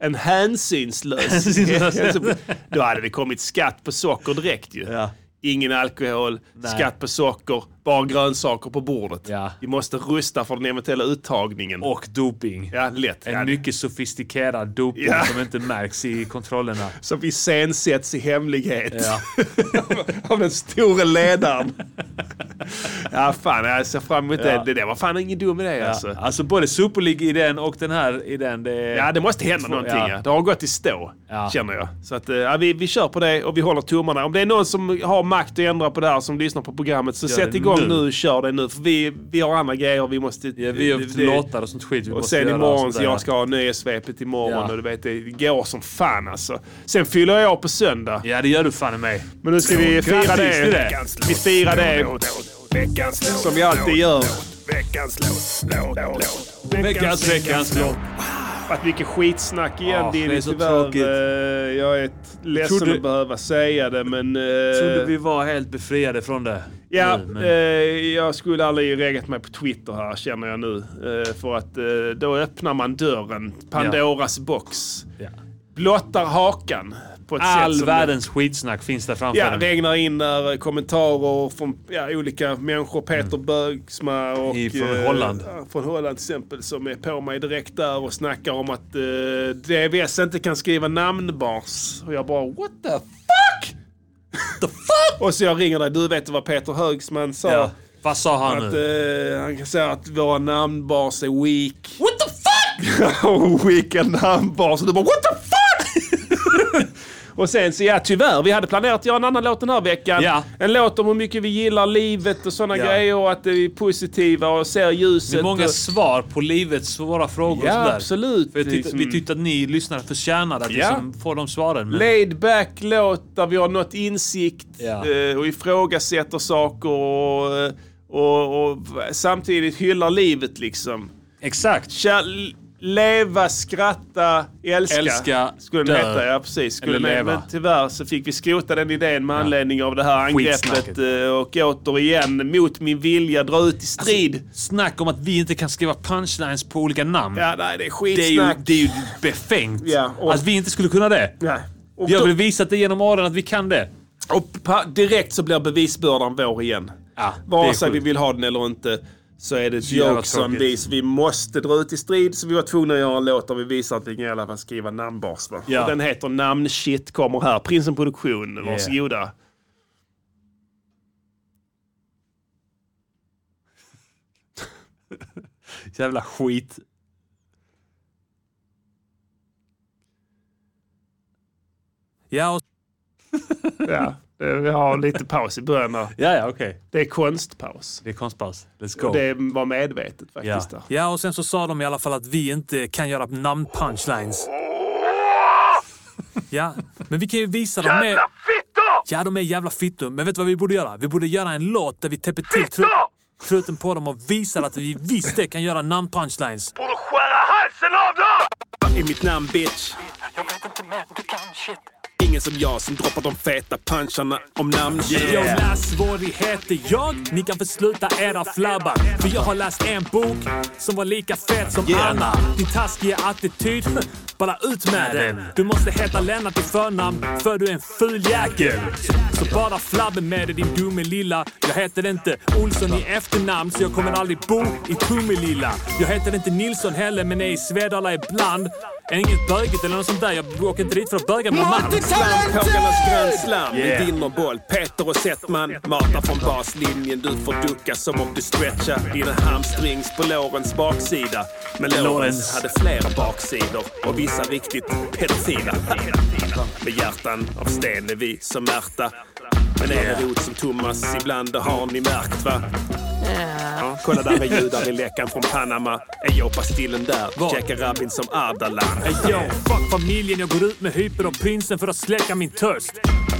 Speaker 3: En hänsynslös
Speaker 1: Hänsynslös.
Speaker 3: hänsopol- Då hade det kommit skatt på socker direkt ju.
Speaker 1: Ja.
Speaker 3: Ingen alkohol, skatt på socker, bara grönsaker på bordet.
Speaker 1: Ja.
Speaker 3: Vi måste rusta för den eventuella uttagningen.
Speaker 1: Och doping.
Speaker 3: ja, lätt.
Speaker 1: En
Speaker 3: Ja.
Speaker 1: mycket sofistikerad doping
Speaker 3: Ja.
Speaker 1: som inte märks i kontrollerna.
Speaker 3: Som iscensätts i hemlighet.
Speaker 1: Ja.
Speaker 3: av den store ledaren. ja, fan. Jag ser fram emot
Speaker 1: Ja.
Speaker 3: det. Det där var fan ingen dum idé alltså.
Speaker 1: Alltså, alltså både Super League-idén och den här idén. Det är...
Speaker 3: Ja, det måste hända någonting.
Speaker 1: Ja.
Speaker 3: Ja. Det har gått i stå,
Speaker 1: Ja.
Speaker 3: känner jag. Så att, eh, ja, vi, vi kör på det och vi håller tummarna. Om det är någon som har makt att ändra på det här som lyssnar på programmet så sätt
Speaker 1: det
Speaker 3: igång
Speaker 1: nu.
Speaker 3: nu. Kör det nu. För vi, vi har andra grejer vi måste...
Speaker 1: Ja, vi har haft
Speaker 3: det-
Speaker 1: låtar och sånt skit vi
Speaker 3: Och
Speaker 1: måste
Speaker 3: sen
Speaker 1: göra alltså.
Speaker 3: imorgon,
Speaker 1: sånt
Speaker 3: så
Speaker 1: där.
Speaker 3: jag ska ha nyhetssvepet imorgon
Speaker 1: Ja.
Speaker 3: och du vet, det går som fan alltså. Sen fyller jag år på söndag.
Speaker 1: Ja, det gör du fan i mig.
Speaker 3: Men nu ska vi fira
Speaker 1: Grattis till det.
Speaker 3: det. Vi firar det. Som vi alltid gör.
Speaker 1: Veckans, veckans låt.
Speaker 3: Att mycket skitsnack igen
Speaker 1: Ah, det är
Speaker 3: Dinny
Speaker 1: så
Speaker 3: tyvärr.
Speaker 1: tråkigt.
Speaker 3: Eh, Jag är ett- ledsen
Speaker 1: Trodde-
Speaker 3: att behöva säga det men... eh,
Speaker 1: Trodde vi var helt befriade från det.
Speaker 3: Ja,
Speaker 1: Nu, men-
Speaker 3: eh, jag skulle aldrig reggat mig på Twitter här känner jag nu. Eh, för att eh, då öppnar man dörren. Pandoras box.
Speaker 1: Ja.
Speaker 3: Blottar hakan på ett sätt
Speaker 1: All
Speaker 3: som...
Speaker 1: världens skitsnack finns där framför
Speaker 3: Ja,
Speaker 1: en.
Speaker 3: regnar in där eh, kommentarer från ja, olika människor. Peter Bögsma och...
Speaker 1: Mm. I- från
Speaker 3: eh,
Speaker 1: Holland.
Speaker 3: ja, Från Holland till exempel som är på mig direkt där och snackar om att eh, DVS inte kan skriva namnbars. Och jag bara what the fuck? the fuck? och så jag ringer dig. Du vet vad Peter Högsman sa.
Speaker 1: Ja. Vad sa han
Speaker 3: Att,
Speaker 1: nu?
Speaker 3: eh, han kan säga att våra namnbars är weak. What the fuck! Weaka namnbars. Och du bara what the fuck! Och sen så ja, tyvärr, vi hade planerat att göra en annan låt den här veckan.
Speaker 1: Ja.
Speaker 3: En låt om hur mycket vi gillar livet och sådana
Speaker 1: Ja.
Speaker 3: grejer och att vi är positiva och ser ljuset.
Speaker 1: det är många
Speaker 3: och,
Speaker 1: svar på livets svåra frågor och
Speaker 3: Ja,
Speaker 1: sådär.
Speaker 3: absolut.
Speaker 1: För jag tyckte,
Speaker 3: Liksom-
Speaker 1: Vi tyckte att ni lyssnare förtjänade att
Speaker 3: Ja.
Speaker 1: liksom få de svaren. Men
Speaker 3: Laid back låt där vi har nått insikt
Speaker 1: Ja.
Speaker 3: eh, och ifrågasätter saker och, eh, och, och samtidigt hyllar livet liksom.
Speaker 1: Exakt.
Speaker 3: Kär, leva, skratta, älska.
Speaker 1: Älska,
Speaker 3: skulle
Speaker 1: dö.
Speaker 3: den heta, ja precis. Skulle
Speaker 1: Eller
Speaker 3: den-
Speaker 1: leva.
Speaker 3: Men tyvärr så fick vi skrota den idén med anledning av det här angreppet.
Speaker 1: Skitsnacket.
Speaker 3: eh, Och återigen, mot min vilja, dra ut i strid.
Speaker 1: Alltså, Snack om att vi inte kan skriva punchlines på olika namn.
Speaker 3: ja, nej, det är
Speaker 1: Det är, ju,
Speaker 3: skitsnack.
Speaker 1: det är ju befängt.
Speaker 3: Ja, och-
Speaker 1: Att vi inte skulle kunna det.
Speaker 3: Nej. Och,
Speaker 1: Vi har väl visat det genom åren att vi kan det.
Speaker 3: och pa- direkt så blir bevisbördan vår igen.
Speaker 1: Ja, det är
Speaker 3: Vare sig vi
Speaker 1: sjukt.
Speaker 3: vill ha den eller inte så är det ett
Speaker 1: jävla
Speaker 3: joke som
Speaker 1: tråkigt.
Speaker 3: vis. Vi måste dra ut i strid så vi var tvungna att göra en låt där vi visar att vi kan i alla fall skriva namnbars. Va?
Speaker 1: Ja.
Speaker 3: Och den heter Namnshit kommer här. Prinsen Produktion. Varsågoda.
Speaker 1: Jävla skit. Ja, och
Speaker 3: Ja. Eh, Vi har lite paus i början. där.
Speaker 1: Ja, ja, okej.
Speaker 3: Det är konstpaus.
Speaker 1: Det är konstpaus. Let's go.
Speaker 3: Det var medvetet
Speaker 1: ja.
Speaker 3: faktiskt. Där.
Speaker 1: ja, och sen så sa de i alla fall att vi inte kan göra namn-punchlines. Ja, men vi kan ju visa dem med... Ja, de är jävla fittor. Men vet du vad vi borde göra? Vi borde göra en låt där vi täpper till tru- truten på dem och visar att vi visst det kan göra namn-punchlines.
Speaker 3: I mitt namn bitch. Ingen som jag som droppar de feta puncharna om namn.
Speaker 1: Jag har lässvårigheter jag. Ni kan få sluta era flabbar. För jag har läst en bok som var lika fet som
Speaker 3: Yeah.
Speaker 1: Anna. Din taskiga attityd, bara ut med den. Du måste heta Lennart i förnamn för du är en ful jäkel. Så bara flabben med dig din dumme lilla. Jag heter inte Olsson i efternamn så jag kommer aldrig bo i Tomelilla. Jag heter inte Nilsson heller men är i Svedala ibland. Är inget bögigt eller något sånt där. Jag åker inte dit för att böga med man.
Speaker 3: Pågarnas grönslam,
Speaker 1: Yeah.
Speaker 3: yeah. din och boll. Peter och Settman matar från baslinjen. Du får ducka som om du stretchar dina hamstrings på lårens baksida. Men
Speaker 1: Lorentz.
Speaker 3: Lorentz hade flera baksidor och vissa riktigt pedofila. Med hjärtan av sten är vi som Märta. Men är det rot som Thomas ibland, det har ni märkt va? Ja, kolla där är judar i läckan från Panama. Är jag pastillen där?
Speaker 1: Var?
Speaker 3: Checkar rabbin som Ardalan.
Speaker 1: Yo, fuck familjen, jag går ut med hyper och prinsen för att släcka min törst.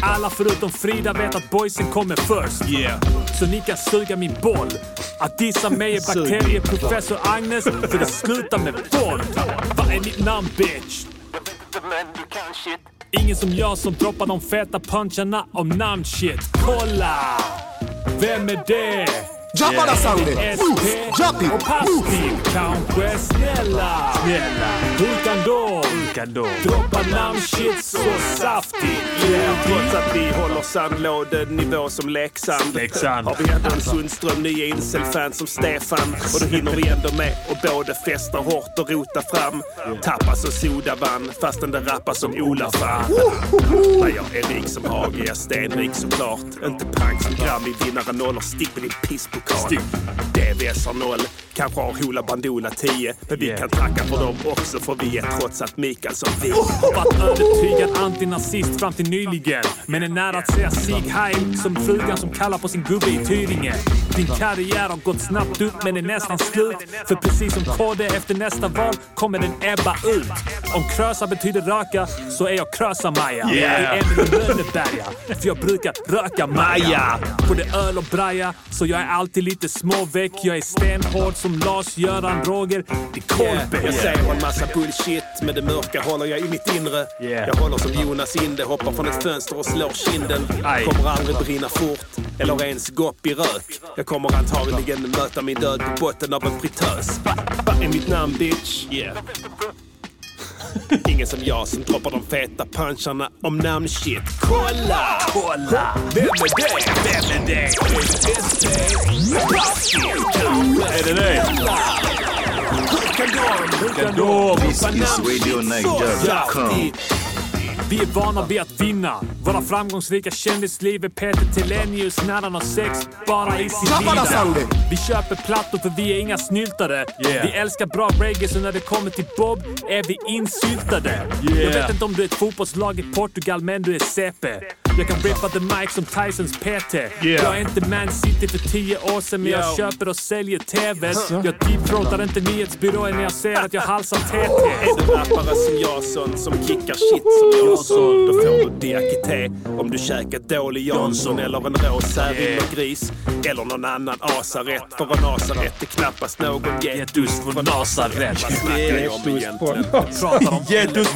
Speaker 1: Alla förutom Frida vet att boysen kommer först.
Speaker 3: Yeah.
Speaker 1: Så ni kan suga min boll. Att dissa mig är bakterier, professor Agnes, för det slutar med boll. Vad är mitt namn bitch? Ingen som jag som droppar de feta puncharna om namnshit. Kolla! Vem är det?
Speaker 7: Drop yeah. that song there.
Speaker 1: SP
Speaker 7: Drop it.
Speaker 1: och Pastiv kanske snälla. snälla. Utan då, droppa namnshit så saftigt. Yeah.
Speaker 3: Trots att vi håller sandlådenivå som Leksand.
Speaker 1: Leksand.
Speaker 3: Har vi ändå en Sundström, nya incel-fan som Stefan. Och då hinner vi ändå med och både festa hårt och rota fram. Tappas och sodavann fastän det rappas som Olafan. Men jag är rik som Hage, jag är stenrik såklart. Inte pang som Grammy, vinnare nollor, stick med din pisspokal. DVS har noll, kanske har Hoola Bandoola 10. Men vi
Speaker 1: Yeah.
Speaker 3: kan tacka för dem också för vi är trots allt Mikael som vi.
Speaker 1: Varit övertygad antinazist fram till nyligen. Men är nära att säga Sieg Heil som frugan som kallar på sin gubbe i Tyringe. Din karriär har gått snabbt upp men är nästan slut. För precis som KD efter nästa val kommer den ebba ut. Om krösa betyder röka så är jag krösa-Maja.
Speaker 3: Yeah.
Speaker 1: I Emil Lönneberga. För jag brukar röka Maja. Både öl och braja. Så jag är alltid lite småväck. Jag är stenhård som Lars-Göran Roger i Kolbe.
Speaker 3: Jag säger en massa bullshit, men det mörka håller jag i mitt inre.
Speaker 1: Yeah.
Speaker 3: Jag håller som Jonas Inde, hoppar från ett fönster och slår kinden.
Speaker 1: Aj.
Speaker 3: Kommer aldrig brinna fort, eller ens gå upp i rök. Jag kommer antagligen möta min död på botten av en fritös. Vad är mitt namn bitch? Yeah. Ingen som jag som droppar de feta puncharna om namnshit. Kolla! Kolla! Vem är det? Vem är det? Är det det?
Speaker 8: Vispisradio9.com.
Speaker 1: Vi är vana vid att vinna. Våra framgångsrika kändisliv är Peter Telenius när han har sex bara i sin
Speaker 7: Klapparna
Speaker 1: lina.
Speaker 7: Sandy.
Speaker 1: Vi köper plattor för vi är inga snyltare. Vi älskar bra reggae så när det kommer till Bob är vi insyltade. Jag vet inte om du är ett fotbollslag i Portugal men du är CP. Jag kan rippa the mic som Tysons PT. Jag är inte Man City för tio år sedan men jag köper och säljer TV. Jag deepthroatar inte nyhetsbyråer när jag ser att jag halsar TT.
Speaker 3: Är du rappare som Jason som kickar shit som Jason? Då får du diakité om du käkat dålig Jansson eller en rå säringegris. Eller någon annan asarätt. För en asarätt är knappast någon getus från Nasaret. Vad snackar jag om egentligen?
Speaker 1: Pratar om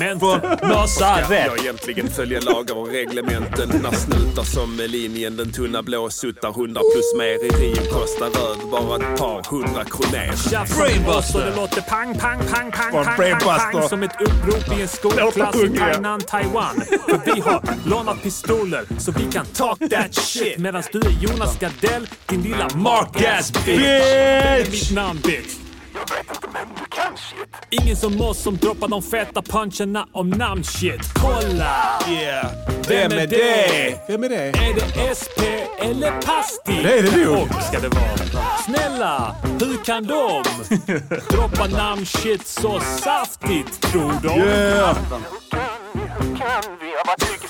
Speaker 1: elementen. Nasaret.
Speaker 3: Jag egentligen följer lagar och reglementen när snutar som med linjen den tunna blå suttar hundra plus mer i Rio kostar röd bara ett par hundra kronor.
Speaker 1: Brainbuster! Det låter pang, pang, pang, pang, pang, pang, pang som ett upprop i en skolklass i Tainan, Taiwan. För vi har lånat pistoler så vi kan talk that shit medan du är Jonas Gardell, din lilla mark-ass bitch. Det är mitt namn bitch. Ingen som oss som droppar de feta puncherna om namnshit. Kolla!
Speaker 3: Yeah.
Speaker 1: Vem är det?
Speaker 8: Vem är det?
Speaker 1: Är det SP eller Pasti?
Speaker 8: Det är det nog.
Speaker 1: Och ska det vara. Snälla, hur kan de droppa namnshit så saftigt, tror de?
Speaker 8: Yeah.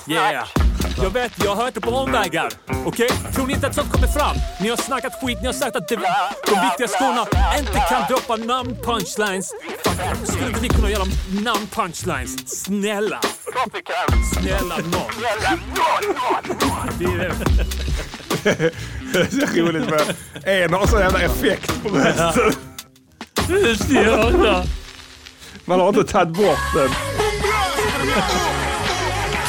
Speaker 1: Yeah. Jag vet, jag har hört det på omvägar. Okej? Tror ni inte att sånt kommer fram? Ni har snackat skit, ni har sagt att det, de viktiga skorna inte kan droppa namn-punchlines. Fuck, Skulle inte ni kunna göra namn-punchlines? Snälla! Snälla nån. Det är det.
Speaker 3: Det är roligt med en har sån jävla effekt på rösten. Man har inte tagit bort den.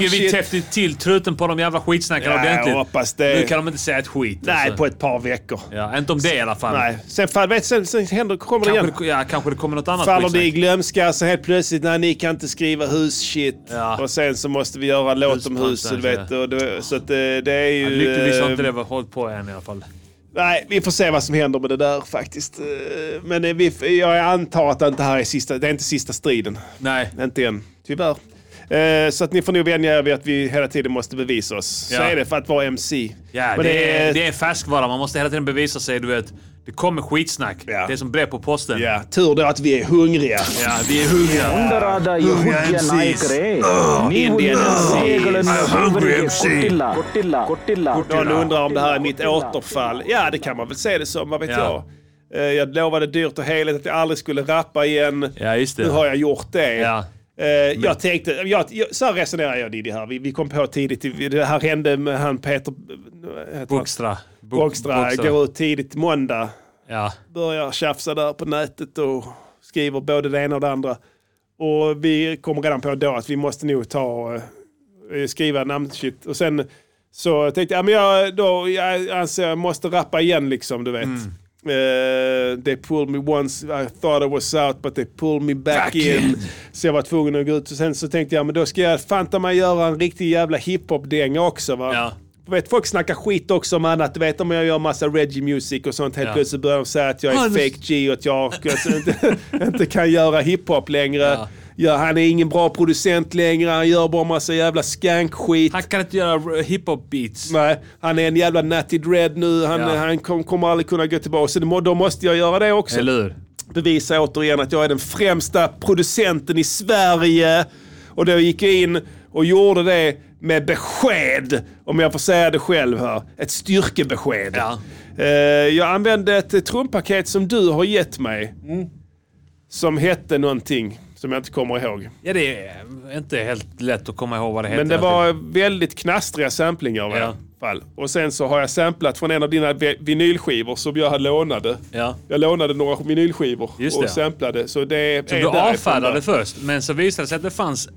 Speaker 1: tycker vi
Speaker 3: Damn shit.
Speaker 1: täppte till truten på de jävla skitsnackarna
Speaker 3: Ja, jag
Speaker 1: ordentligt.
Speaker 3: hoppas det.
Speaker 1: Nu kan de inte säga ett skit.
Speaker 3: Nej,
Speaker 1: alltså.
Speaker 3: på ett par veckor.
Speaker 1: ja, inte om det i alla fall.
Speaker 3: Nej, sen, fan, vet, sen, sen händer, kommer det igen.
Speaker 1: Kanske, det, ja, kanske det kommer något annat
Speaker 3: Faller det i
Speaker 1: skitsnack.
Speaker 3: glömska, så helt plötsligt, nej ni kan inte skriva husshit.
Speaker 1: Ja.
Speaker 3: Och sen så måste vi göra en låt om
Speaker 1: Husbranschen,
Speaker 3: huset, vet du. Och det- Så att eh, det, det är ju...
Speaker 1: Lyckligtvis har inte
Speaker 3: eh,
Speaker 1: det hållit på än i alla fall.
Speaker 3: Nej, vi får se vad som händer med det där faktiskt. Eh, Men eh, vi, jag antar att det inte här är sista, det är inte sista striden.
Speaker 1: Nej.
Speaker 3: Inte än, tyvärr. Eh, Så att ni får nog vänja er vid att vi hela tiden måste bevisa oss. Så
Speaker 1: Ja.
Speaker 3: är det för att vara MC.
Speaker 1: Ja,
Speaker 3: Men
Speaker 1: det, är, det är färskvara. Man måste hela tiden bevisa sig. Du vet, det kommer skitsnack.
Speaker 3: Ja.
Speaker 1: Det är som brev på posten.
Speaker 3: ja, tur då att vi är hungriga.
Speaker 1: Ja, vi är hungriga.
Speaker 9: ಸುಂದರಾದ ಯಹೂದಿಯ ನಾಯಕರೇ
Speaker 10: Oh,
Speaker 9: ನೀವು
Speaker 3: Indian MCs.
Speaker 9: ಸೇವೆಗಳನ್ನು ದೇವರಿಗೆ ಕೊಟ್ಟಿಲ್ಲ ಕೊಟ್ಟಿಲ್ಲ ಕೊಟ್ಟಿಲ್ಲ
Speaker 3: Någon undrar om det här är mitt återfall. Ja, det kan man väl se det som, vad vet
Speaker 1: Ja.
Speaker 3: jag. Eh, Jag lovade dyrt och heligt att jag aldrig skulle rappa igen.
Speaker 1: Ja, just det.
Speaker 3: Nu har jag gjort det.
Speaker 1: Ja.
Speaker 3: Eh, Jag tänkte, jag, jag, så här resonerar jag Diddy här. Vi, vi kom på tidigt, vi- det här hände med han Peter eh, heter han?
Speaker 1: Boxtra. Bo-
Speaker 3: Bokstra.
Speaker 1: Boxtra.
Speaker 3: Går ut tidigt måndag,
Speaker 1: Ja.
Speaker 3: börjar tjafsa där på nätet och skriver både det ena och det andra. Och vi kom redan på då att vi måste nog ta eh, skriva namnshit. Och sen så tänkte jag, ja, men jag, då, jag anser jag måste rappa igen liksom, du vet. Eh, they pulled me once, I thought I was out but they pulled me back, in. Så jag var tvungen att gå ut. Och sen så tänkte jag, men då ska jag fanta mig göra en riktig jävla hiphop-dänga också va.
Speaker 1: Ja.
Speaker 3: Du Vet, folk snackar skit också om annat. Du vet om jag gör massa reggae music och sånt. Helt
Speaker 1: Ja.
Speaker 3: plötsligt börjar de säga att jag är
Speaker 1: Hans-
Speaker 3: fake G och att jag alltså, inte, inte kan göra hiphop längre.
Speaker 1: Ja.
Speaker 3: Ja, han är ingen bra producent längre, han gör bara massa jävla skankskit.
Speaker 1: Han kan inte göra eh, hiphop-beats.
Speaker 3: Nej, han är en jävla Natty Dread nu, han,
Speaker 1: Ja.
Speaker 3: han kom, kommer aldrig kunna gå tillbaka. Så det må, då måste jag göra det också.
Speaker 1: Eller hur?
Speaker 3: Bevisa återigen att jag är den främsta producenten i Sverige. Och då gick jag in och gjorde det med besked, om jag får säga det själv här. Ett styrkebesked.
Speaker 1: Ja.
Speaker 3: Eh, jag använde ett eh, trumpaket som du har gett mig. Som hette någonting som jag inte kommer ihåg.
Speaker 1: Ja, det är inte helt lätt att komma ihåg vad det heter.
Speaker 3: Men det var väldigt knastriga samplingar i
Speaker 1: Ja.
Speaker 3: alla fall. Och sen så har jag samplat från en av dina vi- vinylskivor som jag hade lånade.
Speaker 1: Ja.
Speaker 3: Jag lånade några vinylskivor
Speaker 1: Just
Speaker 3: och
Speaker 1: det.
Speaker 3: samplade. Så det
Speaker 1: Som
Speaker 3: är
Speaker 1: du
Speaker 3: därifrån
Speaker 1: avfärdade
Speaker 3: där.
Speaker 1: först, men så visade det sig att det fanns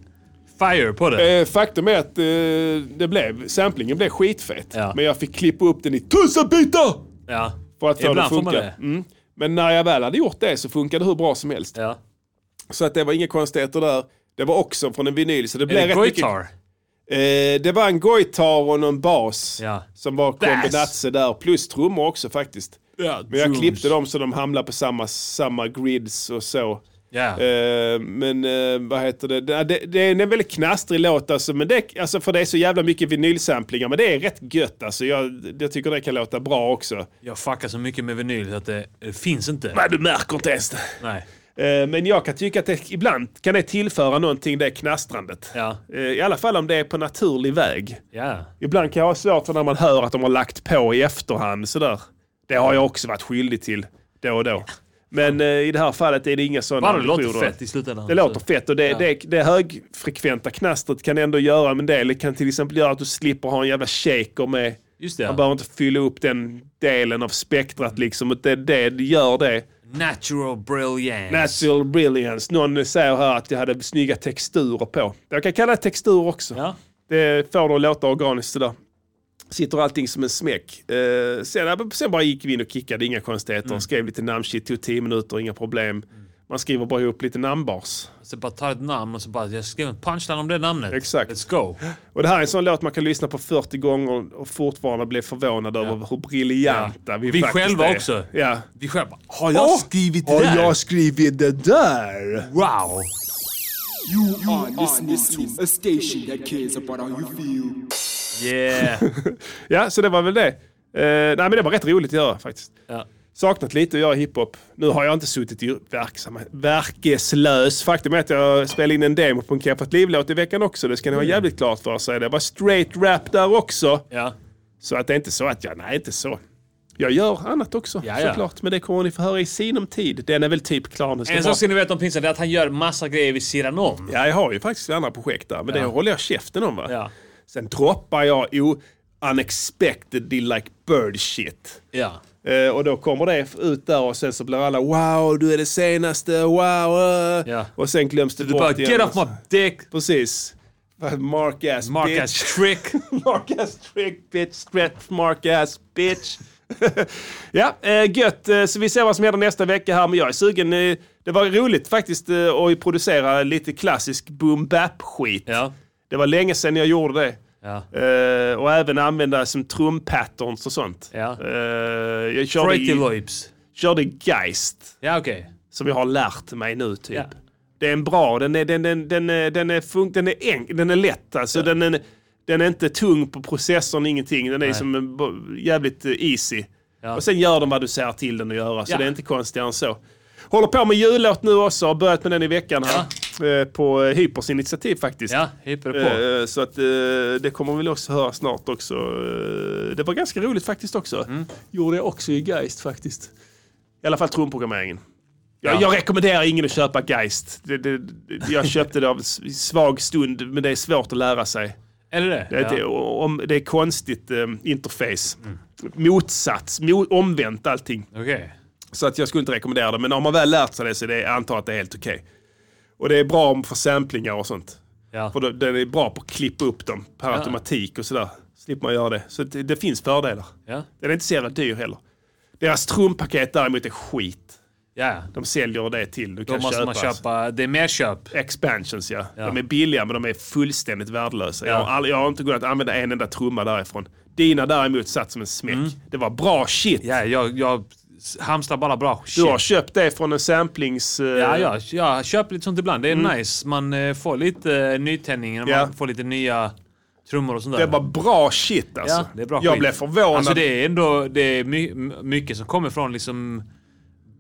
Speaker 1: fire på det.
Speaker 3: Eh, Faktum är att eh, det blev, samplingen blev skitfett.
Speaker 1: Ja.
Speaker 3: Men jag fick klippa upp den i tusen bitar!
Speaker 1: Ja.
Speaker 3: För att få det
Speaker 1: Ibland
Speaker 3: att
Speaker 1: får
Speaker 3: funka.
Speaker 1: man det.
Speaker 3: Mm. Men när jag väl hade gjort det så funkade det hur bra som helst.
Speaker 1: Ja.
Speaker 3: Så att det var inga konstigheter där. Det var också från en vinyl så det blev
Speaker 1: Är det
Speaker 3: rätt mycket-
Speaker 1: Goitar?
Speaker 3: Eh, det var en goitar och någon bas
Speaker 1: Ja.
Speaker 3: som var kombinatse där, plus trummor också faktiskt.
Speaker 1: Ja,
Speaker 3: Men jag
Speaker 1: drums.
Speaker 3: klippte dem så de hamnade på samma, samma grids och så.
Speaker 1: Ja.
Speaker 3: Eh, men eh, vad heter det? Det, det? det är en väldigt knastrig låt alltså, men det, alltså, för det är så jävla mycket vinylsamplingar. Men det är rätt gött alltså. Jag, jag tycker det kan låta bra också.
Speaker 1: Jag fuckar så mycket med vinyl så att det, det finns inte.
Speaker 3: Nej, du märker inte ens det.
Speaker 1: Nej.
Speaker 3: Eh, Men jag kan tycka att det, ibland kan det tillföra någonting, det knastrandet.
Speaker 1: Ja.
Speaker 3: Eh, I alla fall om det är på naturlig väg.
Speaker 1: Ja.
Speaker 3: Ibland kan jag ha svårt för när man hör att de har lagt på i efterhand sådär. Det har jag också varit skyldig till då och då. Men eh, i det här fallet är det inga sådana
Speaker 1: Bara det låter
Speaker 3: ambitioner.
Speaker 1: fett i alltså. slutändan.
Speaker 3: Det låter fett och det,
Speaker 1: Ja.
Speaker 3: det, det högfrekventa knastret kan ändå göra en del. Det kan till exempel göra att du slipper ha en jävla shaker med.
Speaker 1: Just det,
Speaker 3: Man
Speaker 1: ja.
Speaker 3: behöver inte fylla upp den delen av spektrat liksom. Och Det, det gör det.
Speaker 1: Natural brilliance.
Speaker 3: Natural brilliance. Någon säger här att jag hade snygga texturer på. Jag kan kalla det textur också.
Speaker 1: Ja.
Speaker 3: Det får det att låta organiskt sådär. Sitter allting som en smäck. Eh, sen, sen bara gick vi in och kickade, inga konstigheter. Skrev lite namnshit, tog 10 minuter, inga problem. Man skriver bara ihop lite namnbars.
Speaker 1: Så bara tar ett namn och så bara, jag skrev en punchline om det namnet.
Speaker 3: Exakt.
Speaker 1: Let's go.
Speaker 3: Och det här är en sån låt man kan lyssna på 40 gånger och fortfarande bli förvånad över hur briljanta
Speaker 1: Ja.
Speaker 3: vi,
Speaker 1: Vi
Speaker 3: faktiskt
Speaker 1: själva
Speaker 3: är.
Speaker 1: också.
Speaker 3: Ja.
Speaker 1: Vi själva,
Speaker 8: Har jag skrivit det där?
Speaker 3: skrivit det där?
Speaker 1: wow!
Speaker 7: You are listening to a station that cares about how you feel.
Speaker 1: Yeah.
Speaker 3: Ja, så det var väl det. Eh, nej, men det var rätt roligt att göra faktiskt.
Speaker 1: Ja.
Speaker 3: Saknat lite att göra hiphop. Nu har jag inte suttit i verksam, verkeslös. Faktum är att jag spelade in en demo på en Keffat Liv-låt i veckan också. Det ska
Speaker 1: Mm.
Speaker 3: ni ha jävligt klart för sig. Det var straight rap där också.
Speaker 1: Ja.
Speaker 3: Så att det är inte så att jag, nej inte så. Jag gör annat också
Speaker 1: Ja, ja.
Speaker 3: såklart. Men det kommer ni få höra i sinom tid. Den är väl typ klar nu. ska
Speaker 1: En
Speaker 3: bara-
Speaker 1: sak ska ni veta om Pinsen, det är att han gör massa grejer vid sidan om.
Speaker 3: Ja, jag har ju faktiskt andra projekt där. Men det håller jag käften om va.
Speaker 1: Ja.
Speaker 3: Sen droppar jag o- unexpectedly like bird shit.
Speaker 1: Ja.
Speaker 3: Eh, och då kommer det ut där och sen så blir alla wow, du är det senaste, wow. eh."
Speaker 1: Ja.
Speaker 3: Och sen glöms det
Speaker 1: Du bara
Speaker 3: bort igen.
Speaker 1: get off my dick,
Speaker 3: Precis. Mark ass
Speaker 1: Mark
Speaker 3: bitch.
Speaker 1: as trick.
Speaker 3: Mark ass trick bitch, stretch mark ass bitch. ja, eh, gött. Eh, Så vi ser vad som händer nästa vecka här. Men jag är sugen. eh, Det var roligt faktiskt eh, att producera lite klassisk boom bap skit.
Speaker 1: Ja.
Speaker 3: Det var länge sedan jag gjorde det.
Speaker 1: Ja.
Speaker 3: Eh, och även använda som trumpatterns och sånt.
Speaker 1: Ja.
Speaker 3: Eh, jag körde,
Speaker 1: Pretty
Speaker 3: i,
Speaker 1: Loips.
Speaker 3: körde Geist,
Speaker 1: Ja, okej.
Speaker 3: som jag har lärt mig nu typ.
Speaker 1: Ja.
Speaker 3: Det är en bra, den är, den, den, den, är- den är, fun- den är, enk, den är lätt alltså. Den, är, den är inte tung på processorn, ingenting. Den är som en, bo- jävligt eh, easy.
Speaker 1: Ja.
Speaker 3: Och sen gör den vad du säger till den att göra, så
Speaker 1: Ja.
Speaker 3: det är inte konstigare än så. Håller på med jullåt nu också, har börjat med den i veckan här. Eh, på eh, Hypers initiativ faktiskt.
Speaker 1: Ja, hyper på.
Speaker 3: Eh, Så att eh, det kommer väl också höra snart också. Eh, Det var ganska roligt faktiskt också.
Speaker 1: Mm.
Speaker 3: Gjorde jag också i Geist faktiskt. I alla fall trumprogrammeringen. Jag,
Speaker 1: Ja.
Speaker 3: jag rekommenderar ingen att köpa Geist. Det, det, det- jag köpte det av s- svag stund, men det är svårt att lära sig.
Speaker 1: är det det?
Speaker 3: Det, är- det,
Speaker 1: ja.
Speaker 3: om, det är konstigt eh, interface. Motsats, mo, omvänt allting.
Speaker 1: Okej.
Speaker 3: Så att jag skulle inte rekommendera det, men om man väl lärt sig det så är det, jag antar att det är helt okej. Och det är bra om för samplingar och sånt.
Speaker 1: Ja.
Speaker 3: För då- den är bra på att klippa upp dem per automatik och sådär. Slipper man göra det. Så det, det finns fördelar.
Speaker 1: Ja.
Speaker 3: Den är inte så jävla dyr heller. Deras trumpaket däremot är skit.
Speaker 1: Ja.
Speaker 3: De säljer det till. Du
Speaker 1: Då
Speaker 3: kan
Speaker 1: måste
Speaker 3: köpa,
Speaker 1: man köpa. Det är mer köp.
Speaker 3: expansions ja.
Speaker 1: Ja.
Speaker 3: De är billiga men de är fullständigt värdelösa. Jag,
Speaker 1: Ja.
Speaker 3: har all, jag har inte kunnat använda en enda trumma därifrån. Dina däremot satt som en smäck. Det var bra shit.
Speaker 1: Mm. Ja, jag, jag hamstrar bara bra
Speaker 3: Du
Speaker 1: shit.
Speaker 3: har köpt det från en samplings... eh,
Speaker 1: Ja, jag, jag köper lite sånt ibland. Det är nice. Man eh, får lite eh, nytändning. och
Speaker 3: Mm. Ja.
Speaker 1: Man får lite nya trummor och sånt där.
Speaker 3: Det var bra shit alltså.
Speaker 1: Ja, det är bra
Speaker 3: jag
Speaker 1: skit.
Speaker 3: blev förvånad.
Speaker 1: Alltså det är ändå det är my, mycket som kommer från liksom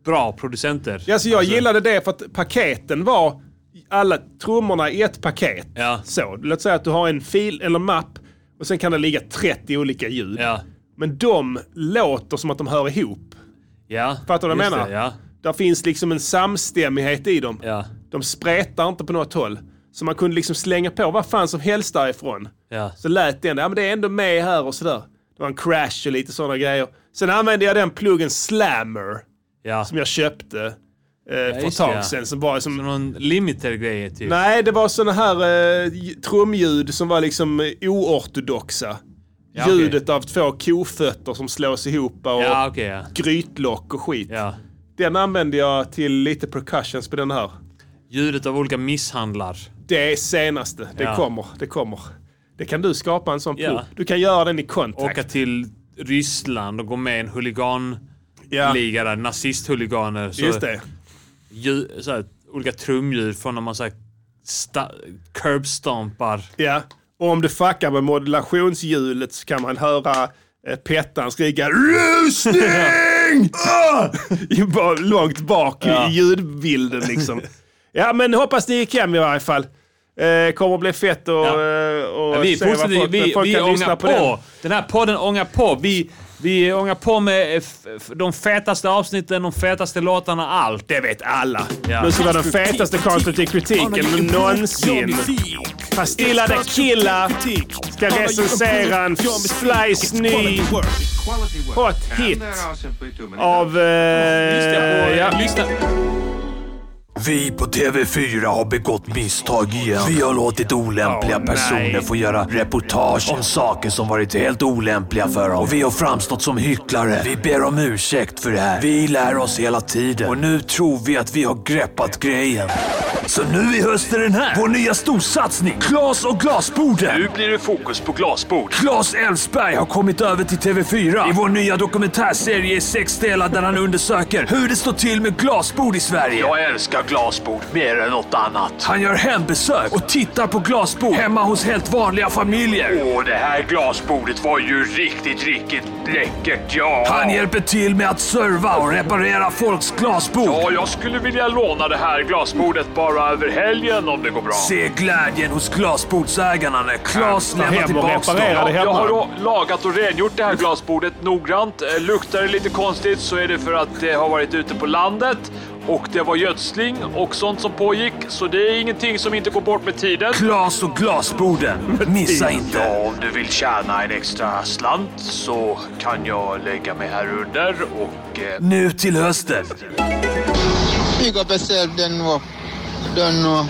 Speaker 1: bra producenter.
Speaker 3: Ja, så jag gillade det för att paketen var alla trummorna i ett paket.
Speaker 1: Ja.
Speaker 3: Så, låt säga att du har en fil eller mapp och sen kan det ligga 30 olika ljud.
Speaker 1: Ja.
Speaker 3: Men de låter som att de hör ihop.
Speaker 1: Ja.
Speaker 3: Fattar du vad jag
Speaker 1: Just
Speaker 3: menar?
Speaker 1: Det, ja.
Speaker 3: Där finns liksom en samstämmighet i dem.
Speaker 1: Ja.
Speaker 3: De spretar inte på något håll. Så man kunde liksom slänga på vad fan som helst därifrån.
Speaker 1: Ja.
Speaker 3: Så lät den, ja men det är ändå med här och sådär. Det var en crash och lite sådana grejer. Sen använde jag den pluggen Slammer
Speaker 1: Ja.
Speaker 3: som jag köpte eh, för ett
Speaker 1: just
Speaker 3: tag
Speaker 1: det, ja.
Speaker 3: sedan. Som var som,
Speaker 1: Som någon limiter-grej typ.
Speaker 3: nej, det var såna här eh, j- trumljud som var liksom eh, oortodoxa.
Speaker 1: Ja, okej.
Speaker 3: Ljudet av två kofötter som slås ihop och
Speaker 1: Ja, okej ja.
Speaker 3: grytlock och skit.
Speaker 1: ja.
Speaker 3: Den använde jag till lite percussions på den här.
Speaker 1: Ljudet av olika misshandlar.
Speaker 3: Det är senaste. Det
Speaker 1: Ja.
Speaker 3: kommer. Det kommer. Det kan du skapa en sån
Speaker 1: Ja.
Speaker 3: plugg. Du kan göra den i kontakt.
Speaker 1: Åka till Ryssland och gå med i en huliganliga
Speaker 3: Ja,
Speaker 1: där, nazisthuliganer. Så
Speaker 3: just det.
Speaker 1: Ljud, så här, olika trumljud från när man så här, sta- curbstompar.
Speaker 3: Ja. Och om du fuckar med modulationshjulet så kan man höra eh, Pettan skrika RUSNING! Ah! I- bara Långt bak i- i ljudbilden liksom. ja, men hoppas det gick hem i varje fall. Eh, kommer att bli fett och,
Speaker 1: Ja.
Speaker 3: eh, och
Speaker 1: Ja, vi är
Speaker 3: se vad
Speaker 1: positiva.
Speaker 3: folk,
Speaker 1: vi,
Speaker 3: folk
Speaker 1: vi
Speaker 3: kan lyssna
Speaker 1: ångar
Speaker 3: på.
Speaker 1: på. Den.
Speaker 3: den.
Speaker 1: här podden ångar på. Vi, vi ångar på med eh, f- f- de fetaste avsnitten, de fetaste låtarna, allt.
Speaker 3: Det vet alla.
Speaker 1: Ja.
Speaker 3: Nu ska det vara den fetaste konstruktiva kritiken någonsin. Pastillade Killa ska recensera en slice ny hot hit av... Eh, ja.
Speaker 1: Lyssna.
Speaker 11: Vi på TV4 har begått misstag igen. Vi har låtit olämpliga
Speaker 3: Åh,
Speaker 11: personer
Speaker 3: nej.
Speaker 11: få göra reportage om saker som varit helt olämpliga för dem. Och vi har framstått som hycklare. Vi ber om ursäkt för det här. Vi lär oss hela tiden. Och nu tror vi att vi har greppat grejen.
Speaker 12: Så nu i höst är den här! Vår nya storsatsning! Glas och glasborden!
Speaker 10: Nu blir det fokus på glasbord.
Speaker 12: Claes Elfsberg har kommit över till TV4 i vår nya dokumentärserie i sex delar där han undersöker hur det står till med glasbord i Sverige.
Speaker 10: Jag älskar glasbord mer än något annat.
Speaker 12: Han gör hembesök och tittar på glasbord hemma hos helt vanliga familjer.
Speaker 10: Åh, det här glasbordet var ju riktigt, riktigt läckert, ja.
Speaker 12: Han hjälper till med att serva och reparera folks glasbord.
Speaker 10: Ja, jag skulle vilja låna det här glasbordet bara över helgen om det går bra.
Speaker 12: Se glädjen hos glasbordsägarna när Claes lämnar
Speaker 3: hem och
Speaker 12: tillbaka
Speaker 3: reparera
Speaker 12: dem.
Speaker 3: det hemma.
Speaker 10: Jag har då lagat och rengjort det här glasbordet noggrant. Eh, Luktar det lite konstigt så är det för att det har varit ute på landet och det var gödsling och sånt som pågick. Så det är ingenting som inte går bort med tiden.
Speaker 12: Glas och glasborden. Missa inte.
Speaker 10: om du vill tjäna en extra slant så kan jag lägga mig här under och... eh,
Speaker 12: Nu till hösten.
Speaker 13: Big up yourself, then what? Don't know.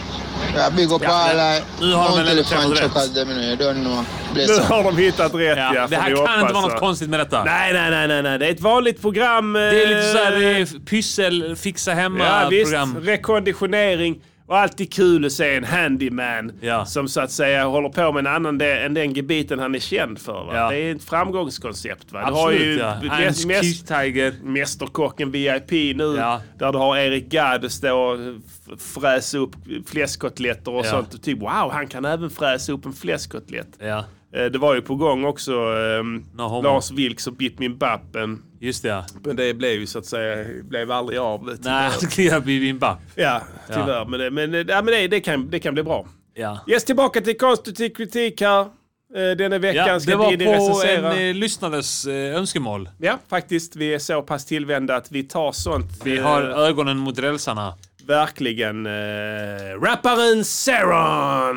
Speaker 13: Yeah, big up all I.
Speaker 1: nu har de väl
Speaker 13: Don't tell the fan
Speaker 1: träffat
Speaker 13: check
Speaker 1: rätt.
Speaker 13: out them, you know. You don't know. Bless
Speaker 3: Nu
Speaker 13: up.
Speaker 3: har de hittat rätt ja.
Speaker 1: Det
Speaker 3: får
Speaker 1: här kan
Speaker 3: vi hoppas,
Speaker 1: inte vara
Speaker 3: va.
Speaker 1: något konstigt med detta.
Speaker 3: Nej, nej, nej, nej, nej. Det är ett vanligt program. eh,
Speaker 1: Det är lite såhär pyssel, fixa
Speaker 3: Ja, visst.
Speaker 1: hemma-program.
Speaker 3: Rekonditionering. Och alltid kul att se en handyman
Speaker 1: Ja.
Speaker 3: som så att säga håller på med en annan del än den gebiten han är känd för. Va?
Speaker 1: Ja.
Speaker 3: Det är ett framgångskoncept. Va?
Speaker 1: Absolut
Speaker 3: du
Speaker 1: ja.
Speaker 3: har ju
Speaker 1: I'm
Speaker 3: mäst- mäst-
Speaker 1: cute tiger.
Speaker 3: Mästerkocken VIP nu
Speaker 1: Ja.
Speaker 3: där du har Erik Gadd stå och f- fräsa upp fläskkotletter och
Speaker 1: Ja.
Speaker 3: sånt. Typ wow, han kan även fräsa upp en fläskkotlett.
Speaker 1: Ja,
Speaker 3: Eh, Det var ju på gång också ehm,
Speaker 1: No homo.
Speaker 3: Lars Vilks och Bitt min bapp. en-
Speaker 1: just det ja.
Speaker 3: Men det blev ju så att säga, blev aldrig av. det,
Speaker 1: Nej,
Speaker 3: tyvärr.
Speaker 1: han skulle göra Bibin Bapp.
Speaker 3: Ja, tyvärr. Men, det, men, det- ja, men det, det, kan, det kan bli bra.
Speaker 1: Ja.
Speaker 3: Yes, tillbaka till konstruktiv kritik här. Eh, Denna veckan
Speaker 1: Ja,
Speaker 3: ska
Speaker 1: det var
Speaker 3: Diddy
Speaker 1: på en
Speaker 3: recensera.
Speaker 1: eh, lyssnares eh, önskemål.
Speaker 3: Ja, faktiskt. Vi är så pass tillvända att vi tar sånt.
Speaker 1: Vi
Speaker 3: eh,
Speaker 1: har ögonen mot rälsarna.
Speaker 3: verkligen eh, rapparen Seron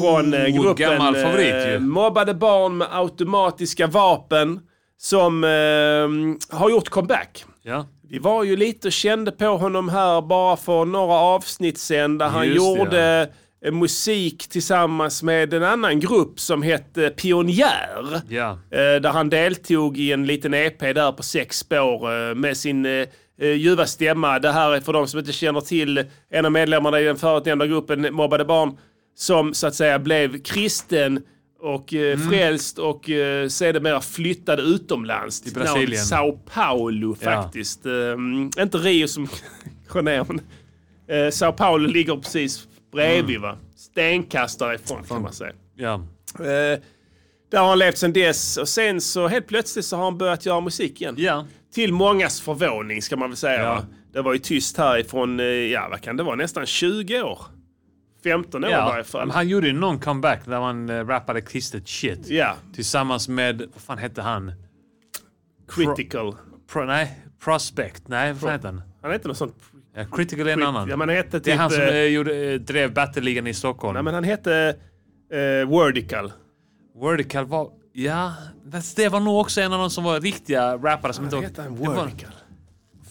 Speaker 3: från eh, gruppen
Speaker 1: Oh, gammal favorit ju.
Speaker 3: Mobbade barn med automatiska vapen som eh, har gjort comeback.
Speaker 1: Ja.
Speaker 3: Vi var ju lite och kände på honom här bara för några avsnitt sedan där han
Speaker 1: Just det,
Speaker 3: gjorde eh, musik tillsammans med en annan grupp som hette Pionjär.
Speaker 1: Ja.
Speaker 3: Eh, Där han deltog i en liten EP där på sex spår eh, med sin eh, eh, ljuva stämma. Det här är för de som inte känner till en av medlemmarna i den förutnämnda gruppen Mobbade Barn som så att säga blev kristen och eh, frälst och eh, sedermera flyttade utomlands. Till
Speaker 1: Brasilien.
Speaker 3: Sao Paulo faktiskt. Ehm, inte Rio som går ner, men eh, Sao Paulo ligger precis bredvid va. Stenkast därifrån kan man säga.
Speaker 1: Ja.
Speaker 3: Eh, där har han levt sedan dess och sen så helt plötsligt så har han börjat göra musik igen.
Speaker 1: Ja.
Speaker 3: Till mångas förvåning ska man väl säga. va? Det var ju tyst härifrån, eh, ja vad kan det vara, nästan 20 år. 15 år i
Speaker 1: ja.
Speaker 3: varje fall.
Speaker 1: Men han gjorde ju någon comeback där man eh, rappade kristet shit.
Speaker 3: Ja,
Speaker 1: Tillsammans med, vad fan hette han?
Speaker 3: critical.
Speaker 1: Pro, nej, Prospect. Nej, vad fan hette han?
Speaker 3: Han heter något sånt.
Speaker 1: Ja, Critical är en annan.
Speaker 3: Ja, men han hette typ...
Speaker 1: det är han som
Speaker 3: eh,
Speaker 1: eh, gjorde, eh, drev battleligan i Stockholm.
Speaker 3: Nej men han hette eh, Wordical.
Speaker 1: Vertical var... Ja, fast det var nog också en av de som var riktiga rappare som inte var...
Speaker 3: Hette han
Speaker 1: det var-
Speaker 3: Wordical?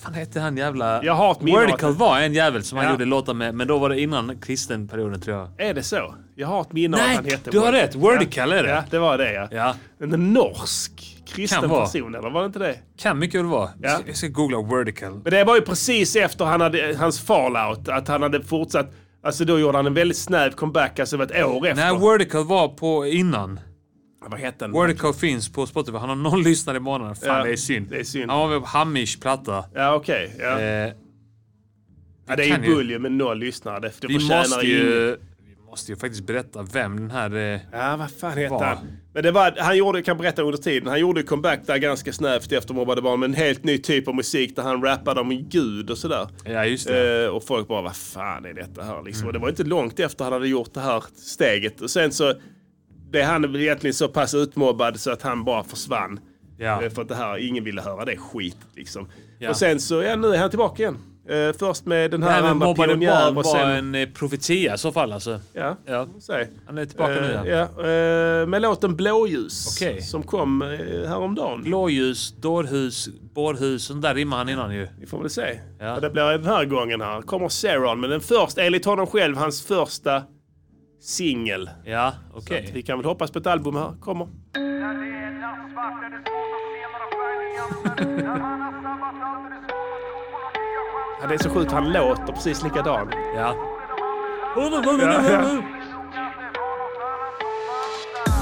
Speaker 1: fan hette han jävla...
Speaker 3: Jag har ett minne av
Speaker 1: Vertical
Speaker 3: att-
Speaker 1: var en jävel som
Speaker 3: Ja.
Speaker 1: han gjorde låtar med, men då var det innan kristenperioden tror jag.
Speaker 3: Är det så? Jag har ett minne av att
Speaker 1: Nej,
Speaker 3: han hette
Speaker 1: du har rätt.
Speaker 3: Wordical.
Speaker 1: Wordical är det.
Speaker 3: Ja, det var det ja.
Speaker 1: Ja,
Speaker 3: En norsk kristen
Speaker 1: Kan vara.
Speaker 3: person, eller var det inte det?
Speaker 1: kan mycket väl vara. Jag ska-
Speaker 3: Ja.
Speaker 1: Jag ska googla vertical.
Speaker 3: Men det var ju precis efter han hade, hans fallout, att han hade fortsatt. Alltså då gjorde han en väldigt snäv comeback, alltså det var ett år efter.
Speaker 1: Nej, vertical var på innan.
Speaker 3: Vad hette han?
Speaker 1: Vertical finns på Spotify. Han har noll lyssnare i månaden. Fan,
Speaker 3: Ja,
Speaker 1: det är synd.
Speaker 3: det är synd.
Speaker 1: Han var med på Hamish platta.
Speaker 3: Ja, okej. ja.
Speaker 1: Eh,
Speaker 3: ja, det är
Speaker 1: kan
Speaker 3: ju
Speaker 1: ju.
Speaker 3: bull ju med noll lyssnare. Det, det
Speaker 1: vi,
Speaker 3: förtjänar
Speaker 1: måste
Speaker 3: ingen.
Speaker 1: ju, vi måste ju faktiskt berätta vem den här... Eh,
Speaker 3: Ja, vad fan hette
Speaker 1: Var.
Speaker 3: han? Men det var, han gjorde, jag kan berätta under tiden, han gjorde ju comeback där ganska snävt efter Mobbade Barn med en helt ny typ av musik där han rappade om Gud och sådär.
Speaker 1: ja, just det.
Speaker 3: Eh, och folk bara, vad fan är detta här liksom? Och det var inte långt efter han hade gjort det här steget. Och sen så blev han väl egentligen så pass utmobbad så att han bara försvann.
Speaker 1: Ja.
Speaker 3: Eh, För att det här, ingen ville höra det skit liksom.
Speaker 1: Ja.
Speaker 3: Och sen så, ja nu är han tillbaka igen. Eh, först med den
Speaker 1: Det
Speaker 3: här
Speaker 1: här med
Speaker 3: andra
Speaker 1: mobbade
Speaker 3: pionjär
Speaker 1: barn
Speaker 3: och
Speaker 1: var
Speaker 3: sen...
Speaker 1: en eh, profetia i så fall alltså.
Speaker 3: Ja,
Speaker 1: Ja.
Speaker 3: säg.
Speaker 1: Han är tillbaka nu ja.
Speaker 3: Eh, ja, eh, med låten Blåljus
Speaker 1: Okej.
Speaker 3: som kom eh, häromdagen.
Speaker 1: Blåljus, dårhus, bårhus. Sånt där rimmar han innan ju.
Speaker 3: Vi får väl se.
Speaker 1: Ja.
Speaker 3: Vad det blir den här gången här. Kommer Seron med den första, enligt honom själv, hans första singel.
Speaker 1: Ja,
Speaker 3: Så
Speaker 1: okej.
Speaker 3: att Vi kan väl hoppas på ett album här. Kommer. Ja, det är så sjukt, han låter precis likadan.
Speaker 1: Ja.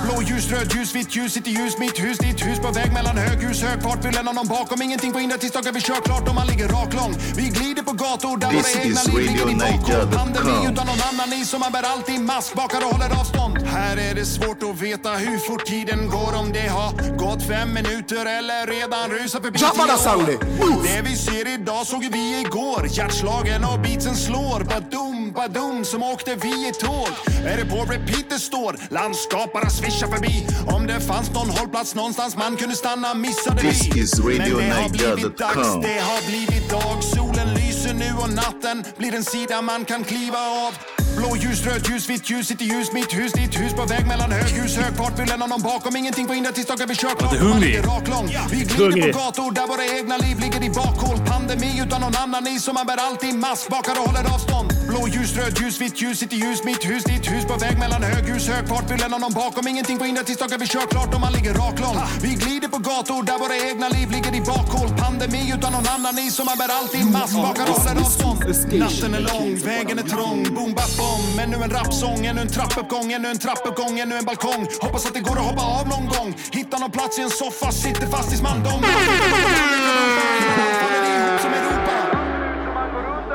Speaker 14: Blåljus, rödljus, vitt ljus, sitt i ljus, mitt hus, ditt hus på väg mellan höghus, hög fart, vill lämna någon bakom, ingenting på hindret tills dagen vi kör klart om man ligger rak lång. Vi glider på gator där
Speaker 7: This
Speaker 14: våra
Speaker 7: is
Speaker 14: egna liv ligger i bakom. Pandemi
Speaker 7: RadioNaja.com.
Speaker 14: utan någon annan i som man bär alltid mask, bakar och håller avstånd. Här är det svårt att veta hur fort tiden går om det har gått fem minuter eller redan rusat förbi
Speaker 12: Tja, vad det
Speaker 14: tio år.
Speaker 12: soundet. Move.
Speaker 14: Det vi ser idag såg ju vi igår. Hjärtslagen och beatsen slår. Badum, badum, som åkte vi i tåg. Är det på repeat det står? Landskap bara svischar förbi. Om det fanns någon hållplats någonstans man kunde stanna missade vi.
Speaker 7: This is
Speaker 14: Men det har blivit
Speaker 7: RadioNaja.com.
Speaker 14: dags, det har blivit dag. Solen lyser nu och natten blir en sida man kan kliva av. Blåljus, rödljus, vitt ljus, sitt i ljus, mitt hus, ditt hus på väg mellan höghus, hög fart, vill lämna någon bakom, ingenting på hindret tills dagen vi kör klart.
Speaker 15: Låter hungrig.
Speaker 14: Man ligger rak lång. Vi glider
Speaker 15: Hungrig.
Speaker 14: på gator där våra egna liv ligger i bakhåll. Pandemi utan någon annan i som man bär alltid mask, bakar och håller avstånd. Blåljus, rödljus, vitt ljus, sitt i ljus, mitt hus, ditt hus på väg mellan höghus, hög fart, vill lämna någon bakom, ingenting på hindret tills dagen vi kör klart och man ligger rak lång. Vi glider på gator där våra egna liv ligger i bakhåll. Pandemi utan någon annan i som man bär alltid mask, bakar och håller avstånd. Natten är lång, vägen är trång, boom, bap, bom. Ännu en rapsång, ännu en trappuppgång, ännu en trappuppgång, ännu en balkong. Hoppas att det går att hoppa av någon gång. Hitta någon plats i en soffa, sitter fast i smanndom.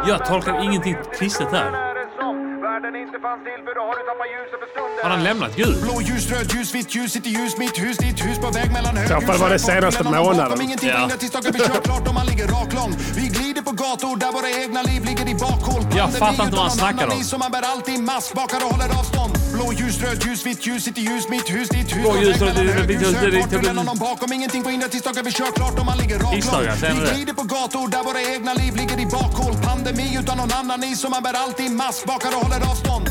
Speaker 1: Jag tolkar ingenting kristet här. Har han lämnat Gud?
Speaker 14: Blåljus, rödljus, vitt ljus, sitt i ljus, mitt hus, ditt hus på väg mellan
Speaker 3: I så fall var det senaste månaden.
Speaker 14: Ingenting ja. innan tisdagen vi kör klart om man ligger rak lång. Vi glider på gator där våra egna liv ligger i bakhåll.
Speaker 1: Jag fattar inte
Speaker 14: utan
Speaker 1: vad han
Speaker 14: någon
Speaker 1: snackar
Speaker 14: annan
Speaker 1: om.
Speaker 14: i Som man bär alltid mask, bakar och håller avstånd. Blåljus, rödljus, vitt ljus, sitt i ljus, mitt hus, ditt hus.
Speaker 1: Blåljus,
Speaker 14: på väg mellan
Speaker 1: rödljus, vitt ljus,
Speaker 14: höghus,
Speaker 1: ditt
Speaker 14: högfart,
Speaker 1: hus.
Speaker 14: vill lämna någon bakom. Ingenting på innan tisdagen vi kör klart om man ligger rak
Speaker 1: Tisdagar, sen är
Speaker 14: lång.
Speaker 1: det.
Speaker 14: Vi glider på gator där våra egna liv ligger i bakhåll. Pandemi utan någon annan i som man bär alltid mask, bakar och håller avstånd.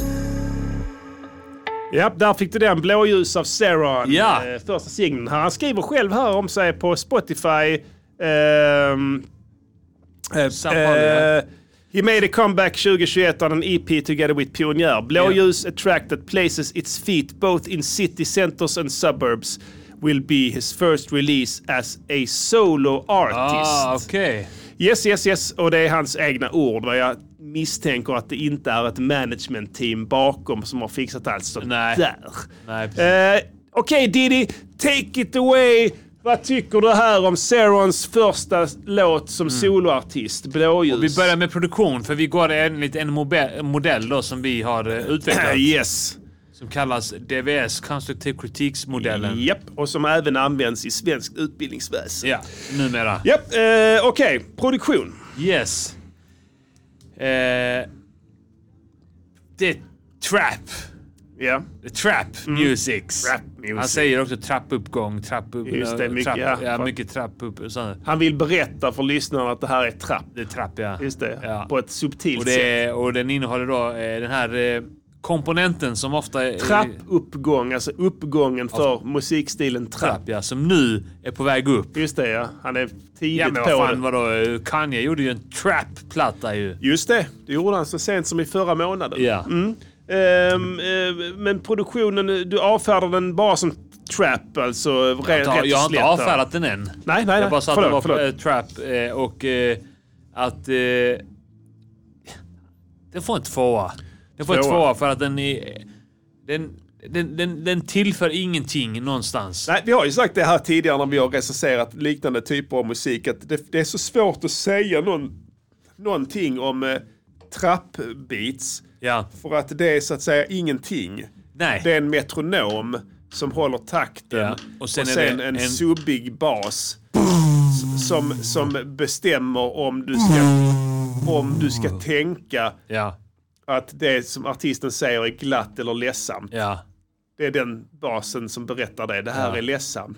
Speaker 3: Japp, där fick du den. Blåljus av Saron.
Speaker 1: Ja.
Speaker 3: Eh, första singeln. här. Han skriver själv här om sig på Spotify. ehm, eh, eh, he made a comeback 2021 on an EP together with Pionjär. Blåljus attract that places its feet both in city centers and suburbs will be his first release as a solo artist.
Speaker 1: Ah, okej.
Speaker 3: Yes, yes, yes. Och det är hans egna ord. Vad jag misstänker att det inte är ett management-team bakom som har fixat allt sånt
Speaker 1: Nej.
Speaker 3: där.
Speaker 1: Nej, precis.
Speaker 3: Eh, Okej Diddy, take it away. Vad tycker du här om Sarons första låt som soloartist, Blåljus?
Speaker 1: Mm. Och vi börjar med produktion, för vi går enligt en mobe- modell då som vi har eh, utvecklat.
Speaker 3: yes.
Speaker 1: Som kallas DVS, konstruktiv kritiksmodellen.
Speaker 3: Japp, och som även används i svensk utbildningsväsen.
Speaker 1: Ja, numera.
Speaker 3: Japp, eh, okej. Produktion.
Speaker 1: Yes. Eh, det är trap.
Speaker 3: Ja.
Speaker 1: Det är Trap
Speaker 3: Mm.
Speaker 1: musics.
Speaker 3: Trap music.
Speaker 1: Han säger också trappuppgång, trappupp...
Speaker 3: Just det, mycket,
Speaker 1: trapp,
Speaker 3: ja.
Speaker 1: ja, mycket trappupp. och sånt.
Speaker 3: Han vill berätta för lyssnarna att det här är trapp.
Speaker 1: Det är trapp, ja.
Speaker 3: Just det.
Speaker 1: Ja.
Speaker 3: På ett subtilt
Speaker 1: Och,
Speaker 3: sätt.
Speaker 1: det, och den innehåller då eh, den här eh, komponenten som ofta är...
Speaker 3: Trappuppgång, alltså uppgången för
Speaker 1: Alltså-
Speaker 3: musikstilen trapp.
Speaker 1: Trapp, ja. Som nu är på väg upp.
Speaker 3: Just det ja, han är tidigt
Speaker 1: Ja men
Speaker 3: på
Speaker 1: vad fan
Speaker 3: det.
Speaker 1: vadå? eh, Kanye gjorde ju en trap-platta ju.
Speaker 3: Just det, det gjorde han så sent som i förra månaden.
Speaker 1: Ja.
Speaker 3: Mm. Ehm, eh, men produktionen, du avfärdar den bara som trap alltså? Jag,
Speaker 1: Jag har- jag har inte avfärdat den än.
Speaker 3: Nej, nej,
Speaker 1: Jag bara sa att det var
Speaker 3: förlåt, förlåt.
Speaker 1: eh, trap eh, och eh, att... Eh, den får en tvåa. Den får en
Speaker 3: Tvåa.
Speaker 1: tvåa för att den är... Den, den, den, den tillför ingenting någonstans.
Speaker 3: Nej, vi har ju sagt det här tidigare när vi har recenserat liknande typer av musik att det, det är så svårt att säga någon, någonting om eh, trappbeats.
Speaker 1: Ja.
Speaker 3: För att det är så att säga ingenting.
Speaker 1: Nej.
Speaker 3: Det är en metronom som håller takten
Speaker 1: Ja,
Speaker 3: och
Speaker 1: och
Speaker 3: sen,
Speaker 1: sen är det
Speaker 3: en,
Speaker 1: en-
Speaker 3: subbig bas s- som, som bestämmer om du ska, om du ska tänka
Speaker 1: Ja.
Speaker 3: att det som artisten säger är glatt eller ledsamt.
Speaker 1: Ja.
Speaker 3: Det är den basen som berättar det. Det här
Speaker 1: Ja.
Speaker 3: är ledsamt.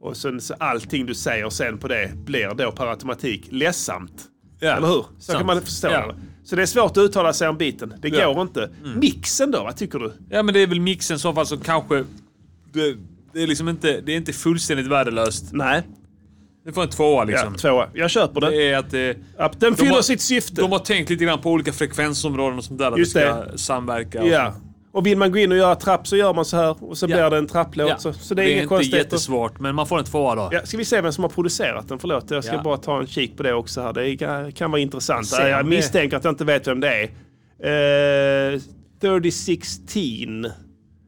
Speaker 3: Och sen så allting du säger sen på det blir då per automatik ledsamt.
Speaker 1: Ja,
Speaker 3: Eller hur? Så
Speaker 1: sant.
Speaker 3: kan man förstå
Speaker 1: Ja.
Speaker 3: det. Så det är svårt att uttala sig om biten. Det
Speaker 1: Ja. Mm.
Speaker 3: går inte. Mixen då, vad tycker du?
Speaker 1: Ja men det är väl mixen i så fall som kanske... Det, det är liksom inte... Det är inte fullständigt värdelöst.
Speaker 3: Nej.
Speaker 1: Det får en tvåa
Speaker 3: Ja,
Speaker 1: liksom.
Speaker 3: tvåa. Jag köper det.
Speaker 1: Det är att... Eh,
Speaker 3: Att den
Speaker 1: De
Speaker 3: fyller
Speaker 1: har-
Speaker 3: sitt syfte.
Speaker 1: De har tänkt lite grann på olika frekvensområden och sånt där. Att
Speaker 3: Just
Speaker 1: Just det ska
Speaker 3: det.
Speaker 1: samverka. och
Speaker 3: Ja.
Speaker 1: så.
Speaker 3: Och vill man gå in och göra trapp så gör man så här och så
Speaker 1: Ja.
Speaker 3: blir det en trapplåt.
Speaker 1: Ja.
Speaker 3: Så, så det är, inga
Speaker 1: inte
Speaker 3: konstigheter.
Speaker 1: jättesvårt, men man får en tvåa då.
Speaker 3: Ja, ska vi se vem som har producerat den? Förlåt, jag ska
Speaker 1: Ja.
Speaker 3: bara ta en kik på det också här. Det kan- kan vara intressant.
Speaker 1: Se om
Speaker 3: Jag
Speaker 1: det-
Speaker 3: misstänker att jag inte vet vem det är. Eh, 3016.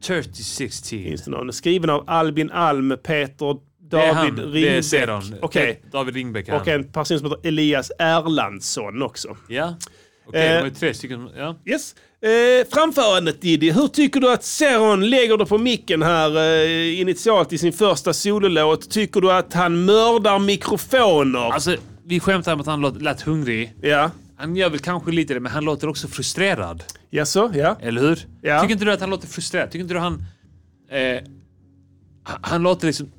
Speaker 1: 3016.
Speaker 3: Finns det någon? Skriven av Albin Alm, Peter
Speaker 1: Det är
Speaker 3: David
Speaker 1: han. Det är
Speaker 3: Ringbäck.
Speaker 1: Zedon.
Speaker 3: Okej.
Speaker 1: Det är David Ringbäck är
Speaker 3: Och
Speaker 1: han.
Speaker 3: en person som heter Elias Erlandsson också.
Speaker 1: Ja. Okej,
Speaker 3: Eh,
Speaker 1: det var ju tre stycken. Ja.
Speaker 3: Yes. Eh, framförandet Diddy, hur tycker du att Seron lägger det på micken här eh, initialt i sin första sololåt? Tycker du att han mördar mikrofoner?
Speaker 1: Alltså, vi skämtar om att han lät, lät hungrig.
Speaker 3: Ja.
Speaker 1: Han gör väl kanske lite det, men han låter också frustrerad.
Speaker 3: Jaså, ja.
Speaker 1: Eller hur?
Speaker 3: Ja.
Speaker 1: Tycker inte du att han låter frustrerad? Tycker inte du han... Eh, han- han låter liksom...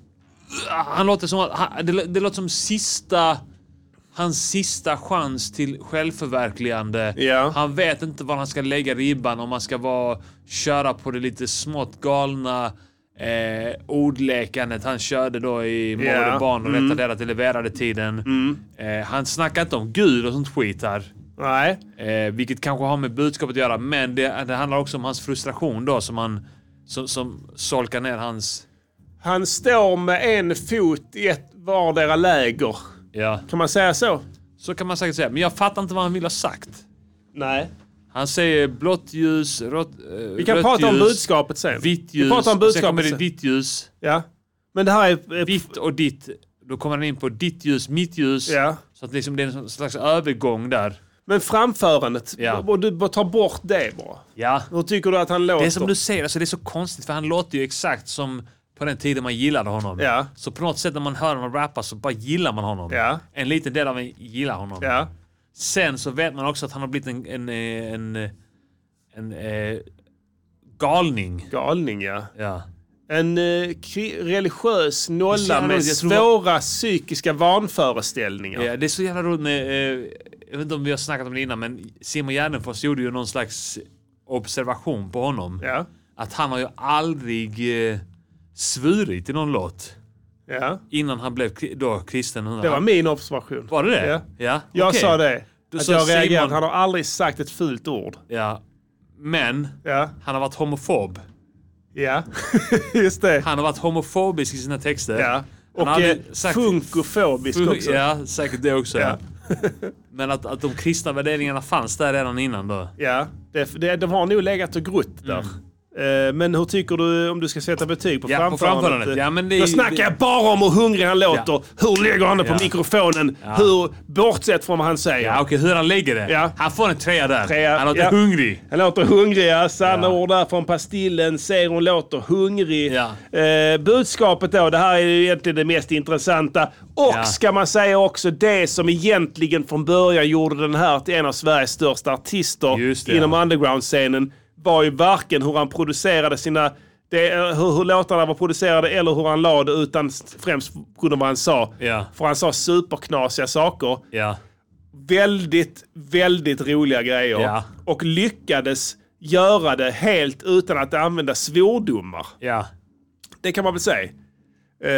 Speaker 1: Han låter som att... Han, det, lå- det låter som sista... Hans sista chans till självförverkligande. Han vet inte var han ska lägga ribban. Om han ska vara, köra på det lite smått galna eh, ordlekandet han körde då i Mål
Speaker 3: Ja.
Speaker 1: och barn och
Speaker 3: Mm.
Speaker 1: rätta delar till leverade tiden.
Speaker 3: Mm.
Speaker 1: Eh, han snackar inte om Gud och sånt skit här.
Speaker 3: Nej.
Speaker 1: Eh, vilket kanske har med budskapet att göra, men det, det handlar också om hans frustration då som han som, som solkar ner hans...
Speaker 3: Han står med en fot i ett vardera läger.
Speaker 1: Ja.
Speaker 3: Kan man säga så?
Speaker 1: Så kan man säkert säga, men jag fattar inte vad han vill ha sagt.
Speaker 3: Nej.
Speaker 1: Han säger blått ljus, rått, eh,
Speaker 3: Vi kan
Speaker 1: rött
Speaker 3: prata om
Speaker 1: ljus,
Speaker 3: budskapet sen.
Speaker 1: Vitt
Speaker 3: Vi
Speaker 1: ljus,
Speaker 3: pratar om
Speaker 1: och sen
Speaker 3: budskapet
Speaker 1: kommer det
Speaker 3: sen.
Speaker 1: ditt ljus.
Speaker 3: Ja. Men det här är... eh,
Speaker 1: Ditt och ditt. Då kommer han in på ditt ljus, mitt ljus.
Speaker 3: Ja.
Speaker 1: Så att liksom det är en slags övergång där.
Speaker 3: Men framförandet,
Speaker 1: Ja.
Speaker 3: och du bara tar bort det bara.
Speaker 1: Ja.
Speaker 3: Hur tycker du att han låter?
Speaker 1: Det är som du säger, alltså det är så konstigt för han låter ju exakt som på den tiden man gillade honom.
Speaker 3: Ja.
Speaker 1: Så på något sätt när man hör honom rappa så bara gillar man honom.
Speaker 3: Ja.
Speaker 1: En liten del av en gillar honom.
Speaker 3: Ja.
Speaker 1: Sen så vet man också att han har blivit en... en, eh, en, eh, en, eh, galning.
Speaker 3: Galning, ja.
Speaker 1: ja.
Speaker 3: En eh, kri- religiös
Speaker 1: Det är så
Speaker 3: nolla
Speaker 1: jävla
Speaker 3: med
Speaker 1: roligt, jag tror-
Speaker 3: svåra psykiska vanföreställningar.
Speaker 1: Ja, det är så jävla roligt med, eh, jag vet inte om vi har snackat om det innan, men Simon Gärdenfors gjorde ju någon slags observation på honom. Att han har ju aldrig eh, svurit i någon låt.
Speaker 3: Ja.
Speaker 1: Innan han blev kri- då kristen.
Speaker 3: Det var min observation.
Speaker 1: Var det det?
Speaker 3: Ja.
Speaker 1: Ja,
Speaker 3: Jag
Speaker 1: okej.
Speaker 3: sa det.
Speaker 1: Du
Speaker 3: att
Speaker 1: sa
Speaker 3: jag reagerade.
Speaker 1: Simon-
Speaker 3: Han har aldrig sagt ett fult ord.
Speaker 1: Ja. Men han har varit homofob.
Speaker 3: Ja, just det.
Speaker 1: Han har varit homofobisk i sina texter.
Speaker 3: Ja.
Speaker 1: Han
Speaker 3: Och,
Speaker 1: har aldrig
Speaker 3: eh, funkofobisk
Speaker 1: Fun-
Speaker 3: också.
Speaker 1: Ja, säkert det också. Ja. Men att, att de kristna värderingarna fanns där redan innan då.
Speaker 3: Ja, det, det, de har nog legat och grott där. Eh, Men hur tycker du om du ska sätta betyg på
Speaker 1: Mm. Ja, på
Speaker 3: framförandet?
Speaker 1: framförandet. Ja, men det är
Speaker 3: Då
Speaker 1: ju-
Speaker 3: snackar
Speaker 1: det-
Speaker 3: jag bara om hur hungrig han låter, hur lägger han det på
Speaker 1: Ja.
Speaker 3: mikrofonen,
Speaker 1: Ja.
Speaker 3: hur, bortsett från vad han säger.
Speaker 1: Ja, okej, hur han lägger det.
Speaker 3: Ja.
Speaker 1: Han får en trea där.
Speaker 3: Trea,
Speaker 1: Han låter
Speaker 3: ja.
Speaker 1: hungrig.
Speaker 3: Han låter hungrig, ja. Sanna ord där från Pastillen. Ser hon låter hungrig. Eh, budskapet då, det här är ju egentligen det mest intressanta. Och
Speaker 1: Ja.
Speaker 3: ska man säga också det som egentligen från början gjorde den här till en av Sveriges största
Speaker 1: Just
Speaker 3: artister
Speaker 1: det,
Speaker 3: inom underground-scenen var ju varken hur han producerade sina det, eh, hur, hur låtarna var producerade eller hur han la det utan främst på grund av vad han sa.
Speaker 1: Ja.
Speaker 3: För han sa superknasiga saker
Speaker 1: Ja.
Speaker 3: väldigt, väldigt roliga grejer.
Speaker 1: Ja.
Speaker 3: Och lyckades göra det helt utan att använda svordomar.
Speaker 1: Ja.
Speaker 3: Det kan man väl säga.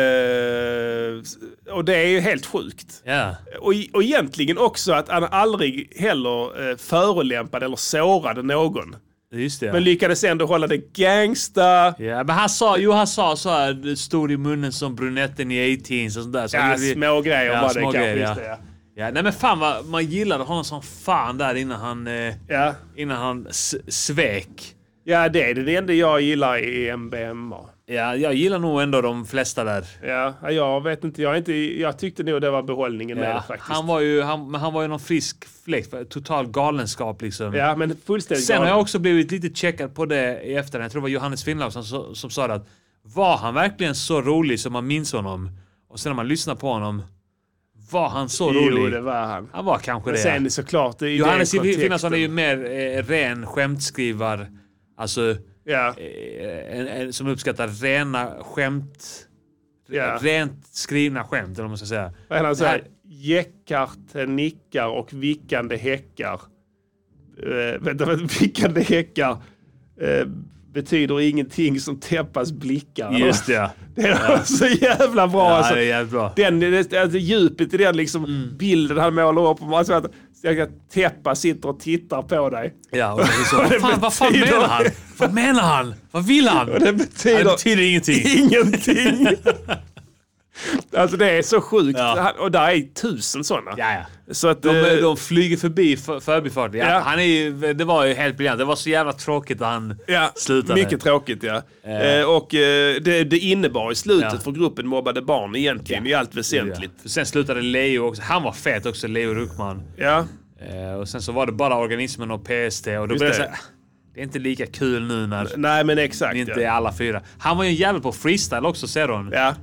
Speaker 3: Eh, och det är ju helt sjukt.
Speaker 1: Ja.
Speaker 3: Och, och egentligen också att han aldrig heller eh, förolämpade eller sårade någon.
Speaker 1: Just det.
Speaker 3: Men lyckades ändå hålla det gangsta.
Speaker 1: Ja, men han sa, jo han sa så här, du stod i munnen som brunetten i 18s och sånt där. Så
Speaker 3: Ja,
Speaker 1: han gjorde-
Speaker 3: små grejer var det kanske,
Speaker 1: ja.
Speaker 3: just det, ja.
Speaker 1: ja. Nej men fan vad man gillade honom som fan där innan han, eh, innan han s- svek.
Speaker 3: Ja, det är det enda jag gillar i MBMA.
Speaker 1: Ja, jag gillar nog ändå de flesta där.
Speaker 3: Ja, jag vet inte. Jag, är inte, jag tyckte nog det var behållningen med det
Speaker 1: Ja,
Speaker 3: faktiskt.
Speaker 1: han var ju han, men han var ju någon frisk fläkt, total galenskap liksom.
Speaker 3: Ja, men fullständigt
Speaker 1: Sen har
Speaker 3: galen.
Speaker 1: jag också blivit lite checkad på det i efterhand. Jag tror det var Johannes Finnlaug som, som, som sa det att var han verkligen så rolig som man minns honom? Och sen när man lyssnar på honom, var han så
Speaker 3: Jo,
Speaker 1: rolig?
Speaker 3: det var han.
Speaker 1: Han var kanske
Speaker 3: Men
Speaker 1: det.
Speaker 3: sen såklart, i
Speaker 1: Johannes
Speaker 3: den kontexten.
Speaker 1: Finnason är ju mer eh, ren skämtskrivar. Alltså, eh, en, en, som uppskattar rena skämt.
Speaker 3: Ja.
Speaker 1: Rent skrivna skämt, eller vad man ska säga.
Speaker 3: Vad heter han?
Speaker 1: Det här-
Speaker 3: Såhär, jäckar, till eh, nickar och vickande häckar. Eh, vänta, vänta, vickande häckar eh, betyder ingenting som täppas blickar. eller?
Speaker 1: Just det, ja.
Speaker 3: Det är
Speaker 1: Ja.
Speaker 3: så jävla bra
Speaker 1: Ja,
Speaker 3: alltså.
Speaker 1: det är Mm. jävligt bra.
Speaker 3: Den, det- alltså, djupet i den liksom, bilden han målar upp. om Alltså, att jag Teppa sitter och tittar på dig.
Speaker 1: Ja, och det är så,
Speaker 3: Och
Speaker 1: vad,
Speaker 3: det
Speaker 1: fan, vad fan
Speaker 3: betyder-
Speaker 1: menar han? Vad menar han? Vad vill han?
Speaker 3: Och det betyder-
Speaker 1: Ja, det betyder ingenting.
Speaker 3: Ingenting. Alltså det är så sjukt. Han- Och där är tusen sådana. Så att,
Speaker 1: De,
Speaker 3: eh,
Speaker 1: de flyger förbi för- förbifarten. Ja,
Speaker 3: Ja.
Speaker 1: Han är ju, det var ju helt briljant. Det var så jävla tråkigt när han
Speaker 3: Ja,
Speaker 1: slutade.
Speaker 3: Mycket tråkigt ja.
Speaker 1: Eh.
Speaker 3: Eh, och eh, det, det innebar i slutet
Speaker 1: Ja.
Speaker 3: för gruppen mobbade barn egentligen i allt väsentligt.
Speaker 1: För sen slutade Leo också. Han var fet också, Leo Ruckman. Eh,
Speaker 3: Ja.
Speaker 1: och sen så var det bara organismen och PST och då
Speaker 3: Just
Speaker 1: blev det så
Speaker 3: det.
Speaker 1: här, det är inte lika kul nu när
Speaker 3: Nej men exakt.
Speaker 1: vi inte
Speaker 3: ja.
Speaker 1: är alla fyra. Han var ju en jävel på freestyle också ser hon.
Speaker 3: Ja.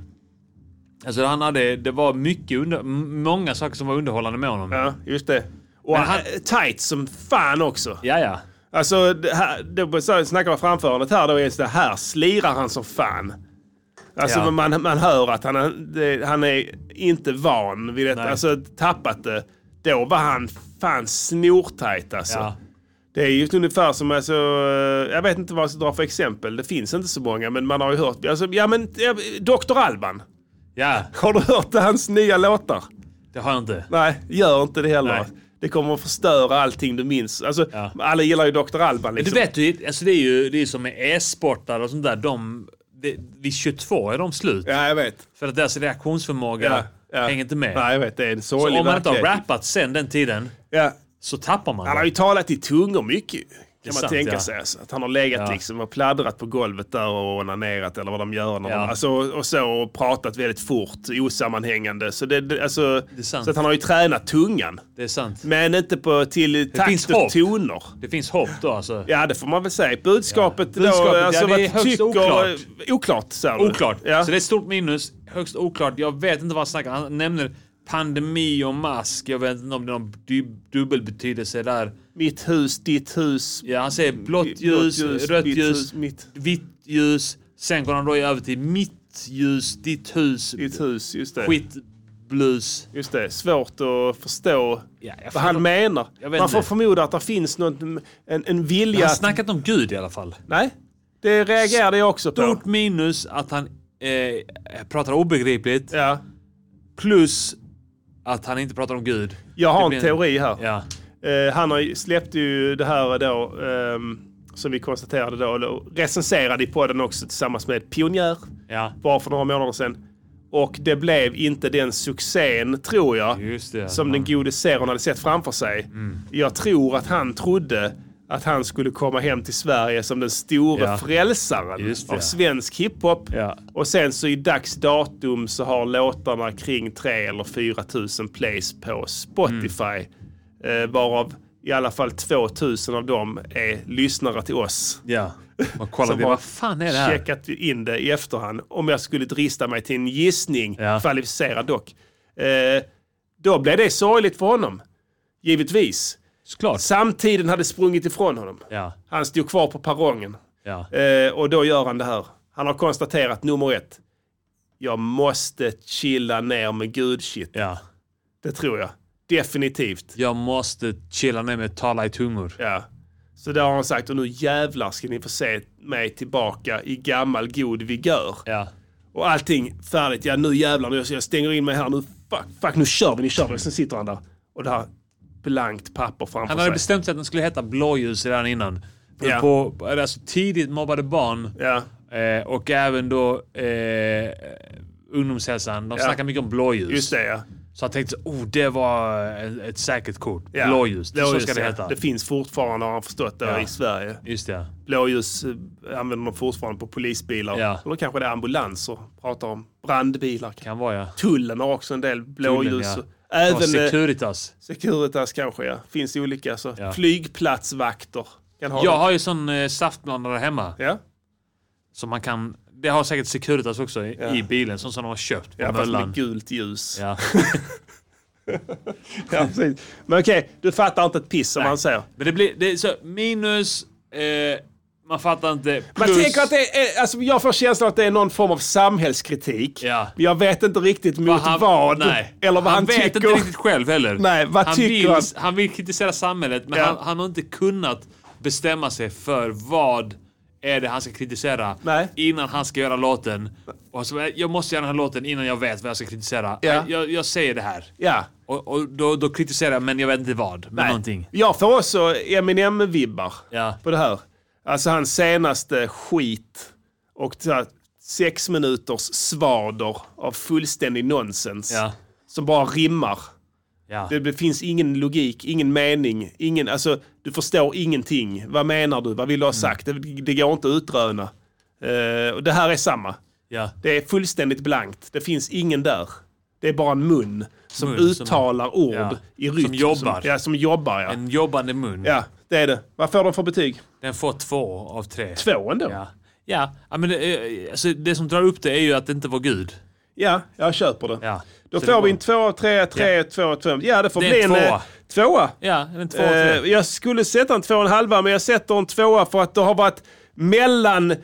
Speaker 1: Alltså han hade, det var mycket under, m- många saker som var underhållande med honom.
Speaker 3: Ja, just det. Och
Speaker 1: Men
Speaker 3: han, tight som fan också.
Speaker 1: Ja, ja.
Speaker 3: Alltså, det här, det, så snackar man framförandet här då, är så här slirar han som fan. Alltså
Speaker 1: Ja.
Speaker 3: man, man hör att han, är- det, han är inte van vid det. Alltså tappat det. Då var han fan snortajt alltså.
Speaker 1: Ja.
Speaker 3: Det är just ungefär som, alltså, eh, jag vet inte vad jag ska dra för exempel. Det finns inte så många men man har ju hört. Alltså, ja men eh, Dr. Alban.
Speaker 1: Ja.
Speaker 3: Har du hört hans nya låtar?
Speaker 1: Det har jag inte.
Speaker 3: Nej, gör inte det heller.
Speaker 1: Nej.
Speaker 3: Det kommer att förstöra allting du minns. Alltså, Alla gillar ju Dr.
Speaker 1: Men
Speaker 3: Alban. Liksom.
Speaker 1: Du vet ju, alltså det är ju det är ju som med e-sportare och sånt där. De, det, vid 22 är de slut.
Speaker 3: Ja, jag vet.
Speaker 1: För att deras reaktionsförmåga
Speaker 3: Ja, ja.
Speaker 1: hänger inte med.
Speaker 3: Nej, jag vet. Det är en
Speaker 1: så
Speaker 3: sorglig
Speaker 1: om man inte har
Speaker 3: verklighet.
Speaker 1: rappat sen den tiden
Speaker 3: Ja.
Speaker 1: så tappar man
Speaker 3: Han
Speaker 1: det.
Speaker 3: har ju talat i tungor mycket ju,
Speaker 1: Det är
Speaker 3: kan man
Speaker 1: sant,
Speaker 3: tänka
Speaker 1: ja.
Speaker 3: sig. Alltså, att han har legat
Speaker 1: Ja.
Speaker 3: liksom och pladdrat på golvet där och onanerat eller vad de gör. När
Speaker 1: Ja.
Speaker 3: de, alltså, och så och pratat väldigt fort, osammanhängande. Så, det, det, alltså,
Speaker 1: sant.
Speaker 3: så att han har ju tränat tungan.
Speaker 1: Det är sant.
Speaker 3: Men inte på, till
Speaker 1: Det
Speaker 3: takt
Speaker 1: finns
Speaker 3: och
Speaker 1: hopp.
Speaker 3: toner.
Speaker 1: Det finns hopp då alltså.
Speaker 3: Ja, det får man väl säga. Budskapet,
Speaker 1: Ja. Budskapet,
Speaker 3: då,
Speaker 1: ja,
Speaker 3: alltså,
Speaker 1: det är
Speaker 3: vad
Speaker 1: högst
Speaker 3: tycker,
Speaker 1: oklart.
Speaker 3: Oklart, säger du.
Speaker 1: Oklart.
Speaker 3: Ja.
Speaker 1: Så det är ett stort minus. Högst oklart. Jag vet inte vad han snackar Han nämner pandemi och mask. Jag vet inte om det är någon du- dubbelbetydelse där.
Speaker 3: Mitt hus, ditt hus.
Speaker 1: Ja, han säger blått
Speaker 3: Mm, Blått
Speaker 1: ljus,
Speaker 3: ljus,
Speaker 1: rött
Speaker 3: mitt
Speaker 1: ljus,
Speaker 3: hus, mitt.
Speaker 1: vitt ljus. Sen går han då över till mitt ljus, ditt hus.
Speaker 3: Ditt hus, just det.
Speaker 1: Skitblus.
Speaker 3: Just det, svårt att förstå
Speaker 1: jag
Speaker 3: vad han
Speaker 1: förstår-
Speaker 3: menar.
Speaker 1: jag vet
Speaker 3: Man får
Speaker 1: inte.
Speaker 3: förmoda att det finns något, en, en
Speaker 1: Han
Speaker 3: vilja...
Speaker 1: har
Speaker 3: att-
Speaker 1: snackat om Gud i alla fall.
Speaker 3: Nej, det reagerade jag också på.
Speaker 1: Stort minus att han eh, pratar obegripligt.
Speaker 3: Ja.
Speaker 1: Plus att han inte pratar om Gud.
Speaker 3: Jag
Speaker 1: Det
Speaker 3: har
Speaker 1: blir
Speaker 3: en teori här.
Speaker 1: Ja.
Speaker 3: Eh, han har ju- släppte ju det här då, ehm, som vi konstaterade då, eller recenserade i podden också tillsammans med Pionjär.
Speaker 1: Ja.
Speaker 3: Bara för några månader sedan. Och det blev inte den succén, tror jag,
Speaker 1: Just det. Mm.
Speaker 3: som den gode Seron hade sett framför sig. Jag tror att han trodde att han skulle komma hem till Sverige som den store
Speaker 1: Ja.
Speaker 3: frälsaren
Speaker 1: Just det.
Speaker 3: av svensk hiphop.
Speaker 1: Ja.
Speaker 3: Och sen så i dags datum så har låtarna kring 3 eller 4 000 plays på Spotify.
Speaker 1: Mm.
Speaker 3: Eh, varav i alla fall 2 000 av dem är lyssnare till oss.
Speaker 1: Ja. Man kollar
Speaker 3: Som
Speaker 1: det.
Speaker 3: har
Speaker 1: Vad fan är det här?
Speaker 3: checkat in det i efterhand. Om jag skulle drista mig till en gissning,
Speaker 1: Ja.
Speaker 3: kvalificerad dock. Eh, då blev det sorgligt för honom. Givetvis.
Speaker 1: Såklart.
Speaker 3: Samtiden hade sprungit ifrån honom.
Speaker 1: Ja.
Speaker 3: Han stod kvar på perrongen.
Speaker 1: Ja.
Speaker 3: Eh, och då gör han det här. Han har konstaterat nummer ett. Jag måste chilla ner med gudshit.
Speaker 1: Ja.
Speaker 3: Det tror jag. Definitivt.
Speaker 1: Jag måste chilla ner med att tala i tungor.
Speaker 3: Ja. Så där har han sagt och nu jävlar ska ni få se mig tillbaka i gammal god vigör.
Speaker 1: Ja.
Speaker 3: Och allting färdigt. Ja nu jävlar, nu, jag stänger in mig här nu. Fuck, fuck nu kör vi, nu kör vi. Och sen sitter han där. Och det här blankt papper framför
Speaker 1: Han hade
Speaker 3: sig.
Speaker 1: bestämt sig att den skulle heta blåljus redan innan. För
Speaker 3: Ja.
Speaker 1: På, alltså tidigt mobbade barn
Speaker 3: Ja.
Speaker 1: eh, och även då eh, ungdomshälsan. De
Speaker 3: Ja.
Speaker 1: snackar mycket om blåljus.
Speaker 3: Just det ja.
Speaker 1: Så han tänkte oh det var ett, ett säkert kort.
Speaker 3: ja.
Speaker 1: Blåljus, det, så
Speaker 3: Blåljus,
Speaker 1: ska det
Speaker 3: ja.
Speaker 1: heta.
Speaker 3: Det finns fortfarande har han förstått det
Speaker 1: Ja.
Speaker 3: i Sverige.
Speaker 1: Just det.
Speaker 3: Blåljus eh, använder de fortfarande på polisbilar.
Speaker 1: Ja.
Speaker 3: Eller kanske det är ambulanser. Pratar om brandbilar.
Speaker 1: Kan vara ja.
Speaker 3: Tullen har också en del blåljus.
Speaker 1: Tullen, ja.
Speaker 3: Även
Speaker 1: Och
Speaker 3: eh,
Speaker 1: Securitas.
Speaker 3: Securitas kanske ja. Finns olika. Så.
Speaker 1: Ja.
Speaker 3: Flygplatsvakter. Kan ha
Speaker 1: Jag
Speaker 3: dem.
Speaker 1: har ju sån eh, saftblandare hemma.
Speaker 3: Ja.
Speaker 1: Som man kan... Det har säkert Securitas också i,
Speaker 3: Ja.
Speaker 1: i bilen. Sån som de har köpt på
Speaker 3: Ja, fast med
Speaker 1: möllan.
Speaker 3: gult ljus.
Speaker 1: Ja.
Speaker 3: Ja, precis. Men okej, du fattar inte ett piss som han säger.
Speaker 1: Men det blir... Det är så, minus... Eh, man fattar inte. Plus...
Speaker 3: Man tänker att det är, alltså jag får känslan att det är någon form av samhällskritik.
Speaker 1: Ja.
Speaker 3: Men Jag vet inte riktigt mot vad.
Speaker 1: nej.
Speaker 3: Eller vad han,
Speaker 1: vet inte
Speaker 3: tycker.
Speaker 1: riktigt själv heller.
Speaker 3: Nej, vad
Speaker 1: han,
Speaker 3: tycker
Speaker 1: vill,
Speaker 3: han?
Speaker 1: han vill kritisera samhället, men
Speaker 3: Ja.
Speaker 1: han, han har inte kunnat bestämma sig för vad är det han ska kritisera
Speaker 3: Nej.
Speaker 1: innan han ska göra låten. Och så, jag måste göra den här låten innan jag vet vad jag ska kritisera.
Speaker 3: Ja.
Speaker 1: Jag, jag, jag säger det här.
Speaker 3: Ja.
Speaker 1: Och, och då, då kritiserar jag, men jag vet inte vad. Men
Speaker 3: Nej.
Speaker 1: någonting.
Speaker 3: Jag får också Eminem-vibbar
Speaker 1: Ja.
Speaker 3: på det här. Alltså hans senaste skit. Och så här, sex minuters svader av fullständig nonsens.
Speaker 1: Ja.
Speaker 3: Som bara rimmar.
Speaker 1: Ja.
Speaker 3: Det, det finns ingen logik, ingen mening, ingen, alltså du förstår ingenting. Vad menar du? Vad vill du ha sagt? Det, det går inte att utröna. Eh, och det här är samma.
Speaker 1: Ja.
Speaker 3: Det är fullständigt blankt. Det finns ingen där. Det är bara en mun som
Speaker 1: Mun som-
Speaker 3: uttalar ord
Speaker 1: ja.
Speaker 3: i rytm.
Speaker 1: Som jobbar.
Speaker 3: ja, som jobbar ja.
Speaker 1: En jobbande mun.
Speaker 3: Ja, det är det. Vad får de för betyg?
Speaker 1: Den får två av tre.
Speaker 3: Två ändå?
Speaker 1: Ja. Ja, ja, men det, är- alltså det som drar upp det är ju att det inte var Gud.
Speaker 3: Ja, jag köper det.
Speaker 1: Ja.
Speaker 3: Då
Speaker 1: Så det
Speaker 3: får
Speaker 1: var-
Speaker 3: vi en tvåa, trea, trea, tvåa, tvåa. Ja, det får
Speaker 1: Det är
Speaker 3: bli en
Speaker 1: en tvåa.
Speaker 3: eh, tvåa.
Speaker 1: Ja, en tvåa,
Speaker 3: Eh,
Speaker 1: tre.
Speaker 3: jag skulle sätta en två och en halva, men jag sätter en tvåa för att det har varit mellan eh,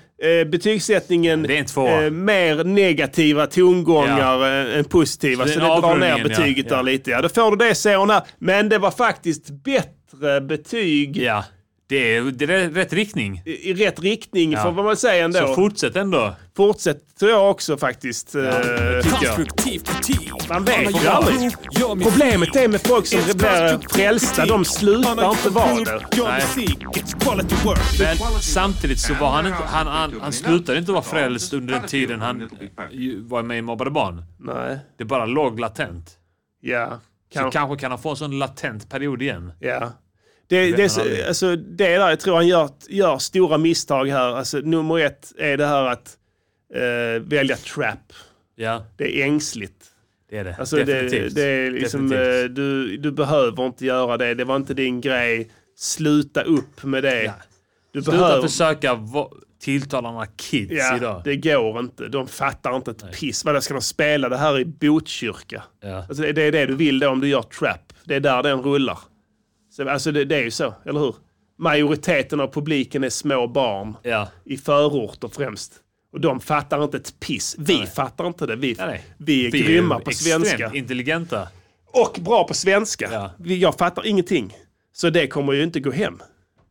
Speaker 3: betygssättningen eh,
Speaker 1: Det är en tvåa.
Speaker 3: mer negativa tongångar eh, än positiva.
Speaker 1: Så
Speaker 3: Så,
Speaker 1: det är
Speaker 3: det drar
Speaker 1: avrundningen,
Speaker 3: ner betyget
Speaker 1: ja,
Speaker 3: där
Speaker 1: ja.
Speaker 3: lite. Ja, då får du det Sona. Men det var faktiskt bättre betyg
Speaker 1: Ja, det är, det är rätt riktning.
Speaker 3: i, i rätt riktning,
Speaker 1: Ja.
Speaker 3: får man väl säga ändå.
Speaker 1: Så fortsätt ändå.
Speaker 3: Fortsätt tror jag också faktiskt. eh, tycker jag. Man vet ju aldrig. Problemet är med folk som blir frälsta. De slutar inte vara det.
Speaker 1: Men samtidigt så var han inte... Han, han, han slutade inte vara frälst under den tiden han eh, ju var med i Mobbade barn.
Speaker 3: Nej.
Speaker 1: Det bara låg latent.
Speaker 3: Ja.
Speaker 1: Så kanske kan han få en sån latent period igen.
Speaker 3: Ja. Det,
Speaker 1: vet
Speaker 3: det,
Speaker 1: man aldrig.
Speaker 3: är- alltså, det där, jag tror han gör, gör stora misstag här. Alltså, nummer ett är det här att eh, välja trap.
Speaker 1: Ja,
Speaker 3: Det är ängsligt.
Speaker 1: det är det.
Speaker 3: Alltså, det,
Speaker 1: Definitivt.
Speaker 3: det är liksom,
Speaker 1: Definitivt.
Speaker 3: eh, du, du behöver inte göra det. Det var inte din grej. Sluta upp med det. Du
Speaker 1: Sluta
Speaker 3: behöver...
Speaker 1: försöka va- tilltala några kids
Speaker 3: Ja,
Speaker 1: idag.
Speaker 3: det går inte. De fattar inte ett piss. Vadå, ska de spela det här i Botkyrka?
Speaker 1: Ja.
Speaker 3: Alltså, det- det är det du vill då om du gör trap. Det är där den rullar. Så, alltså det, det är ju så, eller hur? Majoriteten av publiken är små barn
Speaker 1: Ja.
Speaker 3: i förorter främst. Och de fattar inte ett piss. Vi fattar inte det. Vi,
Speaker 1: Nej, nej.
Speaker 3: vi är
Speaker 1: Vi är
Speaker 3: grymma på
Speaker 1: extremt
Speaker 3: svenska.
Speaker 1: intelligenta.
Speaker 3: Och bra på svenska.
Speaker 1: Ja.
Speaker 3: Vi- Jag fattar ingenting. Så det kommer ju inte gå hem.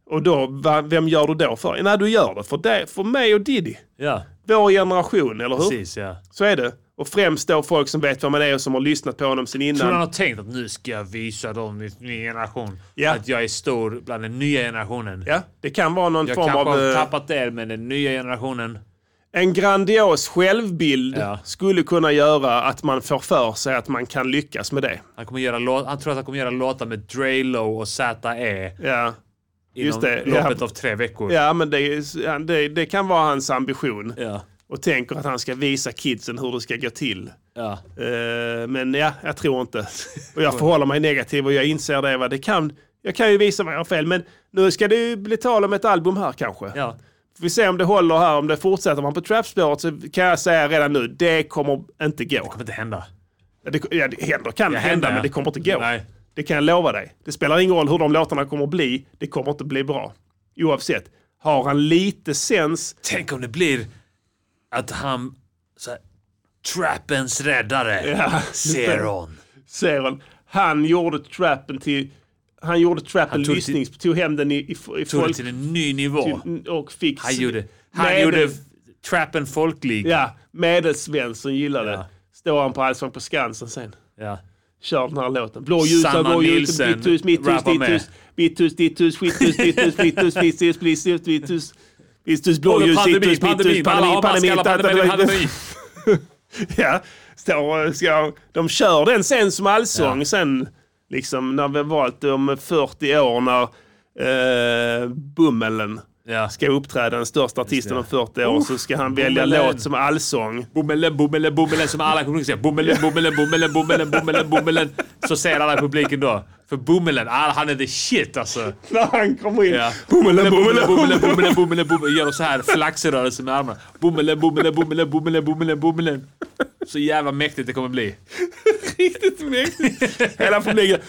Speaker 3: Och då, va, vem gör du då för? Nej, du gör det för, det, för mig och Diddy.
Speaker 1: Ja,
Speaker 3: Vår generation, eller hur?
Speaker 1: precis ja.
Speaker 3: Så är det. Och främst då folk som vet vad man är och som har lyssnat på honom sen
Speaker 1: Tror du han
Speaker 3: innan.
Speaker 1: har tänkt att nu ska jag visa dem i ny generation
Speaker 3: Ja.
Speaker 1: att jag är stor bland den nya generationen?
Speaker 3: Ja, det kan vara någon
Speaker 1: Jag
Speaker 3: form
Speaker 1: kanske
Speaker 3: av...
Speaker 1: har
Speaker 3: eh,
Speaker 1: tappat det, men den nya generationen...
Speaker 3: En grandios självbild
Speaker 1: Ja.
Speaker 3: skulle kunna göra att man får för sig att man kan lyckas med det.
Speaker 1: Han, kommer göra lå- han tror att han kommer göra låtar med Drelo och ZE
Speaker 3: Ja,
Speaker 1: inom
Speaker 3: just det.
Speaker 1: loppet
Speaker 3: Ja.
Speaker 1: av tre veckor.
Speaker 3: ja men det, är- det, det kan vara hans ambition.
Speaker 1: Ja.
Speaker 3: Och tänker att han ska visa kidsen hur det ska gå till.
Speaker 1: Ja.
Speaker 3: Eh, men ja, jag tror inte. Och jag förhåller mig negativ och jag inser det. Va? det kan, jag kan ju visa mig jag har fel, men nu ska det ju bli tal om ett album här kanske.
Speaker 1: Ja.
Speaker 3: Får vi se om det håller här, om det fortsätter man på trapspåret så kan jag säga redan nu, det kommer inte gå.
Speaker 1: Det kommer inte hända.
Speaker 3: Ja, Det, ja, det händer, kan
Speaker 1: Ja,
Speaker 3: hända,
Speaker 1: händer, ja.
Speaker 3: men det kommer inte gå.
Speaker 1: Nej.
Speaker 3: Det kan jag lova dig. Det spelar ingen roll hur de låtarna kommer bli, det kommer inte bli bra. Oavsett, har han lite sens,
Speaker 1: Tänk om det blir att han... Så här, Trappens räddare.
Speaker 3: Ja.
Speaker 1: Zeron.
Speaker 3: säger han. Han gjorde trappen till... Han gjorde trappen
Speaker 1: Han tog
Speaker 3: lyssnings... Tog hem den i, i, i
Speaker 1: Tog det
Speaker 3: folk...
Speaker 1: till en ny nivå.
Speaker 3: till- och fick...
Speaker 1: Han gjorde... Han
Speaker 3: Medel-
Speaker 1: gjorde trappen folklig.
Speaker 3: Ja, Medelsvensson gillade.
Speaker 1: Ja.
Speaker 3: Står han på Allsång på Skansen sen.
Speaker 1: Ja.
Speaker 3: Kör den här låten. Blå ljusa,
Speaker 1: Sanna
Speaker 3: blå ljus,
Speaker 1: Nielsen
Speaker 3: mitt hus, mitt hus,
Speaker 1: rappar
Speaker 3: ditt
Speaker 1: med.
Speaker 3: hus, mitt hus, ditt hus, skit hus, ditt hus, mitt hus, mitt hus, mitt hus, mitt hus, mitt hus, blå
Speaker 1: Både
Speaker 3: ljus,
Speaker 1: pandemi,
Speaker 3: ditt hus, mitt
Speaker 1: pandemi,
Speaker 3: hus,
Speaker 1: alla
Speaker 3: pandemi,
Speaker 1: har
Speaker 3: pandemi,
Speaker 1: mask, alla
Speaker 3: ta- ta-
Speaker 1: pandemi,
Speaker 3: ta-
Speaker 1: pandemi.
Speaker 3: Ja, står, ska, de kör den sen som allsång sen. Liksom när vi har valt om 40 år när eh, Bummelen
Speaker 1: Ja.
Speaker 3: ska uppträda, den största artisten om 40 år, så ska han välja
Speaker 1: Bummelen.
Speaker 3: låt som allsång.
Speaker 1: Bommelen, bommelen, bommelen som alla i publiken säger. Bommelen, bommelen, bommelen, bommelen, bommelen, bommelen. Så säger alla i publiken då. För bommelen, ah, han är the shit alltså.
Speaker 3: När han kommer in.
Speaker 1: Ja.
Speaker 3: Bummelen,
Speaker 1: Bommelen, bommelen, bommelen, bommelen, bommelen. Gör de så här flaxrörelser med armarna. Bommelen, bommelen, bommelen, bommelen, bommelen, bommelen. Så jävla mäktigt det kommer bli.
Speaker 3: Riktigt mäktigt. Hela publiken.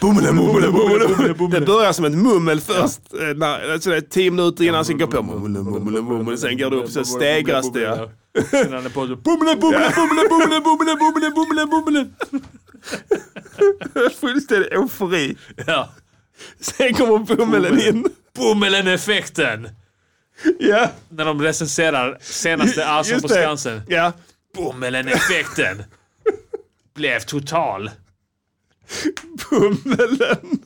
Speaker 3: Bommelen, bommelen, bommelen, bommelen. Det börjar som ett mummel först. eh, När, alltså det är tio minuter innan han ska gå på. Bommelen, bommelen, bommelen. Sen går det upp så stegras det. ja.
Speaker 1: Sen han är på så. Bommelen, bommelen, bommelen, bommelen, bommelen, bommelen, bommelen, bommelen.
Speaker 3: Fullständig eufori.
Speaker 1: Ja.
Speaker 3: Sen kommer bommelen in.
Speaker 1: Bommelen-effekten.
Speaker 3: Ja,
Speaker 1: När de recenserar senaste Allsång
Speaker 3: just
Speaker 1: på
Speaker 3: det.
Speaker 1: Skansen.
Speaker 3: Ja.
Speaker 1: Bommelen-effekten. Blev total.
Speaker 3: Bommelen.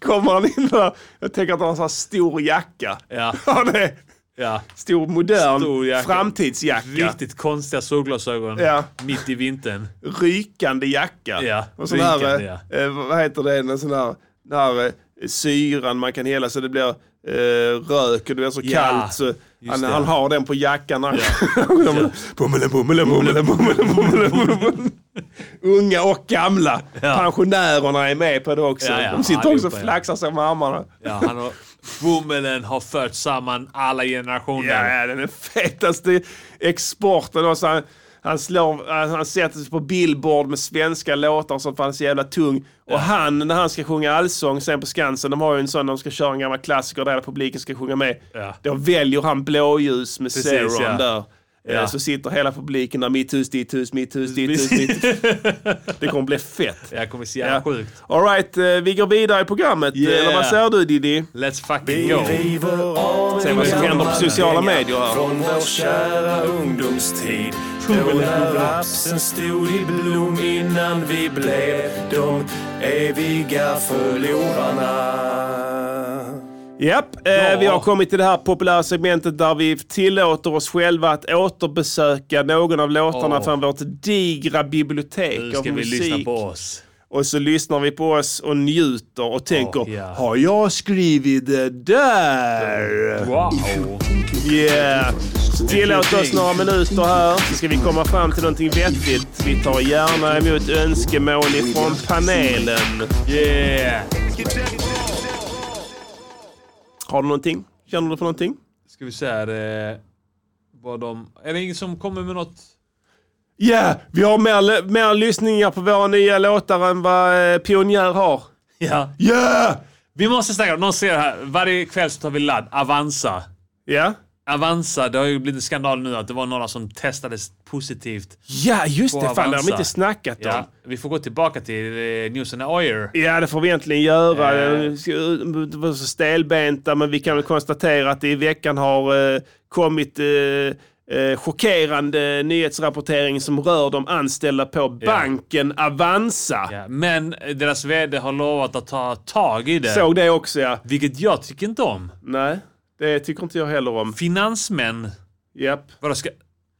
Speaker 3: Kommer han in där. Jag tänker att han har en sån här stor jacka.
Speaker 1: Ja.
Speaker 3: Han är
Speaker 1: Ja.
Speaker 3: Stor modern framtidsjacka.
Speaker 1: Riktigt konstiga solglasögon
Speaker 3: Ja.
Speaker 1: mitt i vintern.
Speaker 3: Rykande jacka.
Speaker 1: Ja,
Speaker 3: Och sån här,
Speaker 1: rykande,
Speaker 3: eh, eh, vad heter det, en sån här, den här eh, syran man kan hälla så det blir eh, rök och det blir så
Speaker 1: Ja,
Speaker 3: kallt så han,
Speaker 1: det.
Speaker 3: han har den på jackan. Ja. Bummelen, bummelen, bummelen, bummelen, bummelen, bummelen. Unga och gamla. Pensionärerna är med på det också.
Speaker 1: Ja, ja,
Speaker 3: De sitter också
Speaker 1: allihopa,
Speaker 3: och
Speaker 1: ja.
Speaker 3: flaxar sig med armarna.
Speaker 1: Ja, han har, bomulen har fört samman alla generationer.
Speaker 3: Ja, ja, den är fetaste exporten. Och så han, han, slår, han, han sätter sig på billboard med svenska låtar som fan är så jävla tung. Och han, när han ska sjunga allsång sen på Skansen, de har ju en sån, de ska köra en gammal klassiker där hela publiken ska sjunga med.
Speaker 1: Ja.
Speaker 3: Då väljer han blåljus med
Speaker 1: Precis,
Speaker 3: Zeron
Speaker 1: ja.
Speaker 3: där. Eh,
Speaker 1: Ja.
Speaker 3: Så sitter hela publiken där, mitt hus, ditt hus, mitt hus, ditt hus, mitt hus. Det kommer bli fett.
Speaker 1: Det här kommer se jävla sjukt.
Speaker 3: Alright, vi går vidare i programmet.
Speaker 1: Yeah.
Speaker 3: Eller vad säger du Diddy?
Speaker 1: Let's fucking go.
Speaker 3: Se vad som händer på sociala medier här.
Speaker 16: Från vår kära ungdomstid. Då när rapsen stod i blom innan vi blev de eviga förlorarna.
Speaker 3: Japp, eh, vi har kommit till det här populära segmentet där vi tillåter oss själva att återbesöka någon av låtarna
Speaker 1: Åh.
Speaker 3: från vårt digra bibliotek
Speaker 1: Nu
Speaker 3: av
Speaker 1: ska vi
Speaker 3: musik.
Speaker 1: lyssna på oss.
Speaker 3: Och så lyssnar vi på oss och njuter och tänker,
Speaker 1: ja.
Speaker 3: har jag skrivit det där?
Speaker 1: Wow.
Speaker 3: Yeah. Så Tillåt oss några minuter här så ska vi komma fram till någonting vettigt. Vi tar gärna emot önskemål ifrån panelen. Yeah.
Speaker 1: Eh,
Speaker 3: Har du någonting? Känner du för någonting?
Speaker 1: Ska vi se här. Eh, vad de... Är det ingen som kommer med något?
Speaker 3: Ja, vi har mer, mer lyssningar på våra nya låtar än vad eh, Pionjär har.
Speaker 1: Ja.
Speaker 3: Yeah!
Speaker 1: Vi måste snacka om... Någon ser här. Varje kväll så tar vi ladd. Avanza.
Speaker 3: Ja.
Speaker 1: Avanza, det har ju blivit en skandal nu att det var några som testades positivt.
Speaker 3: Ja, just
Speaker 1: på
Speaker 3: det. Fan, det har de
Speaker 1: Avanza.
Speaker 3: inte snackat om.
Speaker 1: Ja, vi får gå tillbaka till eh, News and Oyer.
Speaker 3: Ja, det får vi egentligen göra.
Speaker 1: Eh.
Speaker 3: Det var så stelbenta, men vi kan väl konstatera att det i veckan har eh, kommit eh, eh, chockerande nyhetsrapportering som rör de anställda på banken Avanza.
Speaker 1: Men eh, deras vd har lovat att ta tag i det.
Speaker 3: Såg det också, ja.
Speaker 1: Vilket jag tycker inte om.
Speaker 3: Nej, det tycker inte jag heller om.
Speaker 1: Finansmän.
Speaker 3: Japp.
Speaker 1: Vadå, ska...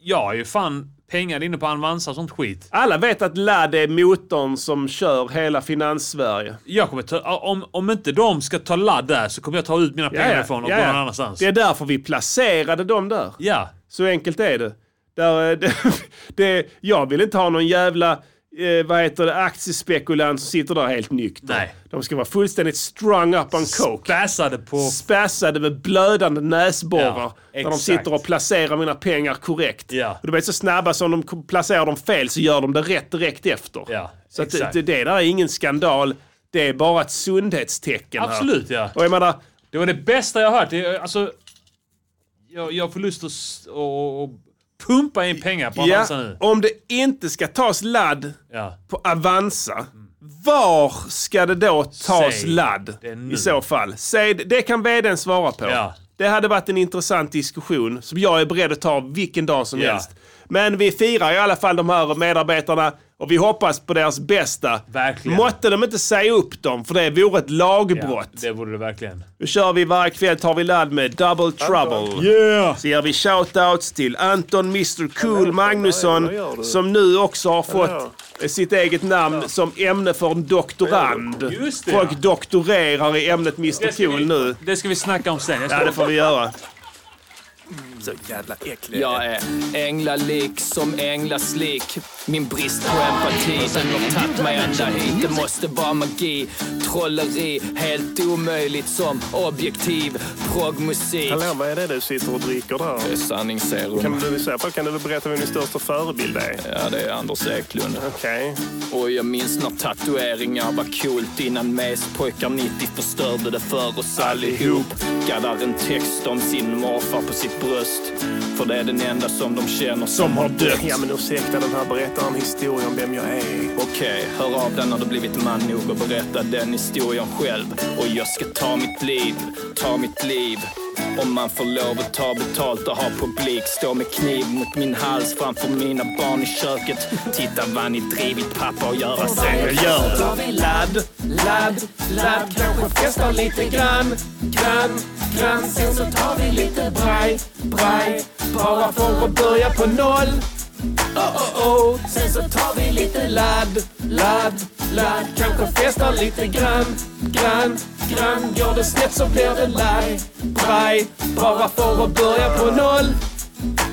Speaker 1: Jag har ju fan pengar inne på Avanza och sånt skit.
Speaker 3: Alla vet att Ladd är motorn som kör hela Finanssverige.
Speaker 1: Jag kommer ta, om, om inte de ska ta ladd där så kommer jag ta ut mina pengar
Speaker 3: Ja, ja.
Speaker 1: därifrån och
Speaker 3: Ja,
Speaker 1: gå
Speaker 3: ja.
Speaker 1: någon annanstans.
Speaker 3: Det är därför vi placerade dem där.
Speaker 1: Ja.
Speaker 3: Så enkelt är det. Där, eh, det, det jag vill inte ha någon jävla eh, vad heter det, aktiespekulant som sitter där helt nykter.
Speaker 1: Nej.
Speaker 3: De ska vara fullständigt strung up on coke.
Speaker 1: Spassade på...
Speaker 3: Spassade med blödande näsborrar.
Speaker 1: Ja,
Speaker 3: där de
Speaker 1: exakt.
Speaker 3: sitter och placerar mina pengar korrekt.
Speaker 1: Ja.
Speaker 3: Och de är så snabba som de k- placerar dem fel så gör de det rätt direkt efter.
Speaker 1: Ja,
Speaker 3: så att det,
Speaker 1: exakt.
Speaker 3: det där är ingen skandal. Det är bara ett sundhetstecken. här.
Speaker 1: Absolut ja.
Speaker 3: Och jag menar,
Speaker 1: Det var det bästa jag hört. Det, är, alltså, jag, jag får lust att s- och, och pumpa in pengar på
Speaker 3: Ja,
Speaker 1: Avanza nu.
Speaker 3: om det inte ska tas ladd
Speaker 1: Ja.
Speaker 3: på Avanza, var ska det då tas
Speaker 1: Säg
Speaker 3: ladd
Speaker 1: det nu.
Speaker 3: i så fall? Säg, det- det kan vdn svara på.
Speaker 1: Ja.
Speaker 3: Det hade varit en intressant diskussion som jag är beredd att ta vilken dag som
Speaker 1: Ja.
Speaker 3: helst. Men vi firar i alla fall de här medarbetarna och vi hoppas på deras bästa.
Speaker 1: Verkligen.
Speaker 3: Måtte de inte säga upp dem, för det vore ett lagbrott.
Speaker 1: Det vore det verkligen.
Speaker 3: Nu kör vi varje kväll tar vi ladd med Double Trouble.
Speaker 1: Yeah!
Speaker 3: Så ger vi shoutouts till Anton Mr Cool Magnusson som nu också har fått eh, sitt eget namn som ämne för en doktorand.
Speaker 1: Just det, ja.
Speaker 3: Folk doktorerar i ämnet Mr Cool nu.
Speaker 1: Det ska vi snacka om sen. Jag ska-
Speaker 3: Ja, det får vi göra.
Speaker 17: Så jävla äcklig.
Speaker 13: Jag är änglalik som änglaslik. Min brist på empati den har tagit mig ända hit. Det måste vara magi, trolleri, helt omöjligt som objektiv proggmusik.
Speaker 12: Hallå, vad är det du sitter och dricker där?
Speaker 13: Det är sanningsserum.
Speaker 12: Kan du, I så fall kan du väl berätta vem din största förebild är?
Speaker 13: Ja, det är Anders Eklund. Okej. Och jag minns när tatueringar var coolt innan Mespojkar 90 förstörde det för oss allihop. Gaddar en text om sin morfar på sitt bröst. För det är den enda som de känner som har dött.
Speaker 12: Ja, men ursäkta, den här berättar en historia om vem jag är.
Speaker 13: Okej, hör av dig när du blivit man nog och berätta den historien själv. Och jag ska ta mitt liv, ta mitt liv. Om man får lov att ta betalt och ha publik. Stå med kniv mot min hals framför mina barn i köket. Titta vad ni drivit pappa att göra sen.
Speaker 17: Jag gör det. Ladd, ladd, ladd. Kanske festar lite grann, grann,
Speaker 18: grann Sen så tar vi lite braj, braj Bara för att börja på noll Oh, oh, oh. Sen så tar vi lite ladd, ladd, ladd Kanske festar lite grann, grann, grann Går det snett så blir det laj, braj Bara för att börja på noll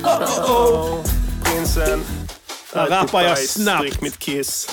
Speaker 18: Oh, oh, oh.
Speaker 3: Prinsen.
Speaker 19: Här rappar jag snabbt.
Speaker 3: Drick mitt kiss.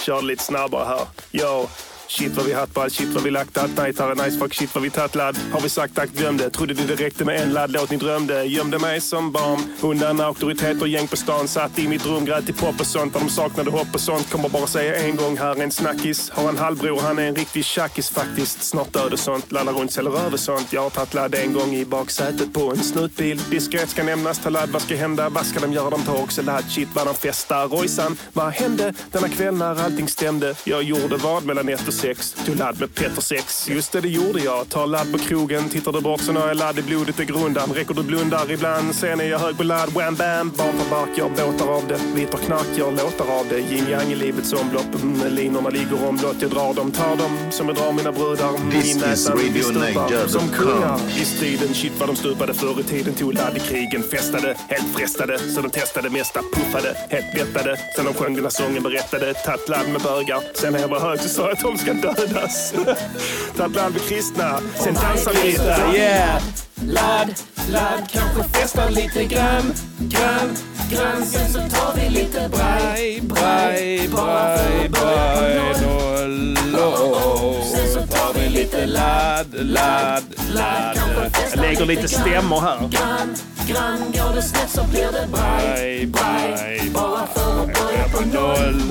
Speaker 3: Kör lite snabbare här. Yo. Shit vad vi haft ball, shit vad vi lagt allt night här är nice fuck, shit vad vi tagit ladd. Har vi sagt tack, glömde. Trodde ni det räckte med en ladd, låt ni drömde. Gömde mig som barn. Undan auktoritet och gäng på stan. Satt i mitt rum, grät till pop och sånt. Där de saknade hopp och sånt. Kommer bara säga en gång här, en snackis. Har en halvbror, han är en riktig tjackis faktiskt. Snart död och sånt, laddar runt, säljer över sånt. Jag har tagit ladd en gång i baksätet på en snutbil. Diskret ska nämnas, ta ladd, vad ska hända? Vad ska de göra? De tar också ladd, shit vad de festar. Rojsan, vad hände denna kväll när allting stämde? Jag gjorde vad mellan ett och sex. Tog ladd med Petter sex. Just det, det gjorde jag. Tar ladd på krogen. Tittar du bort så når jag ladd i blodet i grundan. Räcker du blundar ibland. Sen är jag hög på ladd. Wham bam. Barn på bark. Jag båtar av det. Vit och knark. Jag låtar av det. Yin yang i livets omlopp. Mm, linorna ligger omlott. Jag drar dem. Tar dem som jag drar mina brudar. Mm,
Speaker 14: This
Speaker 3: i näsan,
Speaker 14: is
Speaker 3: i
Speaker 14: Radio
Speaker 3: stupar,
Speaker 14: Niger
Speaker 3: Som
Speaker 14: dot com.
Speaker 3: kungar. I striden. Shit vad de stupade förr i tiden. Tog ladd i krigen. Festade. Helt frestade. Så de testade mesta. Puffade. Helt lättade. Sen de sjöng den här sången. Berättade. Tatt ladd med bögar. Sen när jag var hög så sa jag att de ska dödas. Tagit land med kristna, sen dansar vi lite. Yeah!
Speaker 18: Ladd, ladd, kanske festar lite grann, grann, grann. Sen så tar vi lite braj, braj, braj, braj, noll, oh. Sen så tar vi lite ladd, ladd, ladd.
Speaker 19: Jag lägger lite stämmor här.
Speaker 18: Grann, grann, går det snett så blir det braj, braj. Bara för att börja på noll.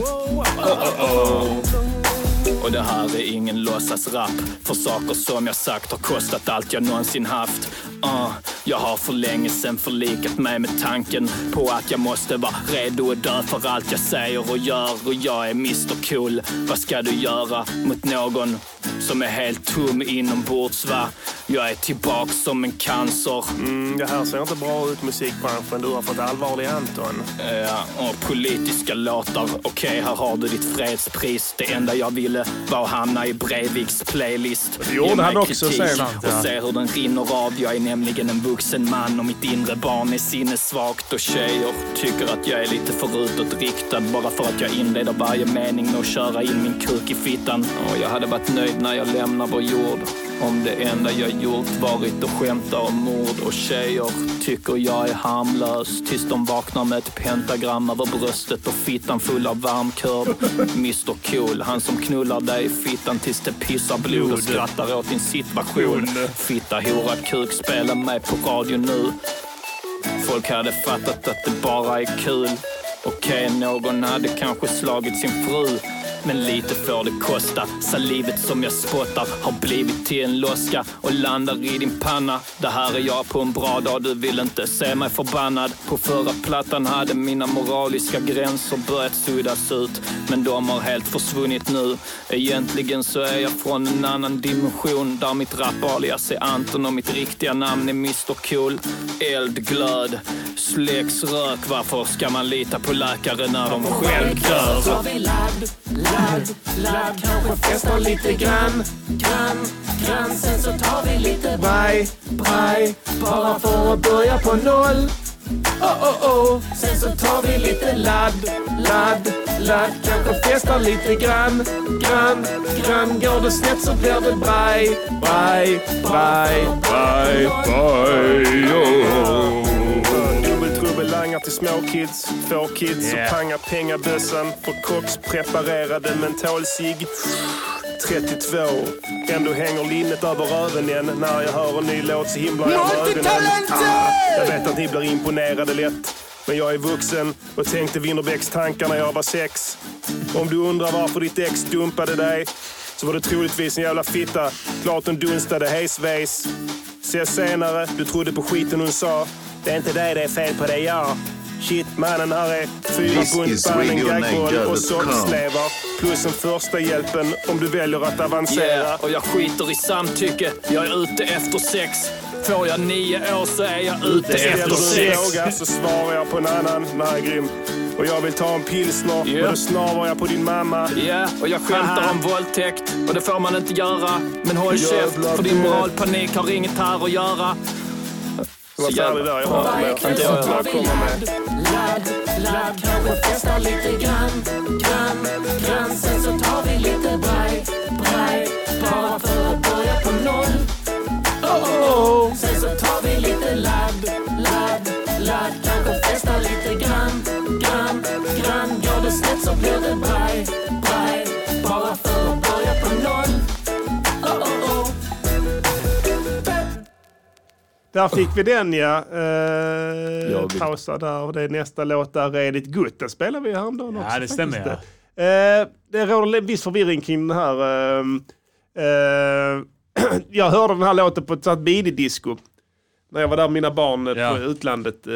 Speaker 13: Och det här är ingen låtsasrap. För saker som jag sagt har kostat allt jag någonsin haft. Ah, jag har för länge sen förlikat mig med tanken på att jag måste vara redo att dö för allt jag säger och gör. Och jag är Mr Cool. Vad ska du göra mot någon som är helt tom inombords va? Jag är tillbaka som en cancer.
Speaker 3: Mm, det här ser inte bra ut musikbranschen. Du har fått allvarlig Anton.
Speaker 13: Ja, och politiska låtar. Okej, här har du ditt fredspris. Det enda jag ville var att hamna i Breiviks playlist.
Speaker 19: Det gjorde
Speaker 13: Ge mig
Speaker 19: han också
Speaker 13: kritik
Speaker 19: sen.
Speaker 13: Och se hur den rinner av. Jag är nämligen en vuxen man och mitt inre barn är sinnessvagt. Och tjejer tycker att jag är lite för utåtriktad bara för att jag inleder varje mening med att köra in min kuk i fittan. Och jag hade varit nöjd när jag lämnar vår jord. Om det enda jag gjort varit att skämta om mord och tjejer tycker jag är harmlös tills de vaknar med ett pentagram över bröstet och fittan full av varmkörd. Mr Cool, han som knullar dig i fittan tills det pissar blod och
Speaker 3: Blod.
Speaker 13: skrattar åt din situation. Fitta, hora, kuk, spela mig på radio nu. Folk hade fattat att det bara är kul. Okej, någon hade kanske slagit sin fru. Men lite får det kosta. Salivet som jag spottar har blivit till en loska och landar i din panna. Det här är jag på en bra dag, du vill inte se mig förbannad. På förra plattan hade mina moraliska gränser börjat suddas ut. Men de har helt försvunnit nu. Egentligen så är jag från en annan dimension där mitt rap-alias är Anton och mitt riktiga namn är Mr Cool. Eldglöd, släcks rök. Varför ska man lita på läkare när de själv
Speaker 18: Så tar
Speaker 13: dör?
Speaker 18: vi ladd, ladd, ladd. Kanske festar lite grann, grann, grann. Sen så tar vi lite braj, braj. Bara för att börja på noll. Oh, oh, oh. Sen så tar vi lite ladd, ladd, ladd. Kanske festar lite grann, grann, grann. Går det snett så blir det braj, braj, braj, braj, braj. oh.
Speaker 3: Dubbeltrubbel langar till små kids, få kids
Speaker 19: Yeah.
Speaker 3: och pangar pengabössan för Cox preparerade mentolcigg. 32. Ändå hänger linnet över röven än. När jag hör en ny låt så himlar jag med ögonen.
Speaker 20: Multitalenter!
Speaker 3: Ah, jag vet att ni blir imponerade lätt. Men jag är vuxen och tänkte Winnerbäcks tankar när jag var sex. Om du undrar varför ditt ex dumpade dig så var det troligtvis en jävla fitta. Klart hon dunstade hejsvejs. Ses senare, du trodde på skiten hon sa. Det är inte dig det är fel på, det är jag. Shit, mannen här är fyra
Speaker 14: This
Speaker 3: pund
Speaker 14: is
Speaker 3: band, en
Speaker 14: Radio
Speaker 3: gaggboll
Speaker 14: Niger.com.
Speaker 3: och soppslevar. Plus en första hjälpen om du väljer att avancera.
Speaker 13: Yeah, och jag skiter i samtycke. Jag är ute efter sex. Får jag nio år så är jag ute efter
Speaker 3: Ställer du en
Speaker 13: sex.
Speaker 3: fråga så svarar jag på en annan. Den här är grym.
Speaker 4: Och jag vill ta en pilsner.
Speaker 13: Ja.
Speaker 4: Och då snarvar jag på din mamma.
Speaker 13: Ja, och jag skämtar
Speaker 4: Haha.
Speaker 13: om våldtäkt och det får man inte göra. Men håll
Speaker 4: Jävla
Speaker 13: käft, för din
Speaker 4: bög.
Speaker 13: moralpanik har inget här att göra.
Speaker 4: Jag var färdig där. Jag har inte mer.
Speaker 13: Inte jag heller.
Speaker 14: Ladd, ladd, kanske festar lite grann, grann, grann. Sen så tar vi lite braj, braj. Bara för att börja på noll. Oh, oh, oh. Sen så tar vi lite ladd, ladd, ladd. Kanske festar lite grann, grann, grann. Går det snett så blir det braj, braj. Bara för att börja på noll. Oh, oh, oh.
Speaker 3: Där fick vi den ja. Eh,
Speaker 1: Jag vill-
Speaker 3: pausa där och det är nästa låt där är ditt gutt. Den spelade vi häromdagen också.
Speaker 1: Ja, det stämmer,
Speaker 3: faktiskt. Eh, det råder en viss förvirring kring den här. ehm, eh, jag hörde den här låten på ett sånt disco När jag var där med mina barn eh, på utlandet eh,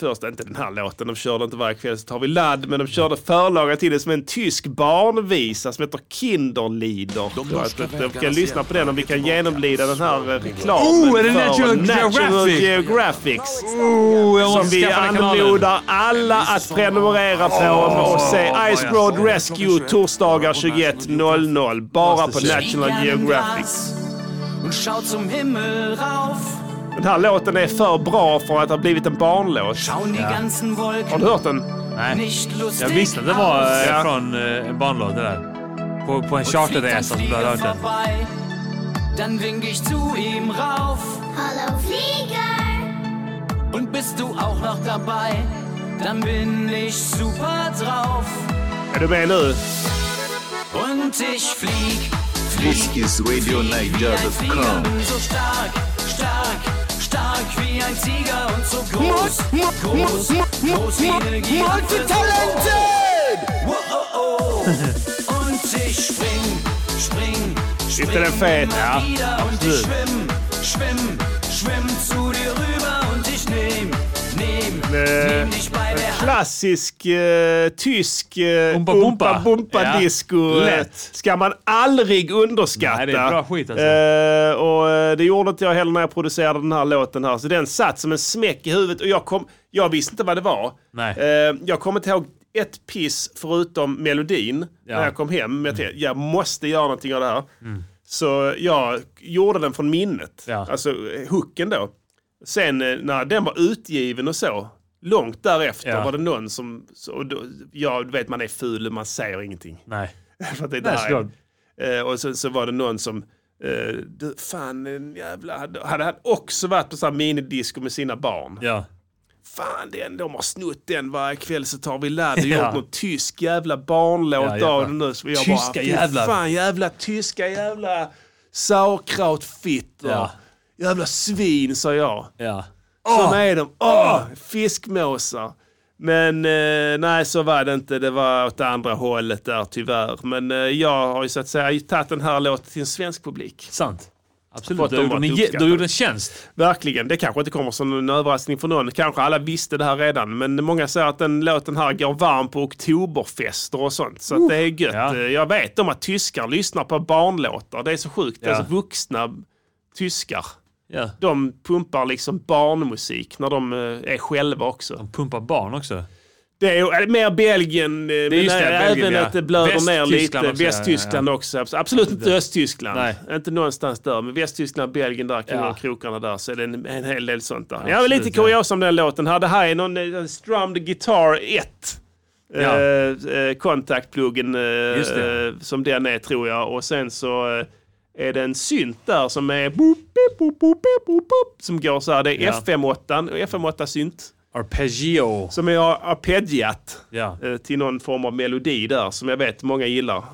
Speaker 3: först, inte den här låten, de körde inte varje kväll så tar vi ladd, men de körde förlaga till det som en tysk barnvisa som heter Kinderlieder. De,
Speaker 4: norska
Speaker 3: de kan
Speaker 4: vägarnas
Speaker 3: lyssna på den om vi kan genomlida den här eh, reklamen
Speaker 4: Oh, är det
Speaker 3: för
Speaker 4: National
Speaker 3: National
Speaker 4: Geographic?
Speaker 3: Geographics.
Speaker 4: jag
Speaker 3: som
Speaker 4: måste
Speaker 3: vi
Speaker 4: skaffa den kanalen.
Speaker 3: anmodar alla att prenumerera på och se Ice Road Rescue torsdagar 21.00 bara på National Geographic.
Speaker 14: Und schaut zum Himmel rauf.
Speaker 3: Den här låten är för bra för att ha blivit en barnlåt. Har du hört den?
Speaker 1: Nej.
Speaker 3: lustig
Speaker 1: Jag visste att det var eh,
Speaker 3: Ja.
Speaker 1: från eh, en barnlåda där. På, på en charterresa så hade jag hört den.
Speaker 14: vorbei, dann wink ich zu ihm rauf. Hallo Flieger! Und bist du auch noch dabei, dann bin ich super drauf.
Speaker 3: Är du med nu?
Speaker 14: Und ich flieg,
Speaker 21: This is RadioNiger.com.
Speaker 14: so stark, stark, stark wie ein Tiger und so groß, groß, groß wie eine Giraffe.
Speaker 22: Multitalented!
Speaker 14: Wow, oh, oh. Und ich spring, spring, spring
Speaker 3: Visst är den fet?
Speaker 14: immer
Speaker 3: Ja,
Speaker 14: wieder und ich
Speaker 3: absolut.
Speaker 14: schwimm, schwimm, schwimm zu dir rüber und ich nehm, nehm,
Speaker 3: Eh,
Speaker 14: nehm dich bei der Hand.
Speaker 3: klassisk eh, tysk eh,
Speaker 14: Umpa Bumpa.
Speaker 3: umpa bumpa
Speaker 14: Ja,
Speaker 3: disco eh,
Speaker 14: lätt.
Speaker 3: ska man aldrig underskatta.
Speaker 1: Nej, det är bra skit alltså.
Speaker 3: Eh, och eh, det gjorde inte jag heller när jag producerade den här låten här. Så den satt som en smäck i huvudet och jag, kom, jag visste inte vad det var.
Speaker 1: Nej.
Speaker 3: Eh, jag kommer inte ihåg ett piss förutom melodin när jag kom hem. Men jag tänkte, jag måste göra någonting av det här.
Speaker 1: Mm.
Speaker 3: Så jag gjorde den från minnet. Alltså eh, hooken då. Sen eh, när den var utgiven och så, långt därefter
Speaker 1: Ja.
Speaker 3: var det någon som... Så, och då, ja, du vet man är ful och man säger ingenting.
Speaker 1: Nej.
Speaker 3: För att det är
Speaker 1: Nej,
Speaker 3: där. Eh, och sen så var det någon som... eh, du, fan, en jävla... Hade hade han också varit på så här minidisco med sina barn.
Speaker 1: Ja.
Speaker 3: Fan, den, de har snott den varje kväll så tar vi ladd och
Speaker 1: Ja.
Speaker 3: gjort något tysk jävla barnlåt
Speaker 1: Ja,
Speaker 3: av
Speaker 1: jävlar.
Speaker 3: den nu. Så jag
Speaker 1: Tyska
Speaker 3: bara, fy
Speaker 1: jävlar.
Speaker 3: Fan, jävla tyska jävla sauerkrautfittor.
Speaker 1: Ja.
Speaker 3: Jävla svin, sa jag.
Speaker 1: Ja.
Speaker 3: Såna är de. Åh, fiskmåsar. Men eh, nej, så var det inte. Det var åt andra hållet där tyvärr. Men eh, jag har ju så att säga tagit den här låten till en svensk publik.
Speaker 1: Sant.
Speaker 3: Fått
Speaker 1: Absolut. Du
Speaker 3: dem
Speaker 1: gjorde
Speaker 3: att
Speaker 1: en jä-
Speaker 3: uppskatta.
Speaker 1: du gjorde en tjänst.
Speaker 3: Verkligen. Det kanske inte kommer som en överraskning för någon. Kanske alla visste det här redan. Men många säger att den låten här går varm på oktoberfester och sånt. Så att det är gött. Eh, Jag vet om att tyskar lyssnar på barnlåtar. Det är så sjukt.
Speaker 1: Ja.
Speaker 3: Alltså vuxna tyskar.
Speaker 1: Ja.
Speaker 3: De pumpar liksom barnmusik när de eh, är själva också. De
Speaker 1: pumpar barn också?
Speaker 3: Det är ju- eh, mer Belgien, det men
Speaker 1: just det,
Speaker 3: även
Speaker 1: Belgien, ja.
Speaker 3: att det blöder ner
Speaker 1: Västtyskland
Speaker 3: lite.
Speaker 1: också, ja, ja, ja.
Speaker 3: Västtyskland också. abs- Absolut inte
Speaker 1: Det-
Speaker 3: Östtyskland. Inte någonstans där. Men Västtyskland, Belgien, där kan
Speaker 1: Ja.
Speaker 3: ja. krokarna där. Så är det en, en hel del sånt där.
Speaker 1: Absolut,
Speaker 3: Jag är lite
Speaker 1: ja.
Speaker 3: kuriosa om den låten här. Det här är någon eh, Strummed Guitar 1.
Speaker 1: Ja.
Speaker 3: Eh, eh, Kontaktpluggen eh,
Speaker 1: Just det.
Speaker 3: eh, som den är tror jag. Och sen så eh, är det en synt där som är boop, beep, boop, boop, beep, boop, boop, som går så här. Det är
Speaker 1: Ja.
Speaker 3: FM8 och FM8 synt.
Speaker 1: Arpeggio.
Speaker 3: Som jag har arpeggiat
Speaker 1: Ja.
Speaker 3: eh, till någon form av melodi där som jag vet många gillar.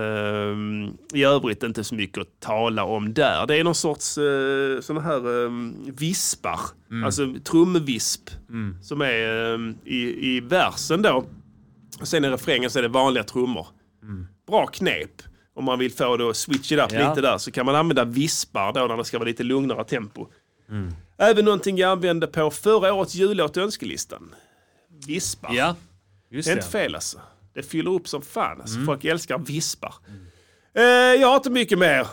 Speaker 3: Ehm, I övrigt inte så mycket att tala om där. Det är någon sorts uh, sådana här ehm, vispar,
Speaker 1: Mm.
Speaker 3: alltså trumvisp som är ehm, i, i versen då. Och sen i refrängen så är det vanliga trummor. Bra knep. Om man vill få det att switch it up
Speaker 1: Mm. Ja.
Speaker 3: lite där så kan man använda vispar då när det ska vara lite lugnare tempo.
Speaker 1: Mm.
Speaker 3: Även någonting jag använde på förra årets jullåt i önskelistan. Vispar.
Speaker 1: Ja, just
Speaker 3: det är
Speaker 1: det.
Speaker 3: inte fel alltså. Det fyller upp som fan.
Speaker 1: Mm.
Speaker 3: Alltså. Folk älskar vispar. Eh, jag har inte mycket mer.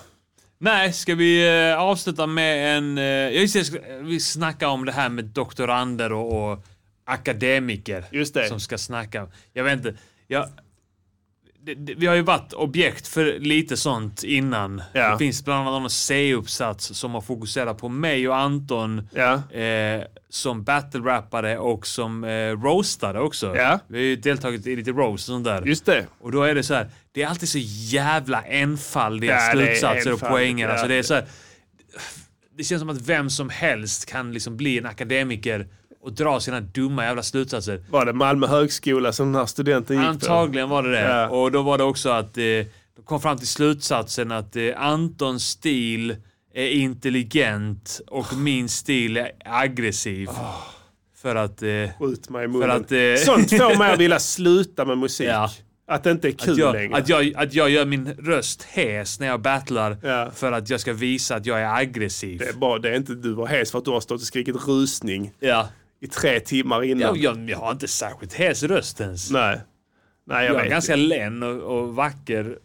Speaker 1: Nej, ska vi eh, avsluta med en... Eh, jag just det, jag ska- vi snackar om det här med doktorander och, och akademiker
Speaker 3: Just det.
Speaker 1: som ska snacka. Jag vet inte. Jag, det, det, vi har ju varit objekt för lite sånt innan.
Speaker 3: Ja.
Speaker 1: Det finns bland annat en C-uppsats som har fokuserat på mig och Anton
Speaker 3: Ja.
Speaker 1: eh, som battle-rappare och som eh, roastade också.
Speaker 3: Ja.
Speaker 1: Vi har ju deltagit i lite roast och sånt där.
Speaker 3: Just det.
Speaker 1: Och då är det så här, det är alltid så jävla enfaldiga
Speaker 3: Ja, det är
Speaker 1: slutsatser och
Speaker 3: enfaldigt,
Speaker 1: poänger.
Speaker 3: ja.
Speaker 1: Alltså det är så här, det känns som att vem som helst kan liksom bli en akademiker och dra sina dumma jävla slutsatser.
Speaker 3: Var det Malmö högskola som den här studenten gick
Speaker 1: Antagligen
Speaker 3: på?
Speaker 1: var det det.
Speaker 3: Ja.
Speaker 1: Och då var det också att eh, de kom fram till slutsatsen att eh, Antons stil är intelligent och min stil är aggressiv. För att... Eh,
Speaker 3: Skjut mig
Speaker 1: för
Speaker 3: i munnen.
Speaker 1: att, eh,
Speaker 3: Sånt får mig att vilja sluta med musik. Att det inte är kul
Speaker 1: att jag,
Speaker 3: längre.
Speaker 1: att, jag, att jag gör min röst hes när jag battlar för att jag ska visa att jag är aggressiv.
Speaker 3: Det är, bara, det är inte du var hes för att du har stått och skrikit rusning
Speaker 1: Ja.
Speaker 3: i tre timmar innan.
Speaker 1: Jag, jag, jag har inte särskilt hes röst ens.
Speaker 3: Nej. Nej, jag,
Speaker 1: jag är
Speaker 3: vet
Speaker 1: ganska
Speaker 3: ju.
Speaker 1: len och, och vacker.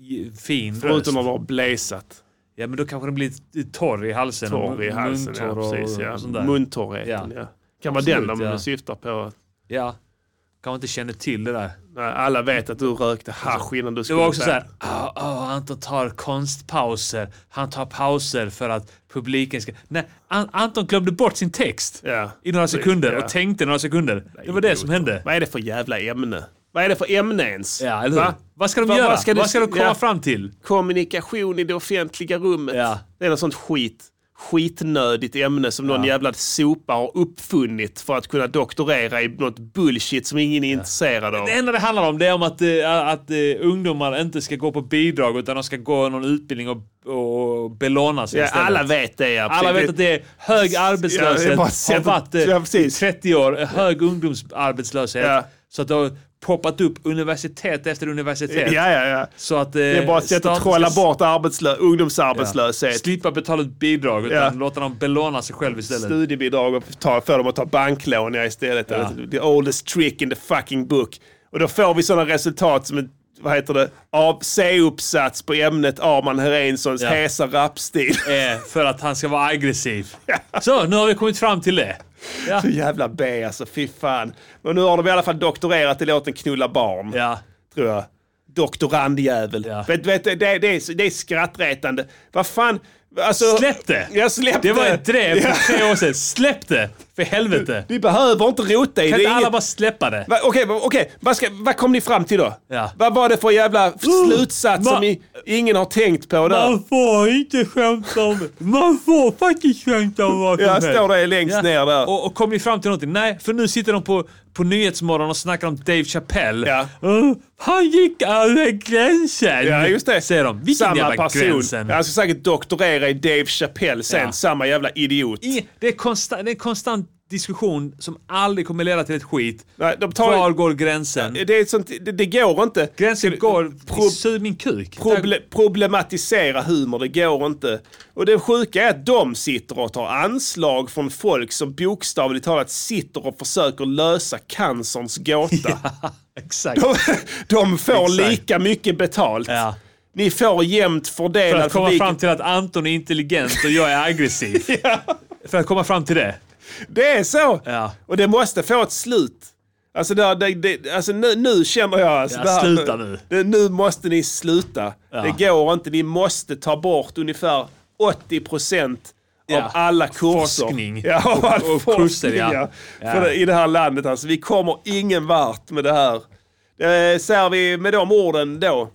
Speaker 1: j- Fin röst.
Speaker 3: Förutom att vara blazat.
Speaker 1: Ja, men då kanske den blir lite torr i halsen.
Speaker 3: Torr i
Speaker 1: och
Speaker 3: halsen, ja,
Speaker 1: muntorr och-
Speaker 3: precis. Ja.
Speaker 1: och sånt där.
Speaker 3: Muntorrheten, ja. Kan vara den
Speaker 1: Absolut,
Speaker 3: de
Speaker 1: ja.
Speaker 3: syftar på.
Speaker 1: Ja. Kanske inte känner till det där.
Speaker 3: Nej, alla vet att du rökte hasch innan
Speaker 1: Alltså,
Speaker 3: du
Speaker 1: Det
Speaker 3: skulle
Speaker 1: var också
Speaker 3: börja.
Speaker 1: så här, "Ah, ah, Anton tar konstpauser. Han tar pauser för att publiken ska... Nej, An- Anton glömde bort sin text i några
Speaker 3: precis,
Speaker 1: sekunder
Speaker 3: ja.
Speaker 1: och tänkte några sekunder. Det var det som hände.
Speaker 3: Vad är det för jävla ämne? Vad är det för ämne ens?
Speaker 1: Ja, eller hur? Vad ska de göra? Vad ska de komma fram till?
Speaker 3: Kommunikation i det offentliga rummet.
Speaker 1: Ja.
Speaker 3: Det är något sånt skit. Skitnödigt ämne som någon jävla sopa har uppfunnit för att kunna doktorera i något bullshit som ingen är intresserad av.
Speaker 1: Det enda det handlar om det är om att, eh, att eh, ungdomar inte ska gå på bidrag utan de ska gå någon utbildning och, och belåna sig
Speaker 3: Ja,
Speaker 1: istället.
Speaker 3: alla vet det, ja.
Speaker 1: Alla vet att det är hög arbetslöshet.
Speaker 3: Ja, det är bara
Speaker 1: har
Speaker 3: sättet-
Speaker 1: varit eh,
Speaker 3: ja, precis.
Speaker 1: 30 år. eh, Hög ungdomsarbetslöshet.
Speaker 3: Ja.
Speaker 1: Så att det har poppat upp universitet efter universitet.
Speaker 3: Ja, ja, ja.
Speaker 1: Så att, eh,
Speaker 3: Det är bara ett sätt att
Speaker 1: staten
Speaker 3: trolla
Speaker 1: ska-
Speaker 3: bort arbetslö- ungdomsarbetslöshet.
Speaker 1: Slippa betala ut bidrag utan
Speaker 3: Ja.
Speaker 1: låta dem belåna sig själv istället.
Speaker 3: studiebidrag och ta, få dem att ta banklån ja, istället. Alltså,
Speaker 1: Ja.
Speaker 3: The oldest trick in the fucking book. Och då får vi sådana resultat som en vad heter det? Av C-uppsats på ämnet Arman Herénssons
Speaker 1: Ja.
Speaker 3: hesa rapstil.
Speaker 1: Eh, för att han ska vara aggressiv. Så, nu har vi kommit fram till det.
Speaker 3: Så jävla B alltså, fy fan. Men nu har de i alla fall doktorerat i låten Knulla barn.
Speaker 1: Ja.
Speaker 3: Tror jag. Doktorandjävel. Vet, vet, det, det, är, det är skrattretande. Vad fan. Alltså,
Speaker 1: Släpp det!
Speaker 3: Jag släppte.
Speaker 1: Det var ett drev
Speaker 3: Ja.
Speaker 1: för tre år sedan. Släpp det! För helvete!
Speaker 3: Vi behöver inte rota i
Speaker 1: Kan
Speaker 3: det.
Speaker 1: inte
Speaker 3: är
Speaker 1: alla
Speaker 3: inget-
Speaker 1: bara släppa det?
Speaker 3: Va- Okej, va- okej. Vad ska- vad kom ni fram till då?
Speaker 1: Ja.
Speaker 3: Vad var det för jävla f- slutsats
Speaker 1: ma-
Speaker 3: som i, ingen har tänkt på där?
Speaker 1: Man får inte skämta om Man får faktiskt skämta om vad som
Speaker 3: Ja,
Speaker 1: helst.
Speaker 3: står det längst ner där.
Speaker 1: Och, och kom ju fram till någonting. Nej, för nu sitter de på, på Nyhetsmorgon och snackar om Dave Chappelle.
Speaker 3: Ja.
Speaker 1: Uh, han gick över gränsen!
Speaker 3: Ja, just det.
Speaker 1: Säger de. Vilken
Speaker 3: samma
Speaker 1: jävla
Speaker 3: person.
Speaker 1: gränsen?
Speaker 3: Han ska säkert doktorera i Dave Chappelle sen.
Speaker 1: Ja.
Speaker 3: Samma jävla idiot.
Speaker 1: Ingen- det, är konsta, det är en konstant diskussion som aldrig kommer leda till ett skit.
Speaker 3: Nej, de tar-
Speaker 1: Var går gränsen?
Speaker 3: Det, är sånt, det, det går inte.
Speaker 1: Mm. Gränsen går...
Speaker 3: Pro-
Speaker 1: Sug min kuk.
Speaker 3: Proble problematisera humor, det går inte. Och det sjuka är att de sitter och tar anslag från folk som bokstavligt talat sitter och försöker lösa cancerns gåta.
Speaker 1: Exakt.
Speaker 3: De, de får
Speaker 1: Exakt.
Speaker 3: lika mycket betalt.
Speaker 1: Ja.
Speaker 3: Ni får jämnt
Speaker 1: För
Speaker 3: fördelad
Speaker 1: att komma
Speaker 3: publik.
Speaker 1: fram till att Anton är intelligent och jag är aggressiv. För att komma fram till det.
Speaker 3: Det är så!
Speaker 1: Ja.
Speaker 3: Och det måste få ett slut. Alltså, det, det, det, alltså nu, nu känner jag... Alltså,
Speaker 1: Ja,
Speaker 3: det här-
Speaker 1: sluta nu.
Speaker 3: Det, nu måste ni sluta.
Speaker 1: Ja.
Speaker 3: Det går inte. Ni måste ta bort ungefär 80 procent av
Speaker 1: Ja.
Speaker 3: all alla kurser.
Speaker 1: Forskning.
Speaker 3: Ja, och, all
Speaker 1: Och- och
Speaker 3: forskning,
Speaker 1: kurser, ja. Ja.
Speaker 3: För det, I det här landet alltså. Vi kommer ingen vart med det här. Eh, säger vi med de orden då.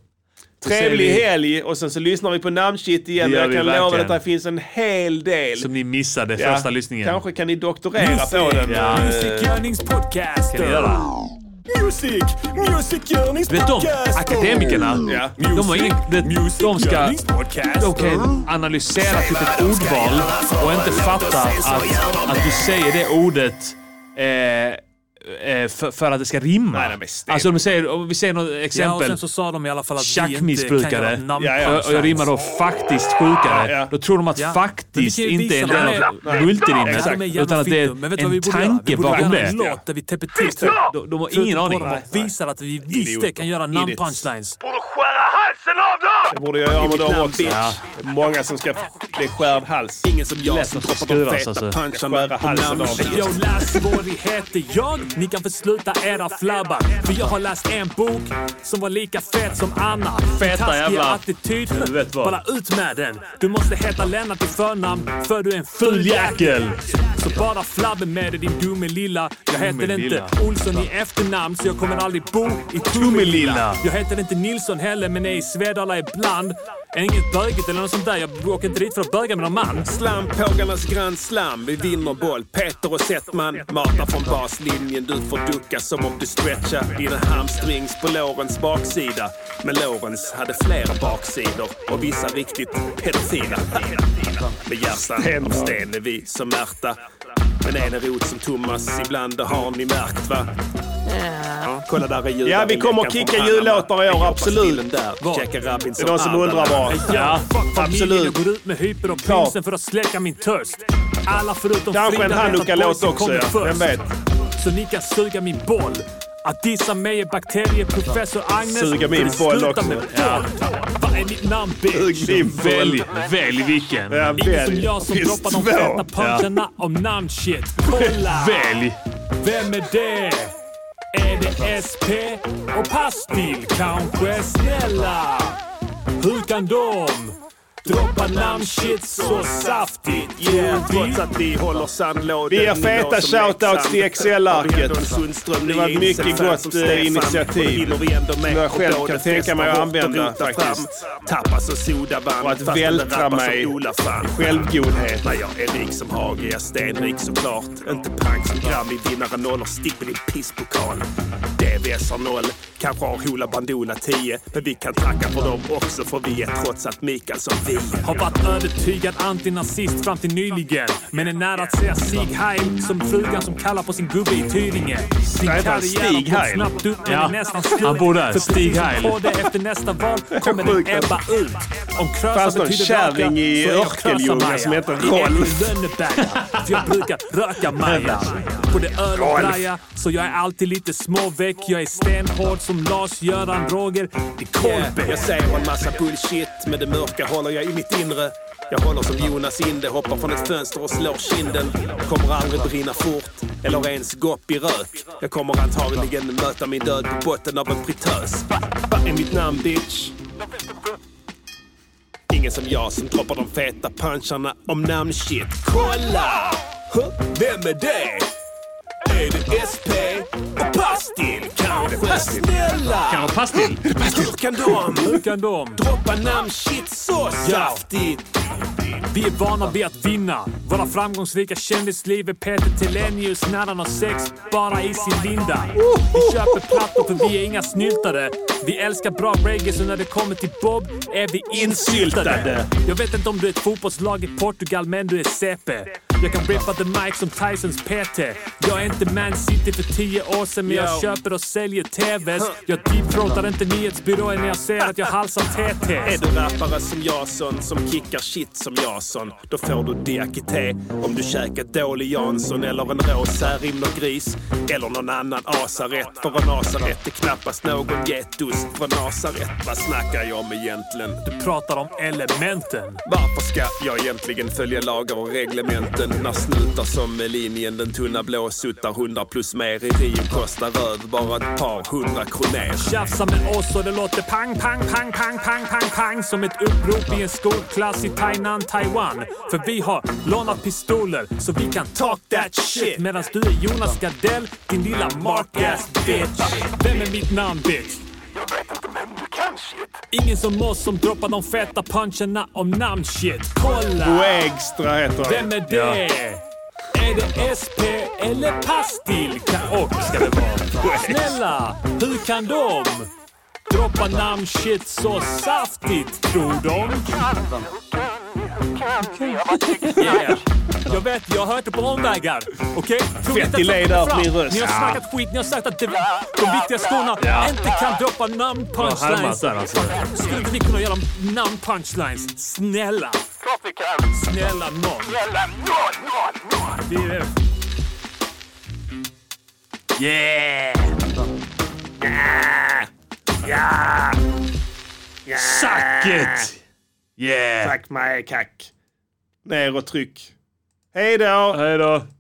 Speaker 3: Trevlig
Speaker 1: säger vi-
Speaker 3: helg och sen så lyssnar vi på namnshit igen.
Speaker 1: Det
Speaker 3: och
Speaker 1: gör
Speaker 3: jag
Speaker 1: vi
Speaker 3: kan lova
Speaker 1: verkligen.
Speaker 3: att det finns en hel del.
Speaker 1: Som ni missade
Speaker 3: Ja,
Speaker 1: första lyssningen.
Speaker 3: Kanske kan ni doktorera på den. eh,
Speaker 1: Ja.
Speaker 23: Musikgörningspodcasten.
Speaker 1: Kan ni göra?
Speaker 23: Music,
Speaker 1: Vet de,
Speaker 23: musikgörningspodcasten.
Speaker 1: akademikerna,
Speaker 3: Ja.
Speaker 1: de har ingen... De, de ska... De kan analysera typ ett ordval och inte fatta att, att du säger det ordet eh, eh, för, för att det ska rimma. Alltså om vi säger, om vi säger något
Speaker 12: Ja, och
Speaker 1: exempel.
Speaker 12: sen så sa de i alla fall att vi inte kan göra
Speaker 1: Tjackmissbrukare.
Speaker 12: ett namn
Speaker 3: Ja, ja.
Speaker 1: Och- och jag rimmar då faktiskt sjukare.
Speaker 3: Ja, ja.
Speaker 1: Då tror de att
Speaker 12: Ja. Men vi
Speaker 1: faktiskt
Speaker 12: kan ju
Speaker 1: inte är en
Speaker 12: visa
Speaker 1: del
Speaker 12: dem.
Speaker 1: av multirimmet.
Speaker 12: Ja, de är jävla
Speaker 1: Utan att det
Speaker 12: fittor. Men vet
Speaker 1: är
Speaker 12: du vad vi
Speaker 1: en
Speaker 12: borde göra? Vi
Speaker 1: tanke
Speaker 12: borde
Speaker 1: bakom
Speaker 12: göra
Speaker 1: det.
Speaker 12: en låt där vi täpper till.
Speaker 1: De, de har ingen aning.
Speaker 12: Visar att vi visst
Speaker 3: Idioter.
Speaker 12: kan göra namnpunchlines.
Speaker 3: Det borde jag göra med dem också. Det är många som ska Det är skärd hals.
Speaker 13: Ingen som jag som droppar de feta alltså.
Speaker 3: puncharna på halsen av
Speaker 12: Yo, lässvårighet är jag. Ni kan försluta era flabbar. För jag har läst en bok som var lika fet som Anna.
Speaker 10: Feta
Speaker 12: Taskiga
Speaker 10: jävla-
Speaker 12: attityd.
Speaker 10: Du vet vad.
Speaker 12: Bara ut med den. Du måste heta Lennart i förnamn, för du är en ful jäkel. Så bara flabbe med dig din dumme lilla. Jag heter
Speaker 10: Dumme
Speaker 12: inte
Speaker 10: lilla.
Speaker 12: Olsson i efternamn, så jag kommer aldrig bo i
Speaker 10: Tummelilla.
Speaker 12: Tummelilla. Jag heter inte Nilsson heller, men är i Svedala ibland. Är inget bögigt eller något sånt där. Jag åker inte dit för att böga med någon man.
Speaker 3: Slampågarnas grand slam, vi vinner boll. Peter och Settman matar från baslinjen. Du får ducka som om du stretchar dina hamstrings på lårens baksida. Men Lorentz hade flera baksidor och vissa riktigt pedofila. Med hjärtan av sten är vi som Märta. Men en är rot som Thomas, ibland det har ni märkt va? Ja, kolla där är judar.
Speaker 4: Ja, vi kommer att kicka jullåtar i år, absolut.
Speaker 3: Där. Jacka Robinson.
Speaker 4: Det är någon som undrar bara.
Speaker 12: Ja,
Speaker 3: Ja,
Speaker 12: fuck familjen. Jag
Speaker 3: absolut.
Speaker 12: går ut med hyper och
Speaker 3: Klart.
Speaker 12: pilsen för att släcka min törst. Alla förutom
Speaker 3: Kanske en
Speaker 12: Frida
Speaker 3: Hanukka-låt
Speaker 12: Boysen
Speaker 3: också,
Speaker 12: kommer
Speaker 3: ja.
Speaker 12: först.
Speaker 3: Vem vet?
Speaker 12: Så ni kan suga min boll. Att dissa mig är bakterier, professor Agnes.
Speaker 3: Suga min
Speaker 12: Så det
Speaker 3: boll
Speaker 12: slutar
Speaker 3: också.
Speaker 12: Med boll. Vad är mitt namn, bitch?
Speaker 10: Välj, välj vilken.
Speaker 12: Ja, Ingen som jag som droppar de feta puncharna om namnshit. Kolla!
Speaker 10: Välj.
Speaker 12: Vem är det? Är det SP och Pastil kanske? Snälla! Hur kan de droppa namnshit så saftigt?
Speaker 3: Yeah, trots att vi håller sandlådan.
Speaker 24: Vi ger feta shoutouts till XL-arket.
Speaker 3: Det var ett mycket gott eh, initiativ. Som jag själv kan tänka mig att använda faktiskt.
Speaker 24: Tappas och sodaband.
Speaker 3: Och att vältra mig i självgodhet.
Speaker 24: När jag är rik som Hage, jag är stenrik såklart. Inte pank som Grammy, vinnare nollor, stick med din pisspokal. DVS har noll, kanske har Hoola Bandoola 10. Men vi kan tacka för dem också för vi är trots allt Mikael som vi.
Speaker 12: Har varit övertygad antinazist fram till nyligen. Men är nära att säga Sieg Heil som frugan som kallar på sin gubbe i Tyringe. Sin
Speaker 10: Vad heter han?
Speaker 12: karriär
Speaker 10: Stig
Speaker 12: har gått
Speaker 10: Heil?
Speaker 12: snabbt upp men
Speaker 10: Ja,
Speaker 12: är nästan skuren.
Speaker 10: han bor där.
Speaker 12: För
Speaker 10: Stig
Speaker 12: precis
Speaker 10: Heil.
Speaker 12: som KD efter nästa val kommer den
Speaker 3: Sjukt.
Speaker 12: ebba ut. Om
Speaker 3: Fanns
Speaker 12: krösa
Speaker 3: någon
Speaker 12: betyder
Speaker 3: kärring i
Speaker 12: röka så är jag
Speaker 3: Örkelljunga
Speaker 12: krösa-Maja.
Speaker 3: som heter
Speaker 12: I
Speaker 3: Rolf.
Speaker 12: Emmy Lönneberga. För jag brukar röka Maja. På det öl och
Speaker 3: Rolf.
Speaker 12: braja. Så jag är alltid lite småväck. Jag är stenhård som Lars-Göran Roger. Det är Kolbe.
Speaker 3: Jag säger en massa bullshit, men det mörka håller jag i mitt inre. Jag håller som Jonas Inde, hoppar från ett fönster och slår kinden. Kommer aldrig brinna fort, eller ens gå upp i rök. Jag kommer antagligen möta min död på botten av en fritös. Va, va är mitt namn bitch? Ingen som jag som droppar de feta puncharna om namnshit. Kolla! Huh? Vem är det? Är det SP och Pastil? Kanske snälla?
Speaker 10: Kan vara pastill.
Speaker 3: Hur kan de
Speaker 12: Hur kan de?
Speaker 3: droppa namnshit så saftigt?
Speaker 12: Vi är vana vid att vinna. Våra framgångsrika kändisliv är Peter Telenius när han har sex bara i sin linda. Vi köper plattor för vi är inga snyltare. Vi älskar bra reggae så när det kommer till Bob är vi insyltade. Jag vet inte om du är ett fotbollslag i Portugal men du är CP. Jag kan rippa the mic som Tysons PT. Jag är inte Man City för tio år sedan men jag
Speaker 10: Yo.
Speaker 12: köper och säljer TVs. Jag deepthroatar inte nyhetsbyråer när jag ser att jag halsar
Speaker 3: Är
Speaker 12: TT's.
Speaker 3: du rappare som Jason som kickar shit som Jason? Då får du diakité om du käkat dålig Jansson eller en rå särrimn och gris. Eller någon annan asarätt. För en asarätt är knappast någon getost från Nasaret. Vad snackar jag om egentligen?
Speaker 12: Du pratar om elementen.
Speaker 3: Varför ska jag egentligen följa lagar och reglementen när snutar som med linjen den tunna blå suttar hundra plus mer i Rio kostar röd bara ett par hundra kronor.
Speaker 12: Tjafsa med oss och det låter pang, pang, pang, pang, pang, pang, pang som ett upprop i en skolklass i Tainan, Taiwan. För vi har lånat pistoler så vi kan talk that shit medan du är Jonas Gardell, din lilla markass bitch. Vem är mitt namn bitch? Ingen som oss som droppar de feta puncherna om namnshit. Kolla!
Speaker 3: Extra heter han.
Speaker 12: Vem är det? Är det SP eller Pastil? Ka- Och ska det vara. Snälla, hur kan de droppa namnshit så saftigt, tror de? Yeah. Jag vet, jag har hört det på omvägar. Okej? Tror ni inte
Speaker 3: Fett
Speaker 12: att
Speaker 3: i
Speaker 12: jag
Speaker 3: led
Speaker 12: kommer
Speaker 3: av
Speaker 12: fram?
Speaker 3: min röst.
Speaker 12: Ni har
Speaker 3: Ja.
Speaker 12: snackat skit, ni har sagt att det, de viktiga skorna
Speaker 10: Ja.
Speaker 12: inte kan
Speaker 10: Bra
Speaker 12: droppa
Speaker 10: härmat
Speaker 12: namnpunchlines.
Speaker 10: där, alltså.
Speaker 12: Skulle inte ni kunna göra namnpunchlines? Snälla! Snälla nån. Det är det.
Speaker 10: Yeah!
Speaker 3: Ja!
Speaker 10: Suck it! Yeah!
Speaker 3: Tack mig, kack.
Speaker 25: ner och tryck. Hej då!
Speaker 1: Hej då!